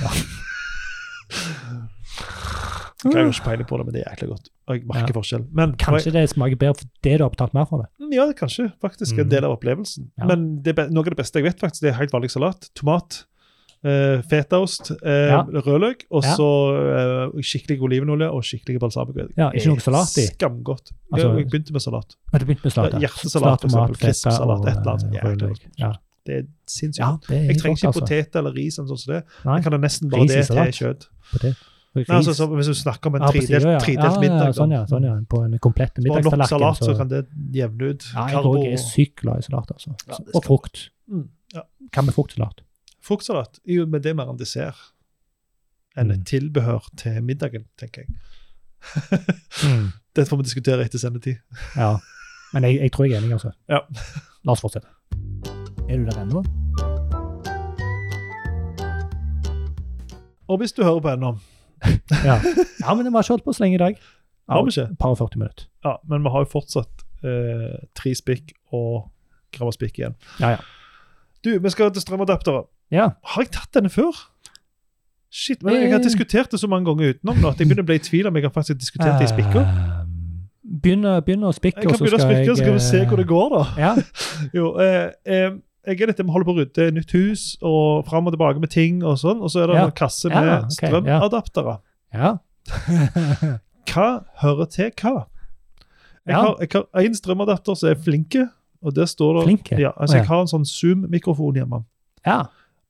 [SPEAKER 1] Jeg har jo ikke peiling på det, men det er jækla godt. Og jeg merker
[SPEAKER 2] altså- Ja.
[SPEAKER 1] forskjell. Men
[SPEAKER 2] Kanskje det smaker bedre fordi du har betalt mer for det?
[SPEAKER 1] Mm, Ja, det er kanskje faktisk en
[SPEAKER 2] Mm.
[SPEAKER 1] del av opplevelsen.
[SPEAKER 2] Ja.
[SPEAKER 1] Men det, be- noe av det beste jeg vet, faktisk, det er helt vanlig salat. Tomat, eh, fetaost, eh,
[SPEAKER 2] Ja.
[SPEAKER 1] rødløk, og
[SPEAKER 2] Ja.
[SPEAKER 1] så eh, skikkelig olivenolje og skikkelig balsamico.
[SPEAKER 2] Ja, ikke noe salat i.
[SPEAKER 1] Skamgodt.
[SPEAKER 2] Altså-
[SPEAKER 1] jeg, jeg begynte med salat.
[SPEAKER 2] Men du begynte med salat. ja.
[SPEAKER 1] Hjertesalat, for
[SPEAKER 2] Salat,
[SPEAKER 1] eksempel. Krispsalat,
[SPEAKER 2] feta
[SPEAKER 1] et eller annet.
[SPEAKER 2] og, eh,
[SPEAKER 1] Jækla
[SPEAKER 2] rødløk. Ja.
[SPEAKER 1] Det er sinnssykt.
[SPEAKER 2] Ja, det er
[SPEAKER 1] jeg trenger
[SPEAKER 2] godt,
[SPEAKER 1] ikke
[SPEAKER 2] altså.
[SPEAKER 1] potet eller ris, eller sånn som det.
[SPEAKER 2] Nei.
[SPEAKER 1] Jeg kan ha nesten bare
[SPEAKER 2] Ris i
[SPEAKER 1] det til
[SPEAKER 2] salat.
[SPEAKER 1] kjøtt.
[SPEAKER 2] Ris.
[SPEAKER 1] Nei, altså, så, hvis du snakker om en
[SPEAKER 2] Ja, på
[SPEAKER 1] tredelt,
[SPEAKER 2] siden, ja.
[SPEAKER 1] tredelt
[SPEAKER 2] Ja,
[SPEAKER 1] middag,
[SPEAKER 2] Ja, sånn, ja,
[SPEAKER 1] da.
[SPEAKER 2] sånn, ja. På en komplett
[SPEAKER 1] Bare nok salat,
[SPEAKER 2] middagstallerken.
[SPEAKER 1] så kan det jevne ut.
[SPEAKER 2] ja, jeg
[SPEAKER 1] karbo
[SPEAKER 2] òg er sykt glad i salat, altså.
[SPEAKER 1] Ja, det
[SPEAKER 2] og
[SPEAKER 1] skal-
[SPEAKER 2] frukt.
[SPEAKER 1] Mm, ja.
[SPEAKER 2] Hva med fruktsalat?
[SPEAKER 1] Fruktsalat jo, men det er mer en dessert enn et
[SPEAKER 2] Mm.
[SPEAKER 1] tilbehør til middagen, tenker jeg. Det får vi diskutere etter sendetid.
[SPEAKER 2] Mm. Ja. Men jeg, jeg tror jeg er enig, altså.
[SPEAKER 1] Ja.
[SPEAKER 2] La oss fortsette. Er du der ennå?
[SPEAKER 1] Og hvis du hører på ennå
[SPEAKER 2] Ja. ja, men vi har ikke holdt på så lenge i dag.
[SPEAKER 1] Har vi ikke?
[SPEAKER 2] Et par og 40 minutter.
[SPEAKER 1] Ja, men vi har jo fortsatt eh, tre spikk og grammaspikk igjen.
[SPEAKER 2] Ja, ja.
[SPEAKER 1] Du, vi skal til strømadaptere.
[SPEAKER 2] Ja.
[SPEAKER 1] Har jeg tatt denne før? Shit, men Jeg har
[SPEAKER 2] Eh.
[SPEAKER 1] diskutert det så mange ganger utenom nå at jeg begynner å bli i tvil om jeg har faktisk diskutert det i spikker.
[SPEAKER 2] Ehm, Begynn å- begynn å spikke,
[SPEAKER 1] Jeg eh, kan begynne å spikke, så skal vi se hvor det går, da.
[SPEAKER 2] Ja,
[SPEAKER 1] Jo, eh, eh, jeg er litt, vi holder på å rydde nytt hus og fram og tilbake med ting og sånn, og så er det
[SPEAKER 2] Ja.
[SPEAKER 1] en kasse med
[SPEAKER 2] Ja, ok, ja.
[SPEAKER 1] strømadaptere. [LAUGHS]
[SPEAKER 2] ja.
[SPEAKER 1] Hva hører til hva? Jeg
[SPEAKER 2] Ja.
[SPEAKER 1] har, jeg har en strømadapter som er flinke, og der står det
[SPEAKER 2] Flinke.
[SPEAKER 1] Ja, altså
[SPEAKER 2] Å, ja.
[SPEAKER 1] Jeg har en sånn Zoom-mikrofon hjemme.
[SPEAKER 2] ja.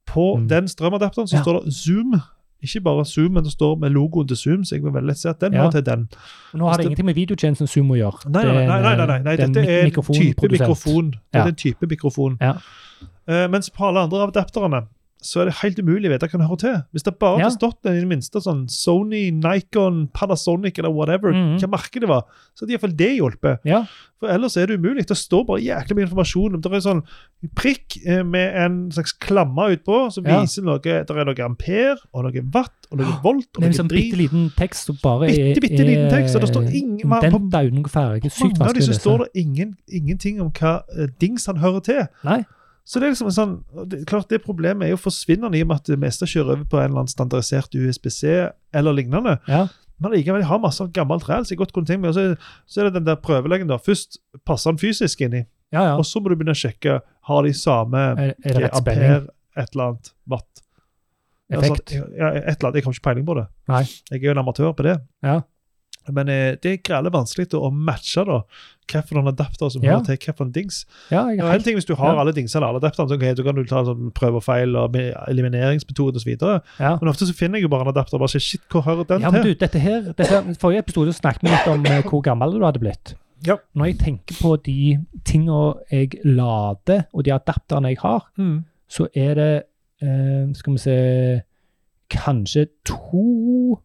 [SPEAKER 1] På
[SPEAKER 2] Mm.
[SPEAKER 1] den strømadapteren så
[SPEAKER 2] Ja.
[SPEAKER 1] står det Zoom. Ikke bare Zoom, men det står med logoen til Zoom, så jeg vil veldig lett si at den
[SPEAKER 2] Ja.
[SPEAKER 1] hører til den.
[SPEAKER 2] Nå har det ingenting med videotjenesten Zoom å gjøre.
[SPEAKER 1] Nei,
[SPEAKER 2] Det er
[SPEAKER 1] nei,
[SPEAKER 2] en,
[SPEAKER 1] nei, nei, nei, nei
[SPEAKER 2] det er en
[SPEAKER 1] dette er en type
[SPEAKER 2] mikrofonprodusent.
[SPEAKER 1] mikrofon. Det
[SPEAKER 2] Ja.
[SPEAKER 1] er en type mikrofon.
[SPEAKER 2] Ja.
[SPEAKER 1] Eh, mens på alle andre adapterne så er det helt umulig å vite hva den hører til. Hvis det bare
[SPEAKER 2] Ja.
[SPEAKER 1] hadde stått en i det minste sånn Sony, Nikon, Panasonic eller whatever,
[SPEAKER 2] Mhm.
[SPEAKER 1] hva merke det var, så hadde iallfall det hjulpet.
[SPEAKER 2] Ja.
[SPEAKER 1] For ellers er det umulig. Det står bare jæklig mye informasjon. Det er en sånn prikk eh, med en slags klamme utpå som
[SPEAKER 2] Ja.
[SPEAKER 1] viser noe Det er noe ampere og noe watt og noe volt og
[SPEAKER 2] Det er
[SPEAKER 1] noe
[SPEAKER 2] en sånn bitte
[SPEAKER 1] drit.
[SPEAKER 2] liten tekst som bare
[SPEAKER 1] Bitte, bitte liten tekst, og det står ingen- man-
[SPEAKER 2] Den
[SPEAKER 1] på-
[SPEAKER 2] dauer noe ferdig. Sykt
[SPEAKER 1] Mange av
[SPEAKER 2] vanskelig å
[SPEAKER 1] disse
[SPEAKER 2] lese.
[SPEAKER 1] står det ingen, ingenting om hva eh, dings han hører til.
[SPEAKER 2] Nei.
[SPEAKER 1] Så det er liksom en sånn, det, klart det problemet er jo forsvinnende i og med at det meste kjører over på en eller annen standardisert USBC eller lignende.
[SPEAKER 2] Ja.
[SPEAKER 1] Men likevel, de har masse sånn gammelt ræl. Så jeg godt kunne tenkt meg, og så, så er det den der prøvelegen da. Først passer han fysisk inni,
[SPEAKER 2] Ja, ja.
[SPEAKER 1] og så må du begynne å sjekke har de samme
[SPEAKER 2] Er, er det
[SPEAKER 1] eh,
[SPEAKER 2] rett spenning?
[SPEAKER 1] ampere, et eller annet watt.
[SPEAKER 2] Effekt?
[SPEAKER 1] Altså, ja, et eller annet. Jeg har ikke peiling på det.
[SPEAKER 2] Nei.
[SPEAKER 1] Jeg er jo en amatør på det.
[SPEAKER 2] Ja.
[SPEAKER 1] Men eh, det er grelle vanskelig å å matche da, hvilken adapter som
[SPEAKER 2] Ja.
[SPEAKER 1] hører til hvilken dings.
[SPEAKER 2] ja, jeg
[SPEAKER 1] Ja,
[SPEAKER 2] er
[SPEAKER 1] en
[SPEAKER 2] helt,
[SPEAKER 1] ting hvis du har
[SPEAKER 2] ja.
[SPEAKER 1] alle dingsene, alle adapterne, så, ok, så kan du ta sånn prøve og feil og med- elimineringsmetode osv.
[SPEAKER 2] ja.
[SPEAKER 1] Men ofte så finner jeg jo bare en adapter. bare sier, shit, hvor hører den
[SPEAKER 2] ja, men
[SPEAKER 1] til?
[SPEAKER 2] du, dette her, dette her Forrige episode snakket vi litt om eh, hvor gammel du hadde blitt.
[SPEAKER 1] Ja.
[SPEAKER 2] Når jeg tenker på de tingene jeg lader, og de adapterne jeg har,
[SPEAKER 1] Mm.
[SPEAKER 2] så er det eh, Skal vi se Kanskje to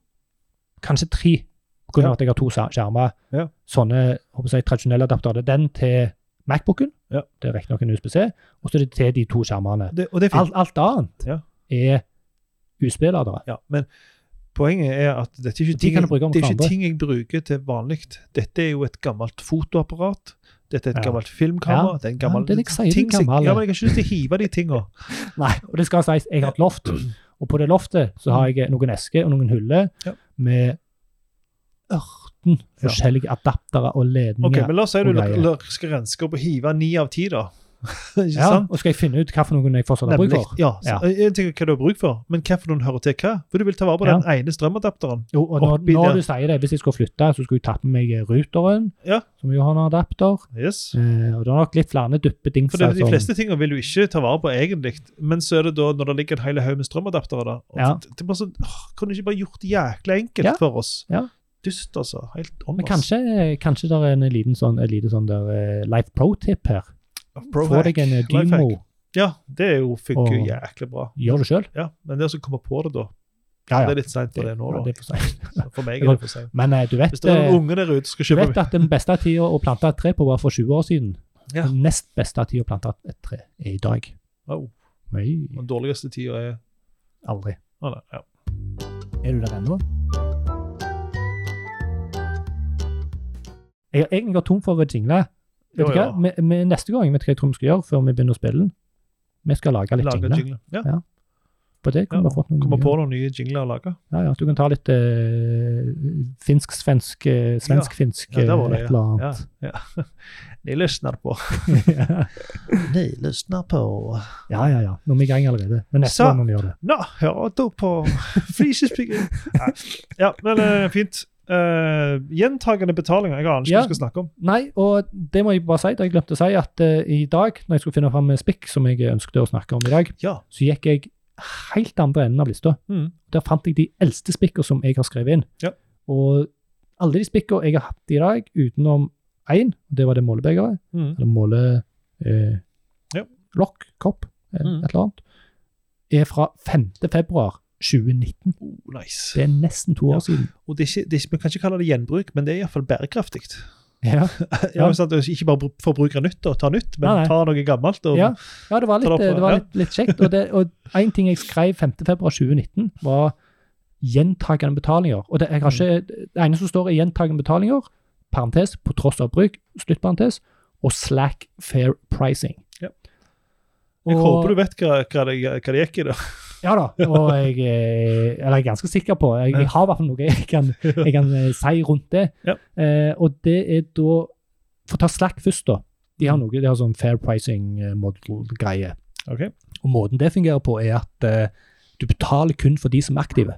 [SPEAKER 2] Kanskje tre, på grunn
[SPEAKER 1] Ja.
[SPEAKER 2] av at jeg har to skjer- skjermer.
[SPEAKER 1] Ja.
[SPEAKER 2] Sånne håper jeg, tradisjonelle adaptere. Det er Den til Macbooken,
[SPEAKER 1] Ja.
[SPEAKER 2] det er riktignok en USBC, og så er det til de to skjermene.
[SPEAKER 1] Det, og det er fint.
[SPEAKER 2] Alt, alt annet
[SPEAKER 1] Ja.
[SPEAKER 2] er USB-ladere.
[SPEAKER 1] Ja, men poenget er at dette er ikke
[SPEAKER 2] De
[SPEAKER 1] ting,
[SPEAKER 2] kan du bruke om
[SPEAKER 1] det er ikke
[SPEAKER 2] hverandre.
[SPEAKER 1] ting jeg bruker til vanlig. Dette er jo et gammelt fotoapparat. Dette er et
[SPEAKER 2] Ja.
[SPEAKER 1] gammelt filmkamera.
[SPEAKER 2] Ja.
[SPEAKER 1] Det er en
[SPEAKER 2] Ja,
[SPEAKER 1] gammel
[SPEAKER 2] det er litt seilig
[SPEAKER 1] ting som-
[SPEAKER 2] gammel.
[SPEAKER 1] Ja, men jeg har ikke lyst til å hive de tinga.
[SPEAKER 2] Nei, og det skal sies, jeg har et loft, og på det loftet så har jeg noen esker og noen huller
[SPEAKER 1] Ja.
[SPEAKER 2] med ørten
[SPEAKER 1] Ja.
[SPEAKER 2] forskjellige adaptere og ledninger.
[SPEAKER 1] Ok, men la oss si du
[SPEAKER 2] og greier.
[SPEAKER 1] la- skal renske opp og hive ni av ti, da. [LAUGHS] ikke
[SPEAKER 2] ja,
[SPEAKER 1] sant?
[SPEAKER 2] og skal jeg finne ut hva for noen jeg fortsatt har bruk
[SPEAKER 1] Nemlig.
[SPEAKER 2] for?
[SPEAKER 1] Ja, så, eh,
[SPEAKER 2] Ja.
[SPEAKER 1] Jeg tenker hva du har bruk for, men hva for noen hører til hva? For du vil ta vare på
[SPEAKER 2] Ja.
[SPEAKER 1] den ene strømadapteren.
[SPEAKER 2] Jo, og når,
[SPEAKER 1] Oppi der.
[SPEAKER 2] når du sier det, hvis jeg skulle flytte, så skulle jeg tappe med meg ruteren,
[SPEAKER 1] Ja.
[SPEAKER 2] som jo har en adapter.
[SPEAKER 1] Yes.
[SPEAKER 2] Eh, og det er nok litt flere
[SPEAKER 1] For det,
[SPEAKER 2] duppedingser.
[SPEAKER 1] De fleste tingene vil du ikke ta vare på egentlig, men så er det da når det ligger en hel haug med strømadaptere der. og
[SPEAKER 2] Ja.
[SPEAKER 1] det, det er bare sånn, åh, Kan du ikke bare gjort det jækla enkelt
[SPEAKER 2] Ja.
[SPEAKER 1] for oss?
[SPEAKER 2] Ja.
[SPEAKER 1] Dust, altså. Helt on,
[SPEAKER 2] men
[SPEAKER 1] ass.
[SPEAKER 2] kanskje, kanskje det er en liten sånn, en liten sånn der, eh, life pro-tip her. Få deg en eh,
[SPEAKER 1] Lifehack.
[SPEAKER 2] dymo,
[SPEAKER 1] Ja, det er jo, funker jo
[SPEAKER 2] Og-
[SPEAKER 1] jæklig bra.
[SPEAKER 2] gjør det selv.
[SPEAKER 1] Ja, Men det å så komme på det, da
[SPEAKER 2] Ja,
[SPEAKER 1] Det
[SPEAKER 2] ja.
[SPEAKER 1] er litt seint for det nå,
[SPEAKER 2] Ja,
[SPEAKER 1] da.
[SPEAKER 2] det er for sent.
[SPEAKER 1] Så For
[SPEAKER 2] [LAUGHS]
[SPEAKER 1] meg er det for seint.
[SPEAKER 2] Men eh, du vet
[SPEAKER 1] Hvis det er
[SPEAKER 2] eh,
[SPEAKER 1] noen unge der ute som skal
[SPEAKER 2] Du
[SPEAKER 1] kjøpe
[SPEAKER 2] vet at den beste tida å plante et tre på var for 20 år siden.
[SPEAKER 1] Ja.
[SPEAKER 2] Den nest beste tida å plante et tre er i dag.
[SPEAKER 1] Au,
[SPEAKER 2] Nei,
[SPEAKER 1] Den dårligste tida er
[SPEAKER 2] aldri.
[SPEAKER 1] Å, nei, ja.
[SPEAKER 2] Er du der ennå? Jeg har egentlig gått tom for jingler.
[SPEAKER 1] Jo,
[SPEAKER 2] Vet du hva?
[SPEAKER 1] ja.
[SPEAKER 2] Vi, vi, neste gang, vet du hva jeg tror vi skal gjøre før vi begynner å spille den? Vi skal lage litt
[SPEAKER 1] Lage
[SPEAKER 2] jingler.
[SPEAKER 1] jingler. Ja.
[SPEAKER 2] På det
[SPEAKER 1] Ja,
[SPEAKER 2] kommer vi fått noen
[SPEAKER 1] Kommer
[SPEAKER 2] nye.
[SPEAKER 1] på noen nye jingler å lage.
[SPEAKER 2] Ja, ja, du kan ta litt eh, finsk-svensk, eh, svensk-finsk,
[SPEAKER 1] Ja, der var
[SPEAKER 2] eh,
[SPEAKER 1] det,
[SPEAKER 2] et eller
[SPEAKER 1] Ja,
[SPEAKER 2] annet.
[SPEAKER 1] ja. [LAUGHS] Ni lyssnar på.
[SPEAKER 2] ja.
[SPEAKER 1] Ni lyssnar på.
[SPEAKER 2] [LAUGHS] Ja, ja, ja. Nå er vi i gang allerede. Men neste
[SPEAKER 1] Så-
[SPEAKER 2] gang må vi gjøre det.
[SPEAKER 1] Nå, hører du på [LAUGHS] flisespikker? Nei. Ja, men eh, fint. Eh, gjentagende betalinger. Jeg aner ikke
[SPEAKER 2] Ja.
[SPEAKER 1] hva vi skal snakke om.
[SPEAKER 2] Nei, og det må jeg bare si, da jeg glemte å si at eh, i dag, når jeg skulle finne fram eh, spikk, som jeg ønsket å snakke om i dag,
[SPEAKER 1] Ja.
[SPEAKER 2] så gikk jeg helt andre enden av lista.
[SPEAKER 1] Mm.
[SPEAKER 2] Der fant jeg de eldste spikkene som jeg har skrevet inn.
[SPEAKER 1] Ja.
[SPEAKER 2] Og alle de spikkene jeg har hatt i dag, utenom én, det var det målebegeret,
[SPEAKER 1] Mm.
[SPEAKER 2] eller måle... Eh,
[SPEAKER 1] Ja.
[SPEAKER 2] Lokk, kopp, eh,
[SPEAKER 1] Mm.
[SPEAKER 2] et eller annet, er fra 5. februar 2019.
[SPEAKER 1] Oh, nice.
[SPEAKER 2] Det er nesten to
[SPEAKER 1] Ja.
[SPEAKER 2] år siden.
[SPEAKER 1] Og det er ikke, det er ikke, Vi kan ikke kalle det gjenbruk, men det er iallfall bærekraftig.
[SPEAKER 2] Ja.
[SPEAKER 1] Ja. men sant, ikke bare br- forbruke nytt og ta nytt, men
[SPEAKER 2] Nei, nei.
[SPEAKER 1] ta noe gammelt. Og,
[SPEAKER 2] Ja, ja det var
[SPEAKER 1] Ta det
[SPEAKER 2] litt, eh,
[SPEAKER 1] opp,
[SPEAKER 2] det var
[SPEAKER 1] ja.
[SPEAKER 2] litt, litt kjekt. Og, det, og en ting jeg skrev 5.2.2019, var gjentagende betalinger. Og det, jeg har ikke, det ene som står er gjentagende betalinger, parentes, på tross av bruk, sluttparentes, og slack fair pricing.
[SPEAKER 1] Ja. Jeg
[SPEAKER 2] Og-
[SPEAKER 1] håper du vet hva, hva, det, hva det gikk i. da.
[SPEAKER 2] Ja da, og jeg, eh, eller jeg er ganske sikker på. Jeg, jeg har i hvert fall noe jeg kan, jeg kan eh, si rundt det.
[SPEAKER 1] Ja.
[SPEAKER 2] Eh, og det er da For å ta Slack først, da. De har noe, de har sånn fair pricing eh, model-greie.
[SPEAKER 1] Ok.
[SPEAKER 2] Og måten det fungerer på, er at eh, du betaler kun for de som er aktive.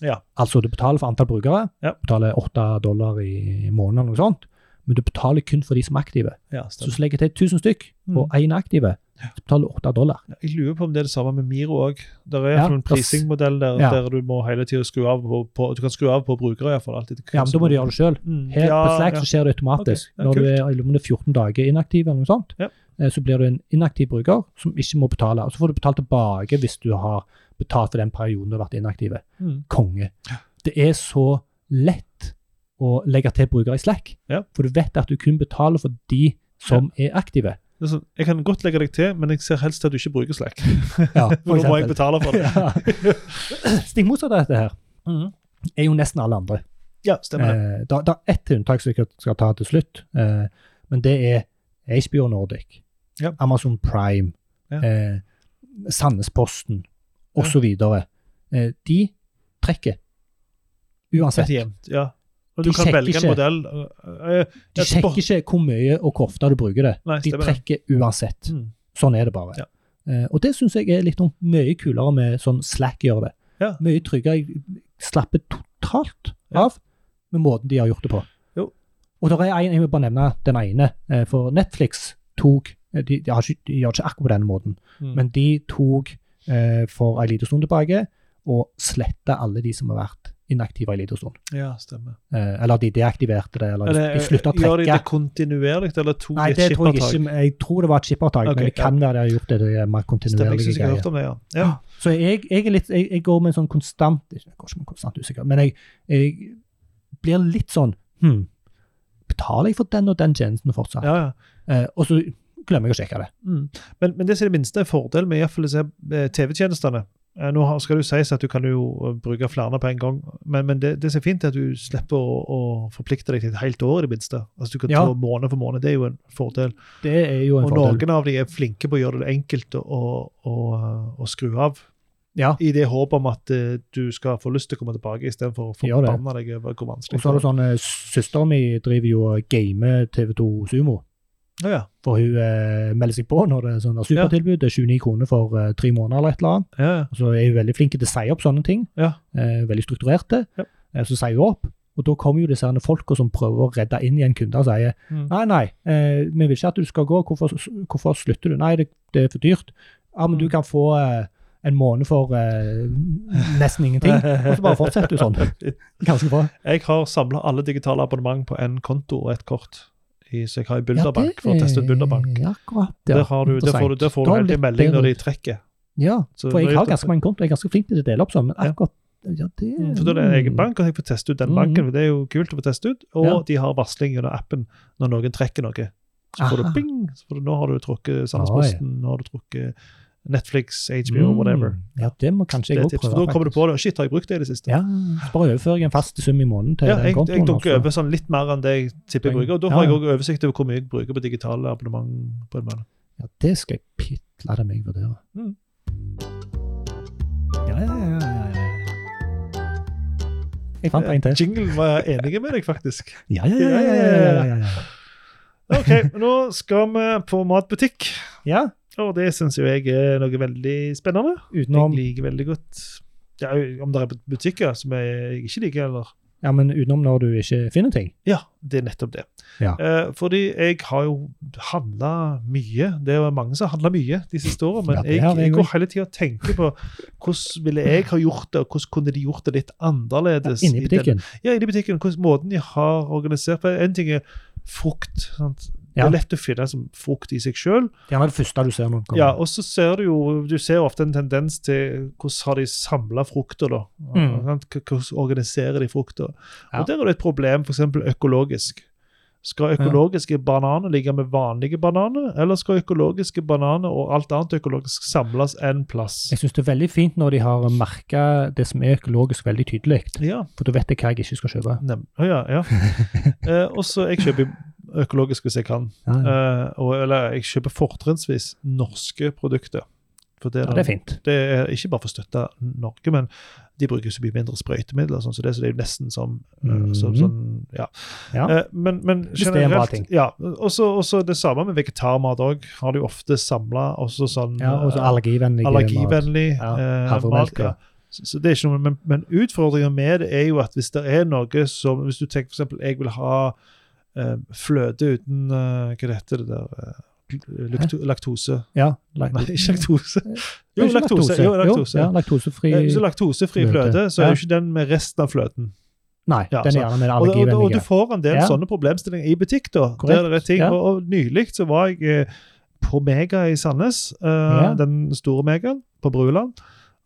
[SPEAKER 1] Ja.
[SPEAKER 2] Altså du betaler for antall brukere,
[SPEAKER 1] Ja.
[SPEAKER 2] betaler åtte dollar i måneden eller noe sånt, men du betaler kun for de som er aktive.
[SPEAKER 1] Ja,
[SPEAKER 2] Så hvis du legger til 1000 stykk, og én er aktive, så betaler du åtte dollar.
[SPEAKER 1] Jeg lurer på om det er det samme med Miro òg. Det er i
[SPEAKER 2] Ja,
[SPEAKER 1] hvert fall en
[SPEAKER 2] plass-
[SPEAKER 1] prisingmodell der,
[SPEAKER 2] Ja.
[SPEAKER 1] der du må hele tiden skru av på, på, du kan skru av på brukere. i hvert fall, alltid.
[SPEAKER 2] Ja, men da må du gjøre det sjøl.
[SPEAKER 1] Mm.
[SPEAKER 2] Her
[SPEAKER 1] ja,
[SPEAKER 2] på Slack
[SPEAKER 1] ja.
[SPEAKER 2] så skjer det automatisk.
[SPEAKER 1] Ok, ja,
[SPEAKER 2] Når du er i løpet av 14 dager inaktiv, eller noe sånt,
[SPEAKER 1] Ja.
[SPEAKER 2] eh, så blir du en inaktiv bruker som ikke må betale. Og så får du betalt tilbake hvis du har betalt for den perioden du har vært inaktiv.
[SPEAKER 1] Mm.
[SPEAKER 2] Konge. Det er så lett å legge til brukere i Slack,
[SPEAKER 1] Ja.
[SPEAKER 2] for du vet at du kun betaler for de som er
[SPEAKER 1] [LAUGHS]
[SPEAKER 2] aktive.
[SPEAKER 1] Det er sånn, jeg kan godt legge deg til, men jeg ser helst at du ikke bruker
[SPEAKER 2] [LAUGHS]
[SPEAKER 1] Slack.
[SPEAKER 2] Ja,
[SPEAKER 1] For da må jeg betale for det.
[SPEAKER 2] [LAUGHS] Ja. Stikk motsatt av dette her
[SPEAKER 1] Mm.
[SPEAKER 2] er jo nesten alle andre.
[SPEAKER 1] Ja, stemmer det.
[SPEAKER 2] Eh, da, da er ett unntak som jeg skal ta til slutt, eh, men det er HBO Nordic,
[SPEAKER 1] Ja.
[SPEAKER 2] Amazon Prime,
[SPEAKER 1] Ja.
[SPEAKER 2] eh, Sandnesposten
[SPEAKER 1] Ja.
[SPEAKER 2] osv. Eh, de trekker. Uansett.
[SPEAKER 1] Helt jevnt, ja. Og
[SPEAKER 2] De
[SPEAKER 1] du kan
[SPEAKER 2] sjekker
[SPEAKER 1] velge en
[SPEAKER 2] ikke.
[SPEAKER 1] modell. eh, eh,
[SPEAKER 2] De
[SPEAKER 1] jeg spør-
[SPEAKER 2] sjekker ikke hvor mye og hvor ofte du bruker det.
[SPEAKER 1] Nei,
[SPEAKER 2] De
[SPEAKER 1] stemmer det.
[SPEAKER 2] trekker uansett.
[SPEAKER 1] Mm.
[SPEAKER 2] Sånn er det bare.
[SPEAKER 1] Ja.
[SPEAKER 2] Eh, og det syns jeg er litt noe mye kulere med sånn Slack gjør det.
[SPEAKER 1] Ja.
[SPEAKER 2] Mye tryggere. Jeg slapper totalt
[SPEAKER 1] Ja.
[SPEAKER 2] av med måten de har gjort det på.
[SPEAKER 1] Jo.
[SPEAKER 2] Og der er en, jeg vil bare nevne den ene, eh, for Netflix tok eh, de, de, har ikke, de gjør ikke akkurat på denne måten,
[SPEAKER 1] Mm.
[SPEAKER 2] men de tok eh, for en liten stund tilbake og sletta alle de som har vært inaktive en liten stund.
[SPEAKER 1] ja, stemmer.
[SPEAKER 2] Eh, eller de deaktiverte det, eller de,
[SPEAKER 1] Eller,
[SPEAKER 2] de slutta å
[SPEAKER 1] Gjør de
[SPEAKER 2] trekke.
[SPEAKER 1] det kontinuerlig, eller to
[SPEAKER 2] Nei,
[SPEAKER 1] i et
[SPEAKER 2] det tror jeg
[SPEAKER 1] skippertak?
[SPEAKER 2] ikke. men Jeg tror det var et skippertak,
[SPEAKER 1] Ok,
[SPEAKER 2] men det kan være de har gjort det, det er
[SPEAKER 1] Stemmer,
[SPEAKER 2] mer
[SPEAKER 1] jeg
[SPEAKER 2] kontinuerlige
[SPEAKER 1] synes jeg har hørt
[SPEAKER 2] greier.
[SPEAKER 1] om det, ja. ja.
[SPEAKER 2] Så jeg, jeg, er litt, jeg, jeg går med en sånn konstant ikke- Jeg går ikke med en konstant usikker, men jeg, jeg blir litt sånn hmm, Betaler jeg for den og den tjenesten fortsatt?
[SPEAKER 1] ja, ja.
[SPEAKER 2] Eh, og så glemmer jeg å sjekke det.
[SPEAKER 1] Mm. Men, men det som er det minste er fordel med i hvert fall disse eh, TV-tjenestene, Eh, Nå har- skal det jo sies at du kan jo eh, bruke flere på en gang, men, men det, det som er fint, er at du slipper å, å forplikte deg til et helt år, i det minste. Altså Du kan
[SPEAKER 2] Ja.
[SPEAKER 1] ta måned for måned, det er jo en fordel.
[SPEAKER 2] Det er jo en
[SPEAKER 1] Og
[SPEAKER 2] fordel.
[SPEAKER 1] noen av de er flinke på å gjøre det enkelt å, å, å skru av,
[SPEAKER 2] Ja.
[SPEAKER 1] i det håp om at eh, du skal få lyst til å komme tilbake, istedenfor å
[SPEAKER 2] Gjør det.
[SPEAKER 1] forbanne deg over hvor vanskelig
[SPEAKER 2] Og så er det sånn, eh, Søsteren min driver jo og gamer TV2 Sumo.
[SPEAKER 1] Ja, ja.
[SPEAKER 2] For hun eh, melder seg på når det er sånn der supertilbud. Det er 29 kroner for eh, tre måneder eller et eller annet.
[SPEAKER 1] ja, ja.
[SPEAKER 2] Og så Altså, er hun veldig flink til å si opp sånne ting.
[SPEAKER 1] Ja.
[SPEAKER 2] Eh, veldig strukturerte.
[SPEAKER 1] Ja.
[SPEAKER 2] Eh, så sier hun opp. Og da kommer jo disse herne folka som prøver å redde inn i en kunde og sier
[SPEAKER 1] Mm.
[SPEAKER 2] nei, nei, eh, vi vil ikke at du skal gå, hvorfor, hvorfor slutter du? Nei, det, det er for dyrt. Ja, men du
[SPEAKER 1] Mm.
[SPEAKER 2] kan få eh, en måned for eh, nesten ingenting.
[SPEAKER 1] [LAUGHS]
[SPEAKER 2] Og så bare fortsetter du sånn. Ganske bra.
[SPEAKER 1] Jeg har samla alle digitale abonnement på én konto og ett kort. I, så jeg har i
[SPEAKER 2] Ja, det
[SPEAKER 1] Bulderbank for å teste ut Bulderbank.
[SPEAKER 2] er Akkurat, ja.
[SPEAKER 1] Der, har du, der får du, der får du
[SPEAKER 2] Da
[SPEAKER 1] helt en
[SPEAKER 2] litt
[SPEAKER 1] melding når
[SPEAKER 2] bedre
[SPEAKER 1] de trekker.
[SPEAKER 2] Ja,
[SPEAKER 1] Så
[SPEAKER 2] for jeg
[SPEAKER 1] det-
[SPEAKER 2] har ganske mange kontoer. Jeg er ganske flink til å dele opp sånn, men
[SPEAKER 1] Ja.
[SPEAKER 2] akkurat ja, det,
[SPEAKER 1] Mm, For da er det en egen bank, og jeg får teste ut den
[SPEAKER 2] Mm.
[SPEAKER 1] banken. for Det er jo kult å få teste ut. Og
[SPEAKER 2] Ja.
[SPEAKER 1] de har varsling gjennom appen når noen trekker noe. Så får du
[SPEAKER 2] Aha.
[SPEAKER 1] bing! Så får du, nå har du trukket
[SPEAKER 2] Oi.
[SPEAKER 1] Sandnesposten, nå har du trukket Netflix, HBO, whatever.
[SPEAKER 2] Mm, Ja, det må
[SPEAKER 1] Det
[SPEAKER 2] kanskje jeg
[SPEAKER 1] er
[SPEAKER 2] òg
[SPEAKER 1] et tips.
[SPEAKER 2] prøve.
[SPEAKER 1] For da kommer du
[SPEAKER 2] faktisk.
[SPEAKER 1] på det. Shit, har jeg brukt det i det siste?
[SPEAKER 2] Ja, så bare overfører jeg en fast sum i måneden til
[SPEAKER 1] Ja,
[SPEAKER 2] den
[SPEAKER 1] jeg,
[SPEAKER 2] kontoen.
[SPEAKER 1] jeg dunker
[SPEAKER 2] altså.
[SPEAKER 1] over sånn litt mer enn det jeg tipper jeg
[SPEAKER 2] Poeng.
[SPEAKER 1] bruker. Og da
[SPEAKER 2] Ja,
[SPEAKER 1] har jeg
[SPEAKER 2] ja.
[SPEAKER 1] òg oversikt over hvor mye jeg bruker på digitale abonnement. på en måned.
[SPEAKER 2] Ja, det skal jeg pitle det meg vurdere.
[SPEAKER 1] Mm.
[SPEAKER 2] Ja, ja, ja, ja, ja. Jeg fant en
[SPEAKER 1] Eh,
[SPEAKER 2] til.
[SPEAKER 1] Jingle var enige med deg, faktisk.
[SPEAKER 2] Ja, ja, ja. ja, ja, ja, ja, ja.
[SPEAKER 1] OK, nå skal vi på matbutikk.
[SPEAKER 2] ja
[SPEAKER 1] Og det syns jo jeg er noe veldig spennende.
[SPEAKER 2] utenom,
[SPEAKER 1] Jeg liker veldig godt ja, Om det er butikker som jeg ikke liker, eller
[SPEAKER 2] ja, men utenom når du ikke finner ting.
[SPEAKER 1] Ja, det er nettopp det.
[SPEAKER 2] Ja.
[SPEAKER 1] Eh, fordi jeg har jo handla mye. Det er jo mange som har handla mye de siste årene, men
[SPEAKER 2] Ja, det
[SPEAKER 1] jeg,
[SPEAKER 2] har
[SPEAKER 1] jeg,
[SPEAKER 2] jeg
[SPEAKER 1] går
[SPEAKER 2] også.
[SPEAKER 1] hele tida og tenker på hvordan ville jeg ha gjort det, og hvordan kunne de gjort det litt annerledes.
[SPEAKER 2] Inne
[SPEAKER 1] i
[SPEAKER 2] i
[SPEAKER 1] den-
[SPEAKER 2] butikken.
[SPEAKER 1] Ja, inne i butikken. Hvordan måten de har organisert på. En ting er frukt. Sant? Det
[SPEAKER 2] Ja.
[SPEAKER 1] er lett å finne som frukt i seg sjøl.
[SPEAKER 2] Gjerne det første du ser noen kommer.
[SPEAKER 1] Ja, og så ser du jo du ser jo ofte en tendens til hvordan har de samla frukter, da.
[SPEAKER 2] Mm.
[SPEAKER 1] Sant? K- Hvordan organiserer de frukter.
[SPEAKER 2] Ja.
[SPEAKER 1] Og der er det et problem f.eks. økologisk. Skal økologiske bananer ligge med vanlige bananer, eller skal økologiske bananer og alt annet økologisk samles en plass?
[SPEAKER 2] Jeg syns det er veldig fint når de har merka det som er økologisk veldig tydelig,
[SPEAKER 1] Ja,
[SPEAKER 2] for da vet jeg hva jeg ikke skal kjøpe.
[SPEAKER 1] nem, Å ja,
[SPEAKER 2] [LAUGHS]
[SPEAKER 1] ja. eh, og så jeg kjøper økologisk hvis jeg kan.
[SPEAKER 2] Ja, ja.
[SPEAKER 1] Eh, og, eller jeg kjøper fortrinnsvis norske produkter. For det, er
[SPEAKER 2] Ja,
[SPEAKER 1] den-
[SPEAKER 2] det er fint.
[SPEAKER 1] Det er ikke bare for å støtte Norge, men de bruker så mye mindre sprøytemidler, og sånn, så det, så det er jo nesten som, eh,
[SPEAKER 2] Mhm.
[SPEAKER 1] som sånn, ja.
[SPEAKER 2] Ja.
[SPEAKER 1] Eh, Men, men
[SPEAKER 2] Hvis det er en bra ting.
[SPEAKER 1] Ja. Og så og så det samme med vegetarmat òg. Har de ofte samla også sånn
[SPEAKER 2] Ja, og så
[SPEAKER 1] eh,
[SPEAKER 2] allergivennlig.
[SPEAKER 1] allergivennlig
[SPEAKER 2] Ja,
[SPEAKER 1] eh,
[SPEAKER 2] havremelk, ja.
[SPEAKER 1] Så, så det er ikke noe, men, men utfordringen med det er jo at hvis det er noe som Hvis du tenker f.eks. jeg vil ha eh, fløte uten eh, Hva heter det der eh, lakt- Laktose.
[SPEAKER 2] Ja, lak-
[SPEAKER 1] Nei, ikke laktose. Jo,
[SPEAKER 2] Ikke
[SPEAKER 1] laktose. Jo, laktose.
[SPEAKER 2] ja, laktosefri
[SPEAKER 1] Eh, Hvis du er laktosefri
[SPEAKER 2] fløte.
[SPEAKER 1] fløte, så er
[SPEAKER 2] Ja.
[SPEAKER 1] jo ikke den med resten av fløten.
[SPEAKER 2] Nei,
[SPEAKER 1] Ja,
[SPEAKER 2] den
[SPEAKER 1] så-
[SPEAKER 2] er gjerne den
[SPEAKER 1] Og, og, og du
[SPEAKER 2] allergivennlige.
[SPEAKER 1] får en del
[SPEAKER 2] Ja.
[SPEAKER 1] sånne problemstillinger i butikk, da.
[SPEAKER 2] Korrekt,
[SPEAKER 1] Der det er ting.
[SPEAKER 2] ja.
[SPEAKER 1] Og, og nylig så var jeg eh, på Mega i Sandnes, eh,
[SPEAKER 2] Ja.
[SPEAKER 1] den store Megaen på Bruland.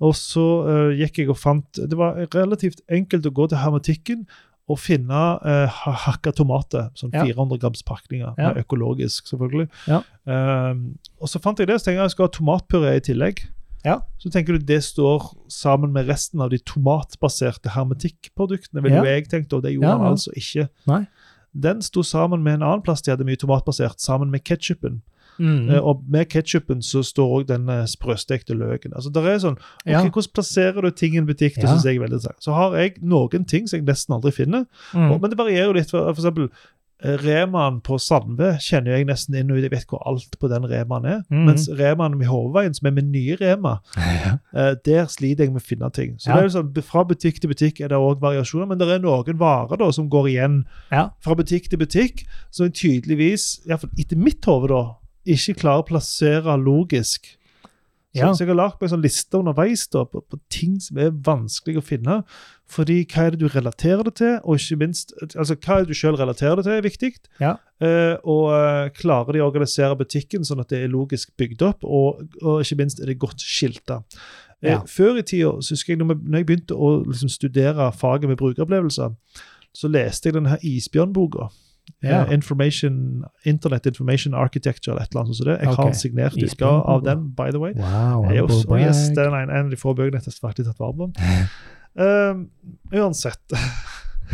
[SPEAKER 1] Og så eh, gikk jeg og fant Det var relativt enkelt å gå til hermetikken og finne eh, ha- hakka tomater. Sånn
[SPEAKER 2] Ja.
[SPEAKER 1] 400 grams pakninger.
[SPEAKER 2] Ja.
[SPEAKER 1] med Økologisk, selvfølgelig.
[SPEAKER 2] Ja.
[SPEAKER 1] Eh, og så fant jeg det, så tenkte jeg jeg skal ha tomatpuré i tillegg.
[SPEAKER 2] Ja.
[SPEAKER 1] Så tenker du det står sammen med resten av de tomatbaserte hermetikkproduktene, ville
[SPEAKER 2] Ja.
[SPEAKER 1] jo jeg tenkt, og det gjorde
[SPEAKER 2] Ja, ja.
[SPEAKER 1] han altså ikke.
[SPEAKER 2] Nei.
[SPEAKER 1] Den sto sammen med en annen plass de hadde mye tomatbasert, sammen med ketsjupen.
[SPEAKER 2] Mm.
[SPEAKER 1] Eh, og med ketsjupen så står òg den eh, sprøstekte løken. Altså, der er sånn, ok,
[SPEAKER 2] Ja.
[SPEAKER 1] Hvordan plasserer du ting i en butikk? Det
[SPEAKER 2] Ja.
[SPEAKER 1] synes jeg er veldig interessant. Så har jeg noen ting som jeg nesten aldri finner,
[SPEAKER 2] Mm.
[SPEAKER 1] og, men det varierer jo litt. For, for eksempel, eh, Remaen på Sandve kjenner jeg nesten inn og ut. Jeg vet hvor alt på den Remaen er.
[SPEAKER 2] Mhm.
[SPEAKER 1] Mens Remaen i Hovedveien, som er min nye
[SPEAKER 2] [LAUGHS]
[SPEAKER 1] Rema, eh, der sliter jeg med å finne ting. Så
[SPEAKER 2] Ja.
[SPEAKER 1] det er jo sånn, Fra butikk til butikk er det òg variasjoner, men det er noen varer da som går igjen
[SPEAKER 2] Ja.
[SPEAKER 1] fra butikk til butikk, som tydeligvis, iallfall etter mitt hode, da, ikke klarer å plassere logisk. Så,
[SPEAKER 2] Ja.
[SPEAKER 1] så jeg har lagt meg en sånn liste underveis da, på, på ting som er vanskelig å finne. Fordi hva er det du relaterer det til, og ikke minst altså hva er det du selv relaterer det til, er viktig.
[SPEAKER 2] Ja.
[SPEAKER 1] Eh, og eh, klarer de å organisere butikken sånn at det er logisk bygd opp, og, og ikke minst er det godt skilta. Eh,
[SPEAKER 2] Ja.
[SPEAKER 1] Før i tida, så husker jeg når vi- når jeg begynte å liksom, studere faget med brukeropplevelser, så leste jeg denne her isbjørnboka
[SPEAKER 2] Ja.
[SPEAKER 1] Eh, Information, Internet Information Architecture eller et eller annet sånt som det. Jeg har
[SPEAKER 2] Ok.
[SPEAKER 1] en signert
[SPEAKER 2] Isbjørn
[SPEAKER 1] utgave av
[SPEAKER 2] Bobo.
[SPEAKER 1] den, by the way.
[SPEAKER 2] Wow.
[SPEAKER 1] Jeg er også, eh, og yes,
[SPEAKER 2] Appleback.
[SPEAKER 1] det er en, en av de få bøkene jeg faktisk har tatt
[SPEAKER 2] [LAUGHS]
[SPEAKER 1] vare på. Um, uansett [LAUGHS]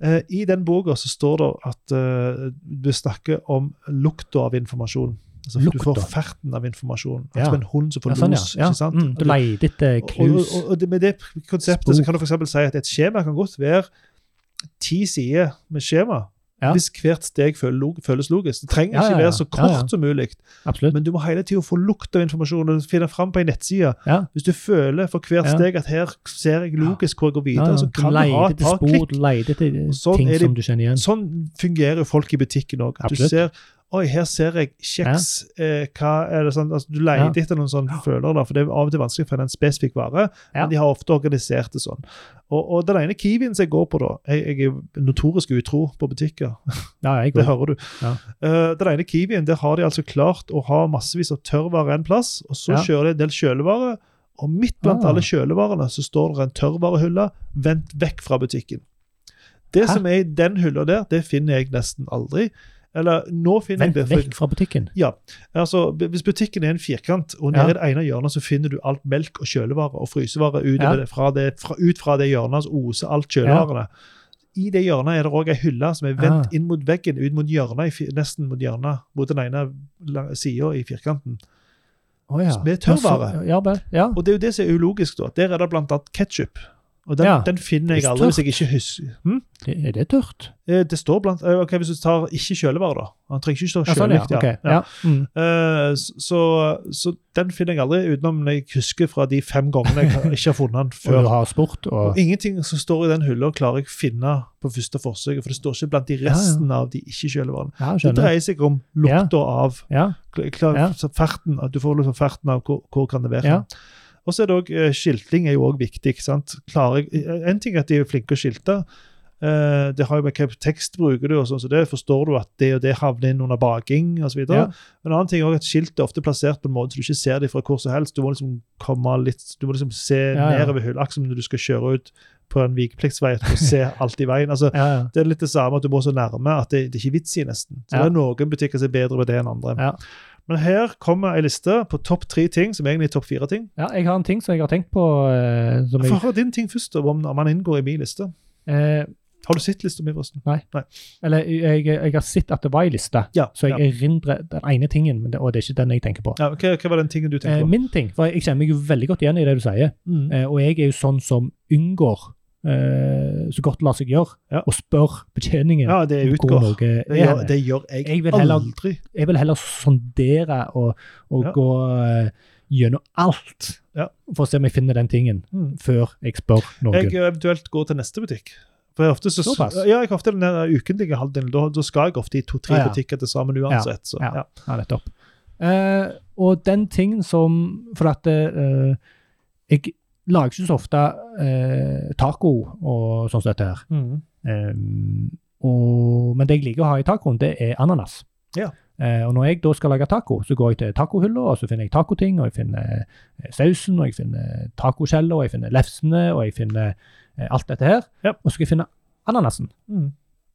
[SPEAKER 1] Eh, I den boka så står det at eh, du snakker om lukta av informasjon. Altså, du får
[SPEAKER 2] Lukta.
[SPEAKER 1] ferten av informasjon.
[SPEAKER 2] Ja.
[SPEAKER 1] Akkurat som en hund som får
[SPEAKER 2] ja, sånn, ja.
[SPEAKER 1] los.
[SPEAKER 2] ja.
[SPEAKER 1] ikke sant?
[SPEAKER 2] Mm, du leter etter
[SPEAKER 1] og,
[SPEAKER 2] knus.
[SPEAKER 1] og, og det- Med det konseptet så
[SPEAKER 2] Spor.
[SPEAKER 1] kan du for eksempel si at et skjema kan godt være ti sider med skjema.
[SPEAKER 2] Ja.
[SPEAKER 1] Hvis hvert steg føles log- føles logisk. Det trenger
[SPEAKER 2] Ja, ja,
[SPEAKER 1] ikke
[SPEAKER 2] ja.
[SPEAKER 1] være så
[SPEAKER 2] Ja,
[SPEAKER 1] kort
[SPEAKER 2] ja.
[SPEAKER 1] som mulig,
[SPEAKER 2] Absolutt.
[SPEAKER 1] men du må hele tida få lukt av informasjon og finne fram på ei nettside.
[SPEAKER 2] Ja.
[SPEAKER 1] Hvis du føler for hvert
[SPEAKER 2] Ja.
[SPEAKER 1] steg at her ser jeg logisk hvor jeg går
[SPEAKER 2] Ja,
[SPEAKER 1] videre,
[SPEAKER 2] ja.
[SPEAKER 1] så
[SPEAKER 2] Du
[SPEAKER 1] altså, kan du ha
[SPEAKER 2] leter
[SPEAKER 1] et
[SPEAKER 2] etter
[SPEAKER 1] par
[SPEAKER 2] spor,
[SPEAKER 1] klikk.
[SPEAKER 2] du leter etter
[SPEAKER 1] sånn
[SPEAKER 2] ting
[SPEAKER 1] er det-
[SPEAKER 2] som du kjenner igjen.
[SPEAKER 1] Sånn fungerer jo folk i butikken òg. Du
[SPEAKER 2] Absolutt.
[SPEAKER 1] ser Oi, her ser jeg kjeks. Eh, hva er det sånn, altså, Du leter etter noen sånne følere, da, for det er av og til vanskelig å finne en spesifikk vare.
[SPEAKER 2] Ja.
[SPEAKER 1] Men de har ofte organisert det sånn. Og, og den ene kiwien som jeg går på, da Jeg, jeg er jo notorisk utro på butikker.
[SPEAKER 2] Ja, jeg
[SPEAKER 1] Det
[SPEAKER 2] går.
[SPEAKER 1] hører du.
[SPEAKER 2] Ja.
[SPEAKER 1] Eh, den ene kiwien der har de altså klart å ha massevis av tørrvare en plass, og så
[SPEAKER 2] Ja.
[SPEAKER 1] kjører de en del kjølevare. Og midt blant
[SPEAKER 2] Ah.
[SPEAKER 1] alle kjølevarene så står det en tørrvarehylle vendt vekk fra butikken. Det
[SPEAKER 2] Hæ?
[SPEAKER 1] som er i den hylla der, det finner jeg nesten aldri. Eller nå finner
[SPEAKER 2] Vent
[SPEAKER 1] jeg det.
[SPEAKER 2] vekk
[SPEAKER 1] For,
[SPEAKER 2] fra butikken.
[SPEAKER 1] ja, altså b- Hvis butikken er en firkant, og
[SPEAKER 2] Ja.
[SPEAKER 1] nede i det ene hjørnet så finner du alt melk og kjølevare og frysevare utover
[SPEAKER 2] Ja.
[SPEAKER 1] det, fra det, fra, ut fra det hjørnet, så oser alt kjølevarene. I det hjørnet er det òg ei hylle som er vendt
[SPEAKER 2] Ah.
[SPEAKER 1] inn mot veggen, ut mot hjørnet, i fir- nesten mot hjørnet, mot den ene sida i firkanten.
[SPEAKER 2] Å ja.
[SPEAKER 1] Med tørrvare.
[SPEAKER 2] Ja, så- Ja, vel. Ja.
[SPEAKER 1] Og det er jo det som er ulogisk, da. Der er det blant annet ketsjup. Og den,
[SPEAKER 2] Ja.
[SPEAKER 1] den finner jeg
[SPEAKER 2] Visst
[SPEAKER 1] aldri hvis jeg ikke husker. Hm?
[SPEAKER 2] Det- Er det tørt?
[SPEAKER 1] Eh, Det står blant eh, Ok, hvis du tar ikke kjølevare, da. Han trenger ikke stå
[SPEAKER 2] Ja, sånn, ja.
[SPEAKER 1] kjølig.
[SPEAKER 2] Ok. Ja. Mm.
[SPEAKER 1] Eh, s- Så, så den finner jeg aldri, utenom når jeg husker fra de fem gangene jeg har- ikke har funnet
[SPEAKER 2] [LAUGHS]
[SPEAKER 1] den
[SPEAKER 2] Og du
[SPEAKER 1] før.
[SPEAKER 2] har sport og
[SPEAKER 1] Og ingenting som står i den hylla, klarer jeg å finne på første forsøket, for det står ikke blant de resten av de ikke-kjølevarene.
[SPEAKER 2] Ja,
[SPEAKER 1] Det
[SPEAKER 2] skjønner.
[SPEAKER 1] dreier seg om lukta av
[SPEAKER 2] Ja,
[SPEAKER 1] kl- klar,
[SPEAKER 2] Ja.
[SPEAKER 1] så ferten, at du får liksom ferten av hvor, hvor kan det være.
[SPEAKER 2] Ja.
[SPEAKER 1] Og så er det også, eh, Skilting er jo òg viktig. ikke sant? Klarer jeg, eh, en ting er at de er flinke å skilte. eh, det har jo med hva tekst bruker du, og sånn, så det forstår du at det og det havner inn under baking osv.
[SPEAKER 2] Ja.
[SPEAKER 1] videre Men en annen ting er også at skilt er ofte plassert på en måte så du ikke ser det fra hvor som helst. Du må liksom komme litt, du må liksom se
[SPEAKER 2] Ja, ja.
[SPEAKER 1] nedover hullet, akkurat som når du skal kjøre ut på en vikepliktsvei at du må se alt i veien. altså
[SPEAKER 2] ja, ja.
[SPEAKER 1] det er litt det samme at du må så nærme at det, det er ikke vits i, nesten. Så
[SPEAKER 2] Ja.
[SPEAKER 1] det er noen butikker som er bedre på det enn andre.
[SPEAKER 2] Ja.
[SPEAKER 1] Men her kommer ei liste på topp tre ting, som egentlig er topp fire ting.
[SPEAKER 2] ja, jeg har en ting som jeg har tenkt på eh, som
[SPEAKER 1] Få
[SPEAKER 2] jeg,
[SPEAKER 1] høre din ting først, om, om han inngår i min liste.
[SPEAKER 2] eh,
[SPEAKER 1] Har du sett lista mi, forresten?
[SPEAKER 2] Eller jeg, jeg har sett at det var ei liste,
[SPEAKER 1] Ja,
[SPEAKER 2] så jeg
[SPEAKER 1] ja.
[SPEAKER 2] erindrer den ene tingen, men det, og det er ikke den jeg tenker på.
[SPEAKER 1] Ja, hva, hva var den tingen du
[SPEAKER 2] Eh,
[SPEAKER 1] tenkte på?
[SPEAKER 2] min ting, for Jeg kjenner meg jo veldig godt igjen i det du sier,
[SPEAKER 1] Mm.
[SPEAKER 2] eh, og jeg er jo sånn som unngår, eh, så godt det lar seg gjøre,
[SPEAKER 1] Ja.
[SPEAKER 2] å spørre betjeningen
[SPEAKER 1] Ja, det
[SPEAKER 2] hvor
[SPEAKER 1] utgår.
[SPEAKER 2] noe er.
[SPEAKER 1] Det gjør,
[SPEAKER 2] hen.
[SPEAKER 1] det gjør jeg,
[SPEAKER 2] Jeg vil heller-
[SPEAKER 1] aldri.
[SPEAKER 2] Jeg vil heller sondere og, og
[SPEAKER 1] Ja.
[SPEAKER 2] gå eh, gjennom alt
[SPEAKER 1] Ja.
[SPEAKER 2] for å se om jeg finner den tingen,
[SPEAKER 1] Mm.
[SPEAKER 2] før jeg spør noen.
[SPEAKER 1] Jeg eventuelt går til neste butikk. For jeg ofte så,
[SPEAKER 2] Såpass?
[SPEAKER 1] Ja, jeg har ofte den der ukentlige halvdelen. Da, da skal jeg ofte i to-tre
[SPEAKER 2] Ja, ja.
[SPEAKER 1] butikker til sammen uansett. Så,
[SPEAKER 2] Ja.
[SPEAKER 1] ja.
[SPEAKER 2] Ja, nettopp. Eh, og den tingen som For at eh, jeg lager ikke så ofte eh, taco og sånn som dette her.
[SPEAKER 1] Mm.
[SPEAKER 2] Eh, og, men det jeg liker å ha i tacoen, det er ananas.
[SPEAKER 1] Ja.
[SPEAKER 2] Eh, og når jeg da skal lage taco, så går jeg til tacohylla, og så finner jeg tacoting, og jeg finner eh, sausen, og jeg finner tacoskjellet, og jeg finner lefsene, og jeg finner eh, alt dette her.
[SPEAKER 1] Ja.
[SPEAKER 2] Og så skal jeg finne ananasen.
[SPEAKER 1] Mm.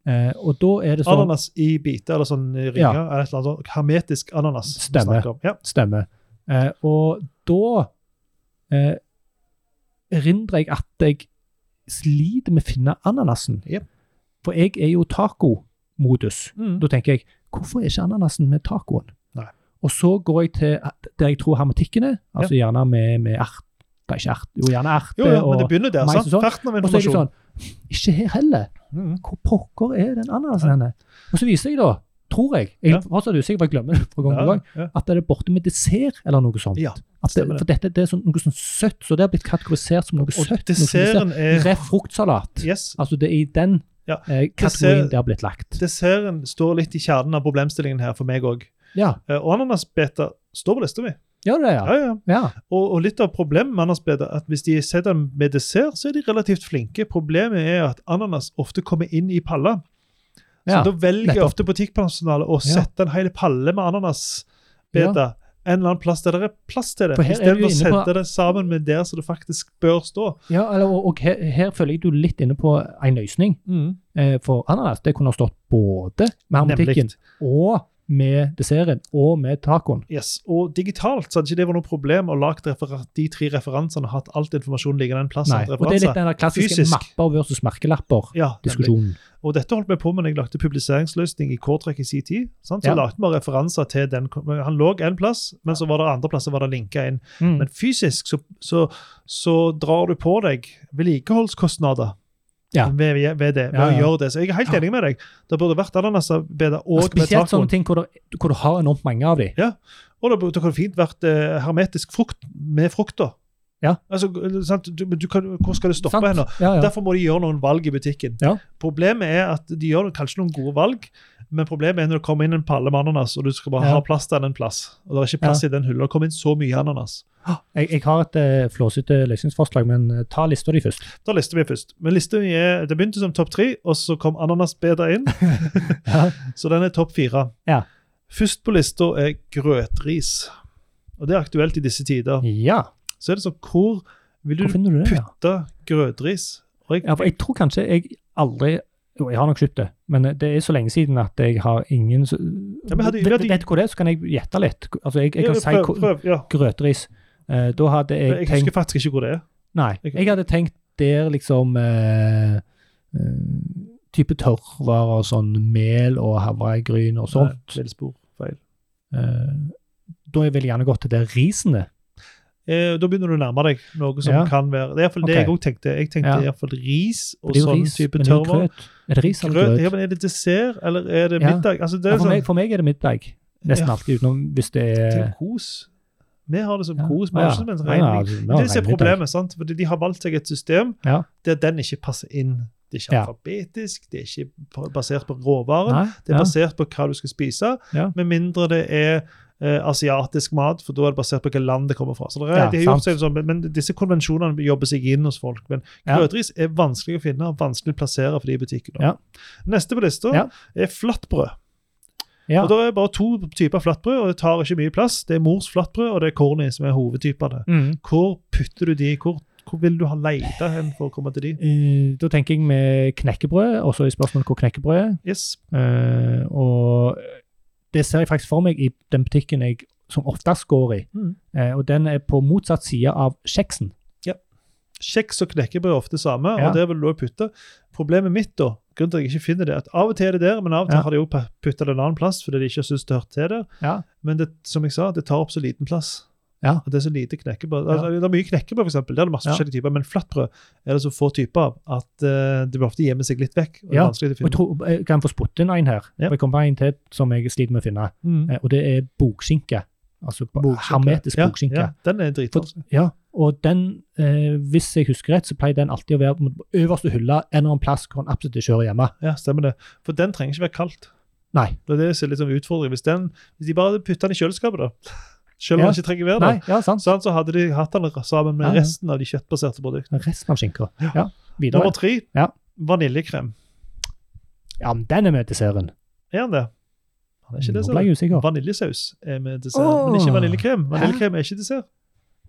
[SPEAKER 2] Eh, og da er det sånn
[SPEAKER 1] Ananas i biter eller sånn i ringer.
[SPEAKER 2] Ja.
[SPEAKER 1] Eller et eller annet sånt. Hermetisk ananas. vi
[SPEAKER 2] Stemmer.
[SPEAKER 1] snakker om. Ja.
[SPEAKER 2] Stemmer. Eh, og da eh, erindrer jeg at jeg sliter med å finne ananasen.
[SPEAKER 1] Jep.
[SPEAKER 2] For jeg er jo tacomodus.
[SPEAKER 1] Mm.
[SPEAKER 2] Da tenker jeg hvorfor er ikke ananasen med tacoen?
[SPEAKER 1] Nei.
[SPEAKER 2] Og så går jeg til at- der jeg tror hermetikken er, altså gjerne med, med ert, det er ikke ert, jo gjerne erte.
[SPEAKER 1] Jo, ja, men det
[SPEAKER 2] og,
[SPEAKER 1] begynner der.
[SPEAKER 2] mais
[SPEAKER 1] sant?
[SPEAKER 2] og sånn.
[SPEAKER 1] Ferten av
[SPEAKER 2] og så er det
[SPEAKER 1] informasjon.
[SPEAKER 2] sånn Ikke her heller.
[SPEAKER 1] Mm.
[SPEAKER 2] Hvor pokker er den ananasen henne? Og så viser jeg da, tror jeg, jeg
[SPEAKER 1] Ja.
[SPEAKER 2] er fortsatt usikker, for jeg glemmer det fra gang
[SPEAKER 1] Ja,
[SPEAKER 2] til gang,
[SPEAKER 1] ja.
[SPEAKER 2] at det er borte med dessert eller noe sånt.
[SPEAKER 1] Ja,
[SPEAKER 2] at det,
[SPEAKER 1] stemmer det.
[SPEAKER 2] for dette det er sånn, noe sånn søtt, så det har blitt kategorisert som noe
[SPEAKER 1] Og
[SPEAKER 2] søtt. noe
[SPEAKER 1] desserten
[SPEAKER 2] dessert.
[SPEAKER 1] er
[SPEAKER 2] Ref fruktsalat.
[SPEAKER 1] Yes.
[SPEAKER 2] Altså det er i den
[SPEAKER 1] Ja,
[SPEAKER 2] eh, kategorien
[SPEAKER 1] dessert-
[SPEAKER 2] det har blitt lagt.
[SPEAKER 1] Desserten står litt i kjernen av problemstillingen her for meg òg.
[SPEAKER 2] Ja,
[SPEAKER 1] Og ananasbeter står på lista mi.
[SPEAKER 2] gjør det det,
[SPEAKER 1] Ja,
[SPEAKER 2] ja.
[SPEAKER 1] ja.
[SPEAKER 2] ja.
[SPEAKER 1] Og, og litt av problemet med ananasbeter er at hvis de setter den med dessert, så er de relativt flinke. Problemet er at ananas ofte kommer inn i palla. Så
[SPEAKER 2] ja.
[SPEAKER 1] da velger
[SPEAKER 2] nettopp.
[SPEAKER 1] ofte butikkpersonalet å
[SPEAKER 2] Ja.
[SPEAKER 1] sette en hel palle med ananasbeter en eller annen plass der det er plass til det.
[SPEAKER 2] For her er
[SPEAKER 1] Istedenfor
[SPEAKER 2] du
[SPEAKER 1] å
[SPEAKER 2] inne på-
[SPEAKER 1] sette det sammen med der som det faktisk bør stå.
[SPEAKER 2] Ja, eller, og, og her, her føler jeg du er litt inne på en løsning. Eh, for ananas det kunne ha stått både med hermetikken
[SPEAKER 1] Nemlig.
[SPEAKER 2] og med desserten og med tacoen.
[SPEAKER 1] Yes. Og digitalt så hadde ikke det vært noe problem å lage de tre referansene og hatt alt informasjon liggende i en plass.
[SPEAKER 2] Nei,
[SPEAKER 1] alt
[SPEAKER 2] og Det er litt
[SPEAKER 1] referanser.
[SPEAKER 2] den der klassiske
[SPEAKER 1] Fysisk.
[SPEAKER 2] mapper versus merkelapper.
[SPEAKER 1] Ja, nemlig.
[SPEAKER 2] Diskusjonen.
[SPEAKER 1] Og dette holdt vi på med når jeg lagde publiseringsløsning i K-trekk i sin tid. Sant? Så
[SPEAKER 2] Ja.
[SPEAKER 1] lagde vi referanser til den. Han lå en plass, men så var det andre plasser var det linka inn.
[SPEAKER 2] Mm.
[SPEAKER 1] Men fysisk så, så, så drar du på deg vedlikeholdskostnader
[SPEAKER 2] Ja.
[SPEAKER 1] ved, ved- ved det. ved
[SPEAKER 2] Ja,
[SPEAKER 1] å
[SPEAKER 2] ja.
[SPEAKER 1] gjøre det. Så jeg er helt
[SPEAKER 2] Ja.
[SPEAKER 1] enig med deg. Det burde vært ananasarbeider
[SPEAKER 2] Og
[SPEAKER 1] og med
[SPEAKER 2] spesielt
[SPEAKER 1] tacoen.
[SPEAKER 2] sånn- sånne ting hvor, det, hvor du har enormt mange av de.
[SPEAKER 1] Og det burde det kunne fint vært eh, hermetisk frukt med frukta.
[SPEAKER 2] Ja.
[SPEAKER 1] Altså, sant? Du, men du kan, hvor skal det stoppe
[SPEAKER 2] Sant?
[SPEAKER 1] hen? nå?
[SPEAKER 2] Ja, ja.
[SPEAKER 1] Derfor må de gjøre noen valg i butikken.
[SPEAKER 2] Ja.
[SPEAKER 1] Problemet er at de gjør kanskje noen gode valg, men problemet er når det kommer inn en palle med ananas, og du skal bare
[SPEAKER 2] Ja.
[SPEAKER 1] ha plass til den en plass. Og det er ikke plass i den hylla. Det kommer inn så mye ananas.
[SPEAKER 2] Jeg, jeg har et eh, flåsete løsningsforslag, men eh, ta lista di først.
[SPEAKER 1] Da lister vi først. Men lista mi er Det begynte som topp tre, og så kom ananasbeder inn.
[SPEAKER 2] [LAUGHS] Ja.
[SPEAKER 1] Så den er topp fire.
[SPEAKER 2] Ja.
[SPEAKER 1] Først på lista er grøtris. Og det er aktuelt i disse tider.
[SPEAKER 2] ja.
[SPEAKER 1] Så er det sånn Hvor vil du
[SPEAKER 2] Hvor finner du det? Ja?
[SPEAKER 1] putte grøtris? Og jeg,
[SPEAKER 2] Ja, for jeg tror kanskje jeg aldri jo, jeg har nok kjøpt det, men eh, det er så lenge siden at jeg har ingen så,
[SPEAKER 1] Ja, men hadde-
[SPEAKER 2] Vet-
[SPEAKER 1] hadde-
[SPEAKER 2] Vet du hva det er, så kan jeg gjette litt. Altså, jeg, jeg kan si
[SPEAKER 1] prøv,
[SPEAKER 2] ko-
[SPEAKER 1] prøv, ja.
[SPEAKER 2] grøtris. Eh, da hadde jeg,
[SPEAKER 1] Jeg
[SPEAKER 2] tenkt
[SPEAKER 1] husker faktisk ikke hvor det er.
[SPEAKER 2] Nei,
[SPEAKER 1] jeg-
[SPEAKER 2] jeg hadde tenkt der liksom eh, eh, Type tørrvarer, sånn mel og havregryn og sånt.
[SPEAKER 1] Nei, lille spor, feil.
[SPEAKER 2] Eh, da jeg ville gjerne gått til der risene.
[SPEAKER 1] Eh, da begynner du å nærme deg noe som
[SPEAKER 2] Ja.
[SPEAKER 1] kan være Det er iallfall det
[SPEAKER 2] Ok.
[SPEAKER 1] jeg òg tenkte. Jeg tenkte
[SPEAKER 2] Ja.
[SPEAKER 1] i hvert fall ris
[SPEAKER 2] For
[SPEAKER 1] og
[SPEAKER 2] det er jo
[SPEAKER 1] sånn
[SPEAKER 2] ris,
[SPEAKER 1] type
[SPEAKER 2] men det er jo
[SPEAKER 1] tørrvare.
[SPEAKER 2] grøt. Er det ris eller
[SPEAKER 1] Grøt, ja,
[SPEAKER 2] grøt?
[SPEAKER 1] men Er det dessert, eller er det
[SPEAKER 2] Ja.
[SPEAKER 1] middag? Altså, det
[SPEAKER 2] Ja,
[SPEAKER 1] er
[SPEAKER 2] for,
[SPEAKER 1] sånn,
[SPEAKER 2] meg, for meg er det middag. Nesten
[SPEAKER 1] Ja.
[SPEAKER 2] alltid utenom hvis det er
[SPEAKER 1] til kos. Eh, Vi har det som
[SPEAKER 2] Ja.
[SPEAKER 1] kos. Vi
[SPEAKER 2] Ja,
[SPEAKER 1] har ikke det som en
[SPEAKER 2] ja, ja,
[SPEAKER 1] regning.
[SPEAKER 2] altså, vi
[SPEAKER 1] Men
[SPEAKER 2] har
[SPEAKER 1] det som er
[SPEAKER 2] regnet ut
[SPEAKER 1] problemet, sant? Fordi de har valgt seg et system
[SPEAKER 2] Ja.
[SPEAKER 1] der den ikke passer inn. Det er ikke
[SPEAKER 2] Ja.
[SPEAKER 1] alfabetisk, det er ikke basert på
[SPEAKER 2] alt.
[SPEAKER 1] råvaren.
[SPEAKER 2] Nei,
[SPEAKER 1] Det er
[SPEAKER 2] ja.
[SPEAKER 1] basert på hva du skal spise,
[SPEAKER 2] Ja.
[SPEAKER 1] med mindre det er eh, asiatisk mat, for da er det basert på hvilket land det kommer fra. Så det er,
[SPEAKER 2] Ja,
[SPEAKER 1] de har gjort
[SPEAKER 2] sant.
[SPEAKER 1] seg sånn, men, men disse konvensjonene jobber seg inn hos folk. Men
[SPEAKER 2] Ja.
[SPEAKER 1] grøtris er vanskelig å finne og vanskelig å plassere for de i butikken.
[SPEAKER 2] Ja.
[SPEAKER 1] Neste på lista
[SPEAKER 2] Ja.
[SPEAKER 1] er flatbrød.
[SPEAKER 2] Ja.
[SPEAKER 1] Og Da er det bare to typer flatbrød, og det tar ikke mye plass. Det er mors flatbrød, og det er corny som er hovedtypene.
[SPEAKER 2] Mm.
[SPEAKER 1] Hvor putter du de? Hvor, hvor vil du ha leita hen for å komme til de?
[SPEAKER 2] Eh, Da tenker jeg med knekkebrød, og så er spørsmålet hvor knekkebrød er.
[SPEAKER 1] Yes.
[SPEAKER 2] Eh, og det ser jeg faktisk for meg i den butikken jeg som oftest går i.
[SPEAKER 1] Mm.
[SPEAKER 2] Eh, og den er på motsatt side av kjeksen.
[SPEAKER 1] Kjeks og knekkebrød er ofte samme,
[SPEAKER 2] Ja.
[SPEAKER 1] og der vil du også putte. Problemet mitt da, grunnen til at jeg ikke finner det, er at av og til er det der, men av og til
[SPEAKER 2] Ja.
[SPEAKER 1] har de jo putta det en annen plass fordi de ikke syns det hørte til der.
[SPEAKER 2] Ja.
[SPEAKER 1] Men det, som jeg sa, det tar opp så liten plass.
[SPEAKER 2] Ja.
[SPEAKER 1] Og Det er så lite knekkebrød.
[SPEAKER 2] Ja.
[SPEAKER 1] Altså, det er mye knekkebrød, f.eks. Der er det masse
[SPEAKER 2] Ja.
[SPEAKER 1] forskjellige typer, men flatbrød er det så få typer av at eh, det blir ofte gjemmer seg litt vekk. og det er
[SPEAKER 2] Ja,
[SPEAKER 1] vanskelig å
[SPEAKER 2] Og jeg
[SPEAKER 1] finne.
[SPEAKER 2] tror, eh, jeg kan få spotte en her.
[SPEAKER 1] Ja.
[SPEAKER 2] Og jeg kommer på en til som jeg sliter med å finne,
[SPEAKER 1] Mm.
[SPEAKER 2] eh, og det er bokskinke. Altså ba-
[SPEAKER 1] Bokskinke.
[SPEAKER 2] hermetisk
[SPEAKER 1] Ja,
[SPEAKER 2] bokskinke.
[SPEAKER 1] Ja, den er altså.
[SPEAKER 2] For,
[SPEAKER 1] dritvanskelig.
[SPEAKER 2] ja, og den, eh, hvis jeg husker rett, så pleier den alltid å være på øverste hylla en eller annen plass hvor den absolutt ikke hører hjemme.
[SPEAKER 1] Ja, stemmer det. For den trenger ikke være kaldt.
[SPEAKER 2] Nei.
[SPEAKER 1] Det er det som er litt sånn utfordring. Hvis, den, hvis de bare hadde putta den i kjøleskapet, da. Selv om
[SPEAKER 2] Ja.
[SPEAKER 1] den ikke trenger være der.
[SPEAKER 2] Nei, ja, sant.
[SPEAKER 1] Sånn, så hadde de hatt den sammen med
[SPEAKER 2] Ja, ja.
[SPEAKER 1] resten av de kjøttbaserte produktene.
[SPEAKER 2] Resten av skinka. Ja. Videre.
[SPEAKER 1] Nummer tre
[SPEAKER 2] Ja.
[SPEAKER 1] vaniljekrem.
[SPEAKER 2] Ja, men den er med desserten.
[SPEAKER 1] Er han det? Han er ikke det,
[SPEAKER 2] Nå
[SPEAKER 1] ser
[SPEAKER 2] ble
[SPEAKER 1] du.
[SPEAKER 2] jeg usikker.
[SPEAKER 1] Vaniljesaus er med dessert,
[SPEAKER 2] Åh.
[SPEAKER 1] men ikke vaniljekrem. Vaniljekrem er ikke dessert.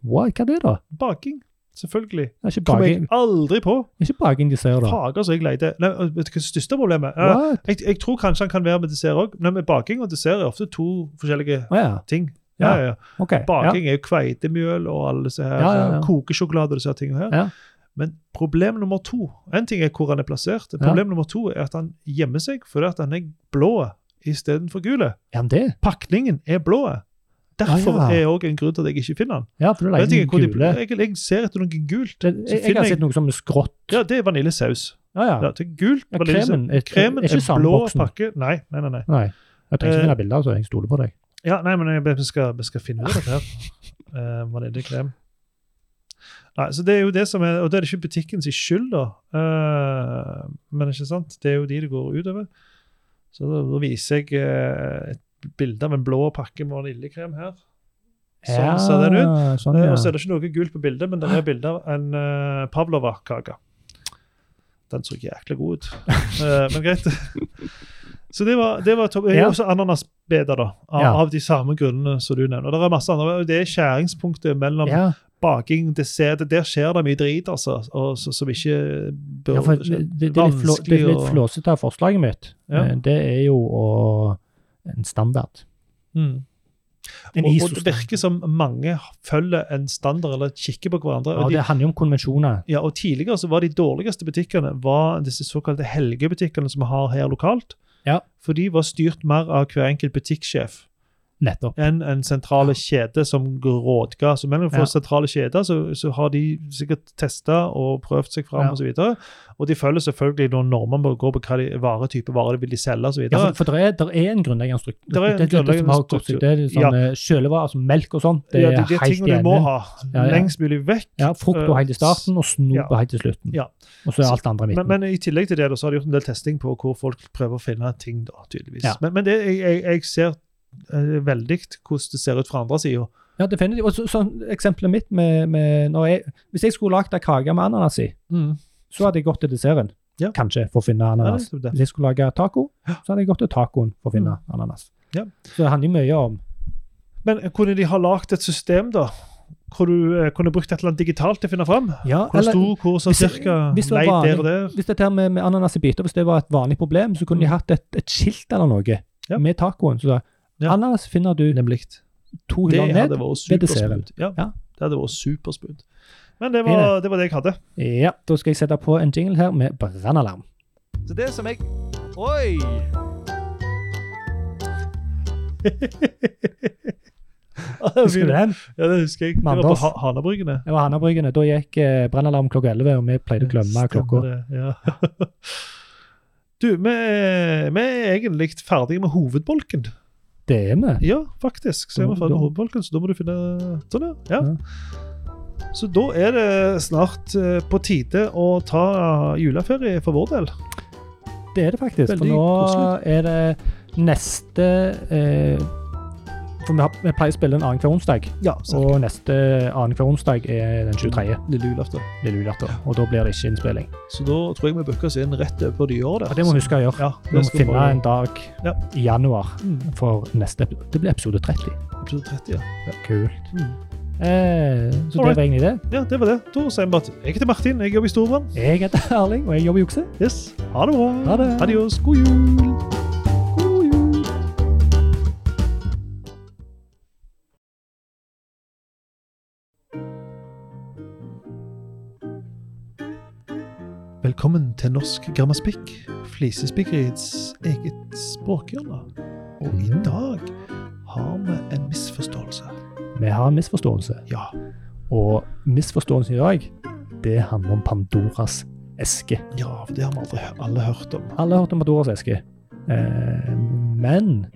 [SPEAKER 2] Hva, hva er det, da?
[SPEAKER 1] Baking, selvfølgelig.
[SPEAKER 2] Det er ikke
[SPEAKER 1] Kommer jeg
[SPEAKER 2] baking,
[SPEAKER 1] aldri på.
[SPEAKER 2] ikke baking de ser, da.
[SPEAKER 1] Fager så jeg leide. Nei, og vet du hva det største problemet er?
[SPEAKER 2] What?
[SPEAKER 1] Jeg, jeg tror kanskje han kan være med dessert òg, men med baking og dessert er ofte to forskjellige
[SPEAKER 2] Å ja,
[SPEAKER 1] ting. Ja,
[SPEAKER 2] Ja.
[SPEAKER 1] ja, ja.
[SPEAKER 2] ok. Ja.
[SPEAKER 1] Baking er jo kveitemjøl og alle disse her,
[SPEAKER 2] Ja, ja, ja.
[SPEAKER 1] kokesjokolade og disse her tingene her.
[SPEAKER 2] Ja.
[SPEAKER 1] Men problem nummer to En ting er hvor han er plassert. Problem nummer to er at han gjemmer seg fordi at han er blå istedenfor gul.
[SPEAKER 2] Er han det?
[SPEAKER 1] Pakningen er blå. Derfor
[SPEAKER 2] Ah, ja.
[SPEAKER 1] er òg en grunn til at jeg ikke finner den.
[SPEAKER 2] Ja, for du
[SPEAKER 1] Og
[SPEAKER 2] leier
[SPEAKER 1] Jeg,
[SPEAKER 2] den
[SPEAKER 1] tenker, hvor de,
[SPEAKER 2] gule.
[SPEAKER 1] jeg, jeg ser etter noe gult.
[SPEAKER 2] Det- Jeg, jeg har
[SPEAKER 1] finner jeg-
[SPEAKER 2] sett noe som er skrått.
[SPEAKER 1] Ja, det er vaniljesaus.
[SPEAKER 2] Ja, ja.
[SPEAKER 1] Ja, det er gult
[SPEAKER 2] ja
[SPEAKER 1] vaniljesaus.
[SPEAKER 2] kremen er,
[SPEAKER 1] Kremen
[SPEAKER 2] er
[SPEAKER 1] er,
[SPEAKER 2] ikke samme
[SPEAKER 1] blå
[SPEAKER 2] boksen.
[SPEAKER 1] pakke. Nei, nei, nei. nei.
[SPEAKER 2] Nei. Jeg trenger
[SPEAKER 1] Eh,
[SPEAKER 2] ikke finne bilder, så jeg stoler på deg.
[SPEAKER 1] Ja, nei, men jeg, vi, skal, vi skal finne ut av dette her. Eh, vaniljekrem. Nei, så det er jo det som er, Og det er det ikke butikken sin skyld, da. Eh, men ikke sant? det er jo de det går utover. Så da, da viser jeg eh, et bilde av en blå pakke med vaniljekrem her. Sånn ser den ut.
[SPEAKER 2] Ja, Sånn,
[SPEAKER 1] Eh,
[SPEAKER 2] ja. Ah.
[SPEAKER 1] Og så er det ikke noe gult på bildet, men det er bilde av en eh, pavlova-kake. Den
[SPEAKER 2] [LAUGHS]
[SPEAKER 1] så jæklig god ut. Eh, men greit. Så det var, det var topp.
[SPEAKER 2] Ja.
[SPEAKER 1] Også ananas bedre, da. Av,
[SPEAKER 2] Ja.
[SPEAKER 1] av de samme grunnene som du nevner. Og Det er masse andre, og det er skjæringspunktet mellom
[SPEAKER 2] Ja,
[SPEAKER 1] baking dessert. Der skjer det mye drit, altså, og, så, som ikke bør
[SPEAKER 2] ja for det, det, er litt flå, det er litt flåsete av forslaget mitt.
[SPEAKER 1] Ja.
[SPEAKER 2] Eh, Det er jo å, en standard.
[SPEAKER 1] Mm. Og, og
[SPEAKER 2] En
[SPEAKER 1] det
[SPEAKER 2] ISO-standard.
[SPEAKER 1] virker som mange følger en standard eller kikker på hverandre.
[SPEAKER 2] Ja,
[SPEAKER 1] og de
[SPEAKER 2] det handler jo om konvensjoner.
[SPEAKER 1] Ja, og Tidligere så var de dårligste butikkene var disse såkalte helgebutikkene som vi har her lokalt.
[SPEAKER 2] Ja.
[SPEAKER 1] For de var styrt mer av hver enkelt butikksjef
[SPEAKER 2] Nettopp.
[SPEAKER 1] enn en sentrale kjede som rådga. Så mellom
[SPEAKER 2] Ja.
[SPEAKER 1] for sentrale kjeder så, så har de sikkert testa og prøvd seg fram
[SPEAKER 2] Ja.
[SPEAKER 1] og osv. Og, og de følger selvfølgelig noen normer på, på hva de vare, type varer de vil de selge osv.
[SPEAKER 2] Ja, for, for det, er, der er en grunnleggende struktur.
[SPEAKER 1] Der er en
[SPEAKER 2] det, det, det, som
[SPEAKER 1] grunnleggende
[SPEAKER 2] har gått seg, det er
[SPEAKER 1] Ja.
[SPEAKER 2] sånn, eh, Kjølevarer som melk og sånt, det
[SPEAKER 1] Ja,
[SPEAKER 2] er
[SPEAKER 1] det, det er
[SPEAKER 2] helt
[SPEAKER 1] ting du
[SPEAKER 2] igjen.
[SPEAKER 1] må ha
[SPEAKER 2] Ja, ja.
[SPEAKER 1] lengst mulig vekk. eh,
[SPEAKER 2] Ja, frukt på helt i starten og snop
[SPEAKER 1] ja.
[SPEAKER 2] på helt i slutten.
[SPEAKER 1] Ja.
[SPEAKER 2] Og så er alt andre i midten.
[SPEAKER 1] Men, men i tillegg til det da, så har de gjort en del testing på hvor folk prøver å finne ting, da, tydeligvis.
[SPEAKER 2] Ja.
[SPEAKER 1] Men, men det, jeg, jeg, jeg ser eh, veldig hvordan det ser ut fra andre sida.
[SPEAKER 2] ja, definitivt. Og så, sånn eksempelet mitt med, med når jeg, Hvis jeg skulle lagd ei kake med ananas i, så hadde jeg gått til desserten.
[SPEAKER 1] Ja.
[SPEAKER 2] Kanskje, for å finne
[SPEAKER 1] Ja,
[SPEAKER 2] ananas.
[SPEAKER 1] nettopp det.
[SPEAKER 2] Hvis jeg skulle lage taco, så hadde jeg gått til tacoen for å finne ananas.
[SPEAKER 1] Mm. Ja.
[SPEAKER 2] Så det handler jo mye om
[SPEAKER 1] Men kunne de ha lagd et system, da? Hvor du eh, kunne brukt et eller annet digitalt til å finne fram?
[SPEAKER 2] ja,
[SPEAKER 1] Hvor stor, hvor sånn
[SPEAKER 2] hvis-
[SPEAKER 1] cirka?
[SPEAKER 2] hvis det var
[SPEAKER 1] Nei,
[SPEAKER 2] vanlig-
[SPEAKER 1] der og der.
[SPEAKER 2] Hvis dette her med, med ananas i biter, hvis det var et vanlig problem, så kunne de hatt et, et skilt eller noe
[SPEAKER 1] Mm. Ja.
[SPEAKER 2] med tacoen. Så da,
[SPEAKER 1] Ja.
[SPEAKER 2] Ananas finner du
[SPEAKER 1] Nemlig.
[SPEAKER 2] to
[SPEAKER 1] Det
[SPEAKER 2] hyller ned.
[SPEAKER 1] hadde vært
[SPEAKER 2] ved desserten.
[SPEAKER 1] supersmooth. Ja,
[SPEAKER 2] Ja.
[SPEAKER 1] det hadde vært supersmooth. Men det
[SPEAKER 2] Det
[SPEAKER 1] var, det var det jeg hadde.
[SPEAKER 2] Ja, Da skal jeg sette på en jingle her med brannalarm.
[SPEAKER 4] Så det som jeg Oi!
[SPEAKER 2] [LAUGHS] Husker du den?
[SPEAKER 1] Ja, det husker jeg. Det var på
[SPEAKER 2] Mandals.
[SPEAKER 1] ha Hanabryggene.
[SPEAKER 2] Det var Hanabryggene. Da gikk eh, brannalarm klokka 11, og vi pleide å glemme
[SPEAKER 1] Stemmer
[SPEAKER 2] klokka.
[SPEAKER 1] det, Ja. [LAUGHS] Du, vi, vi er egentlig ferdige med hovedbolken.
[SPEAKER 2] Det er vi.
[SPEAKER 1] Ja, faktisk. Så er vi ferdige med hovedbolken, så da må du finne Sånn, ja. ja. Så da er det snart eh, på tide å ta juleferie for vår del.
[SPEAKER 2] Det er det faktisk.
[SPEAKER 1] Veldig
[SPEAKER 2] for nå
[SPEAKER 1] koselig.
[SPEAKER 2] er det neste eh, For vi, har, vi pleier å spille en annenhver onsdag,
[SPEAKER 1] Ja, så
[SPEAKER 2] og neste annenhver onsdag
[SPEAKER 1] Mm.
[SPEAKER 2] er den 23.
[SPEAKER 1] lille julaften.
[SPEAKER 2] lille julaften. Og da blir det ikke innspilling.
[SPEAKER 1] Så da tror jeg vi booker oss inn rett over på nyåret.
[SPEAKER 2] Og det må vi huske å gjøre.
[SPEAKER 1] Ja,
[SPEAKER 2] Vi
[SPEAKER 1] det
[SPEAKER 2] må
[SPEAKER 1] skal vi
[SPEAKER 2] finne
[SPEAKER 1] bare-
[SPEAKER 2] en dag
[SPEAKER 1] Ja.
[SPEAKER 2] i januar
[SPEAKER 1] Mm,
[SPEAKER 2] for neste episode. Det blir episode 30.
[SPEAKER 1] episode 30, ja.
[SPEAKER 2] Kult.
[SPEAKER 1] Mm.
[SPEAKER 2] Eh, så det
[SPEAKER 1] Alright.
[SPEAKER 2] var egentlig det.
[SPEAKER 1] Ja, det var det. Da sier vi bare at jeg heter Martin, jeg jobber i Storbrann.
[SPEAKER 2] Jeg heter Erling, og jeg jobber i Jukse.
[SPEAKER 1] Yes. Ha det bra.
[SPEAKER 2] Ha det.
[SPEAKER 1] Adios. God jul. God jul. Velkommen til Norsk Grammaspikk, Flisespikkeriets eget språkhjørne. Og i dag har vi en misforståelse.
[SPEAKER 2] Vi har en misforståelse,
[SPEAKER 1] Ja,
[SPEAKER 2] og misforståelsen i dag, det handler om Pandoras eske.
[SPEAKER 1] ja for det har vi aldri hø- alle hørt om.
[SPEAKER 2] Alle har hørt om Pandoras eske. Eh, men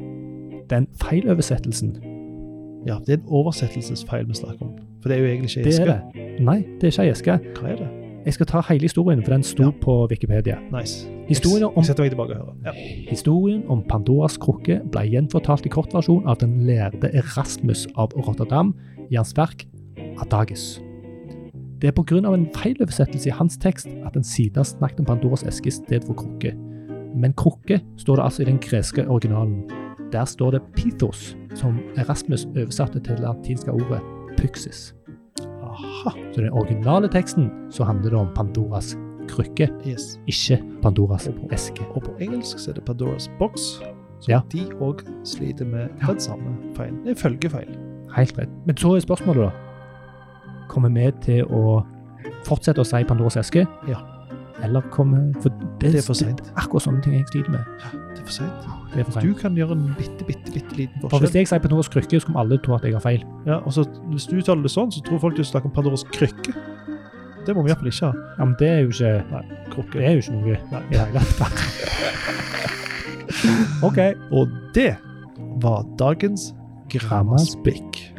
[SPEAKER 2] den feiloversettelsen,
[SPEAKER 1] Ja, Det er en oversettelsesfeil vi snakker om. For det er jo egentlig ikke
[SPEAKER 2] det er
[SPEAKER 1] eske.
[SPEAKER 2] det. Nei, det er ikke ei eske.
[SPEAKER 1] Hva er det?
[SPEAKER 2] Jeg skal ta hele historien, for den sto
[SPEAKER 1] Ja.
[SPEAKER 2] på Wikipedia.
[SPEAKER 1] Nice.
[SPEAKER 2] Historien
[SPEAKER 1] Jeg-
[SPEAKER 2] om-
[SPEAKER 1] Jeg setter meg tilbake og hører. Ja.
[SPEAKER 2] Historien om Pandoras krukke ble gjenfortalt i kort versjon av den lærde Erasmus av Rotterdam i hans verk Adages. Det er pga. en feiloversettelse i hans tekst at en siden snakket om Pandoras eske i stedet for krukke. Men krukke står det altså i den greske originalen. Der står det pithos, som Erasmus oversatte til det latinske ordet pyxis.
[SPEAKER 1] Aha.
[SPEAKER 2] Så i den originale teksten så handler det om Pandoras krykke,
[SPEAKER 1] Yes.
[SPEAKER 2] ikke Pandoras eske.
[SPEAKER 1] Og på engelsk så er det Pandoras box. Så
[SPEAKER 2] Ja.
[SPEAKER 1] de òg sliter med
[SPEAKER 2] Ja.
[SPEAKER 1] den samme feilen. Det er følgefeil.
[SPEAKER 2] Helt rett. Men så er spørsmålet, da. Kommer vi til å fortsette å si Pandoras eske?
[SPEAKER 1] Ja.
[SPEAKER 2] Eller kommer For det,
[SPEAKER 1] Det er for sent.
[SPEAKER 2] Akkurat sånne ting jeg sliter med.
[SPEAKER 1] Det er for seint.
[SPEAKER 2] Det er for
[SPEAKER 1] Du
[SPEAKER 2] sent.
[SPEAKER 1] kan gjøre en bitte, bitte, bitte liten
[SPEAKER 2] For hvis
[SPEAKER 1] forskjell.
[SPEAKER 2] jeg sier Pandoras krykke, så kommer alle tro at jeg har feil.
[SPEAKER 1] Ja, og så, hvis du uttaler det sånn, så tror folk du snakker om Pandoras krykke. Det må vi iallfall ikke ha.
[SPEAKER 2] Ja, men det er jo ikke
[SPEAKER 1] Nei,
[SPEAKER 2] Det
[SPEAKER 1] krukke.
[SPEAKER 2] er jo ikke noe
[SPEAKER 1] Nei.
[SPEAKER 2] i det
[SPEAKER 1] [LAUGHS]
[SPEAKER 2] hele tatt. OK.
[SPEAKER 1] Og det var dagens grammaspikk.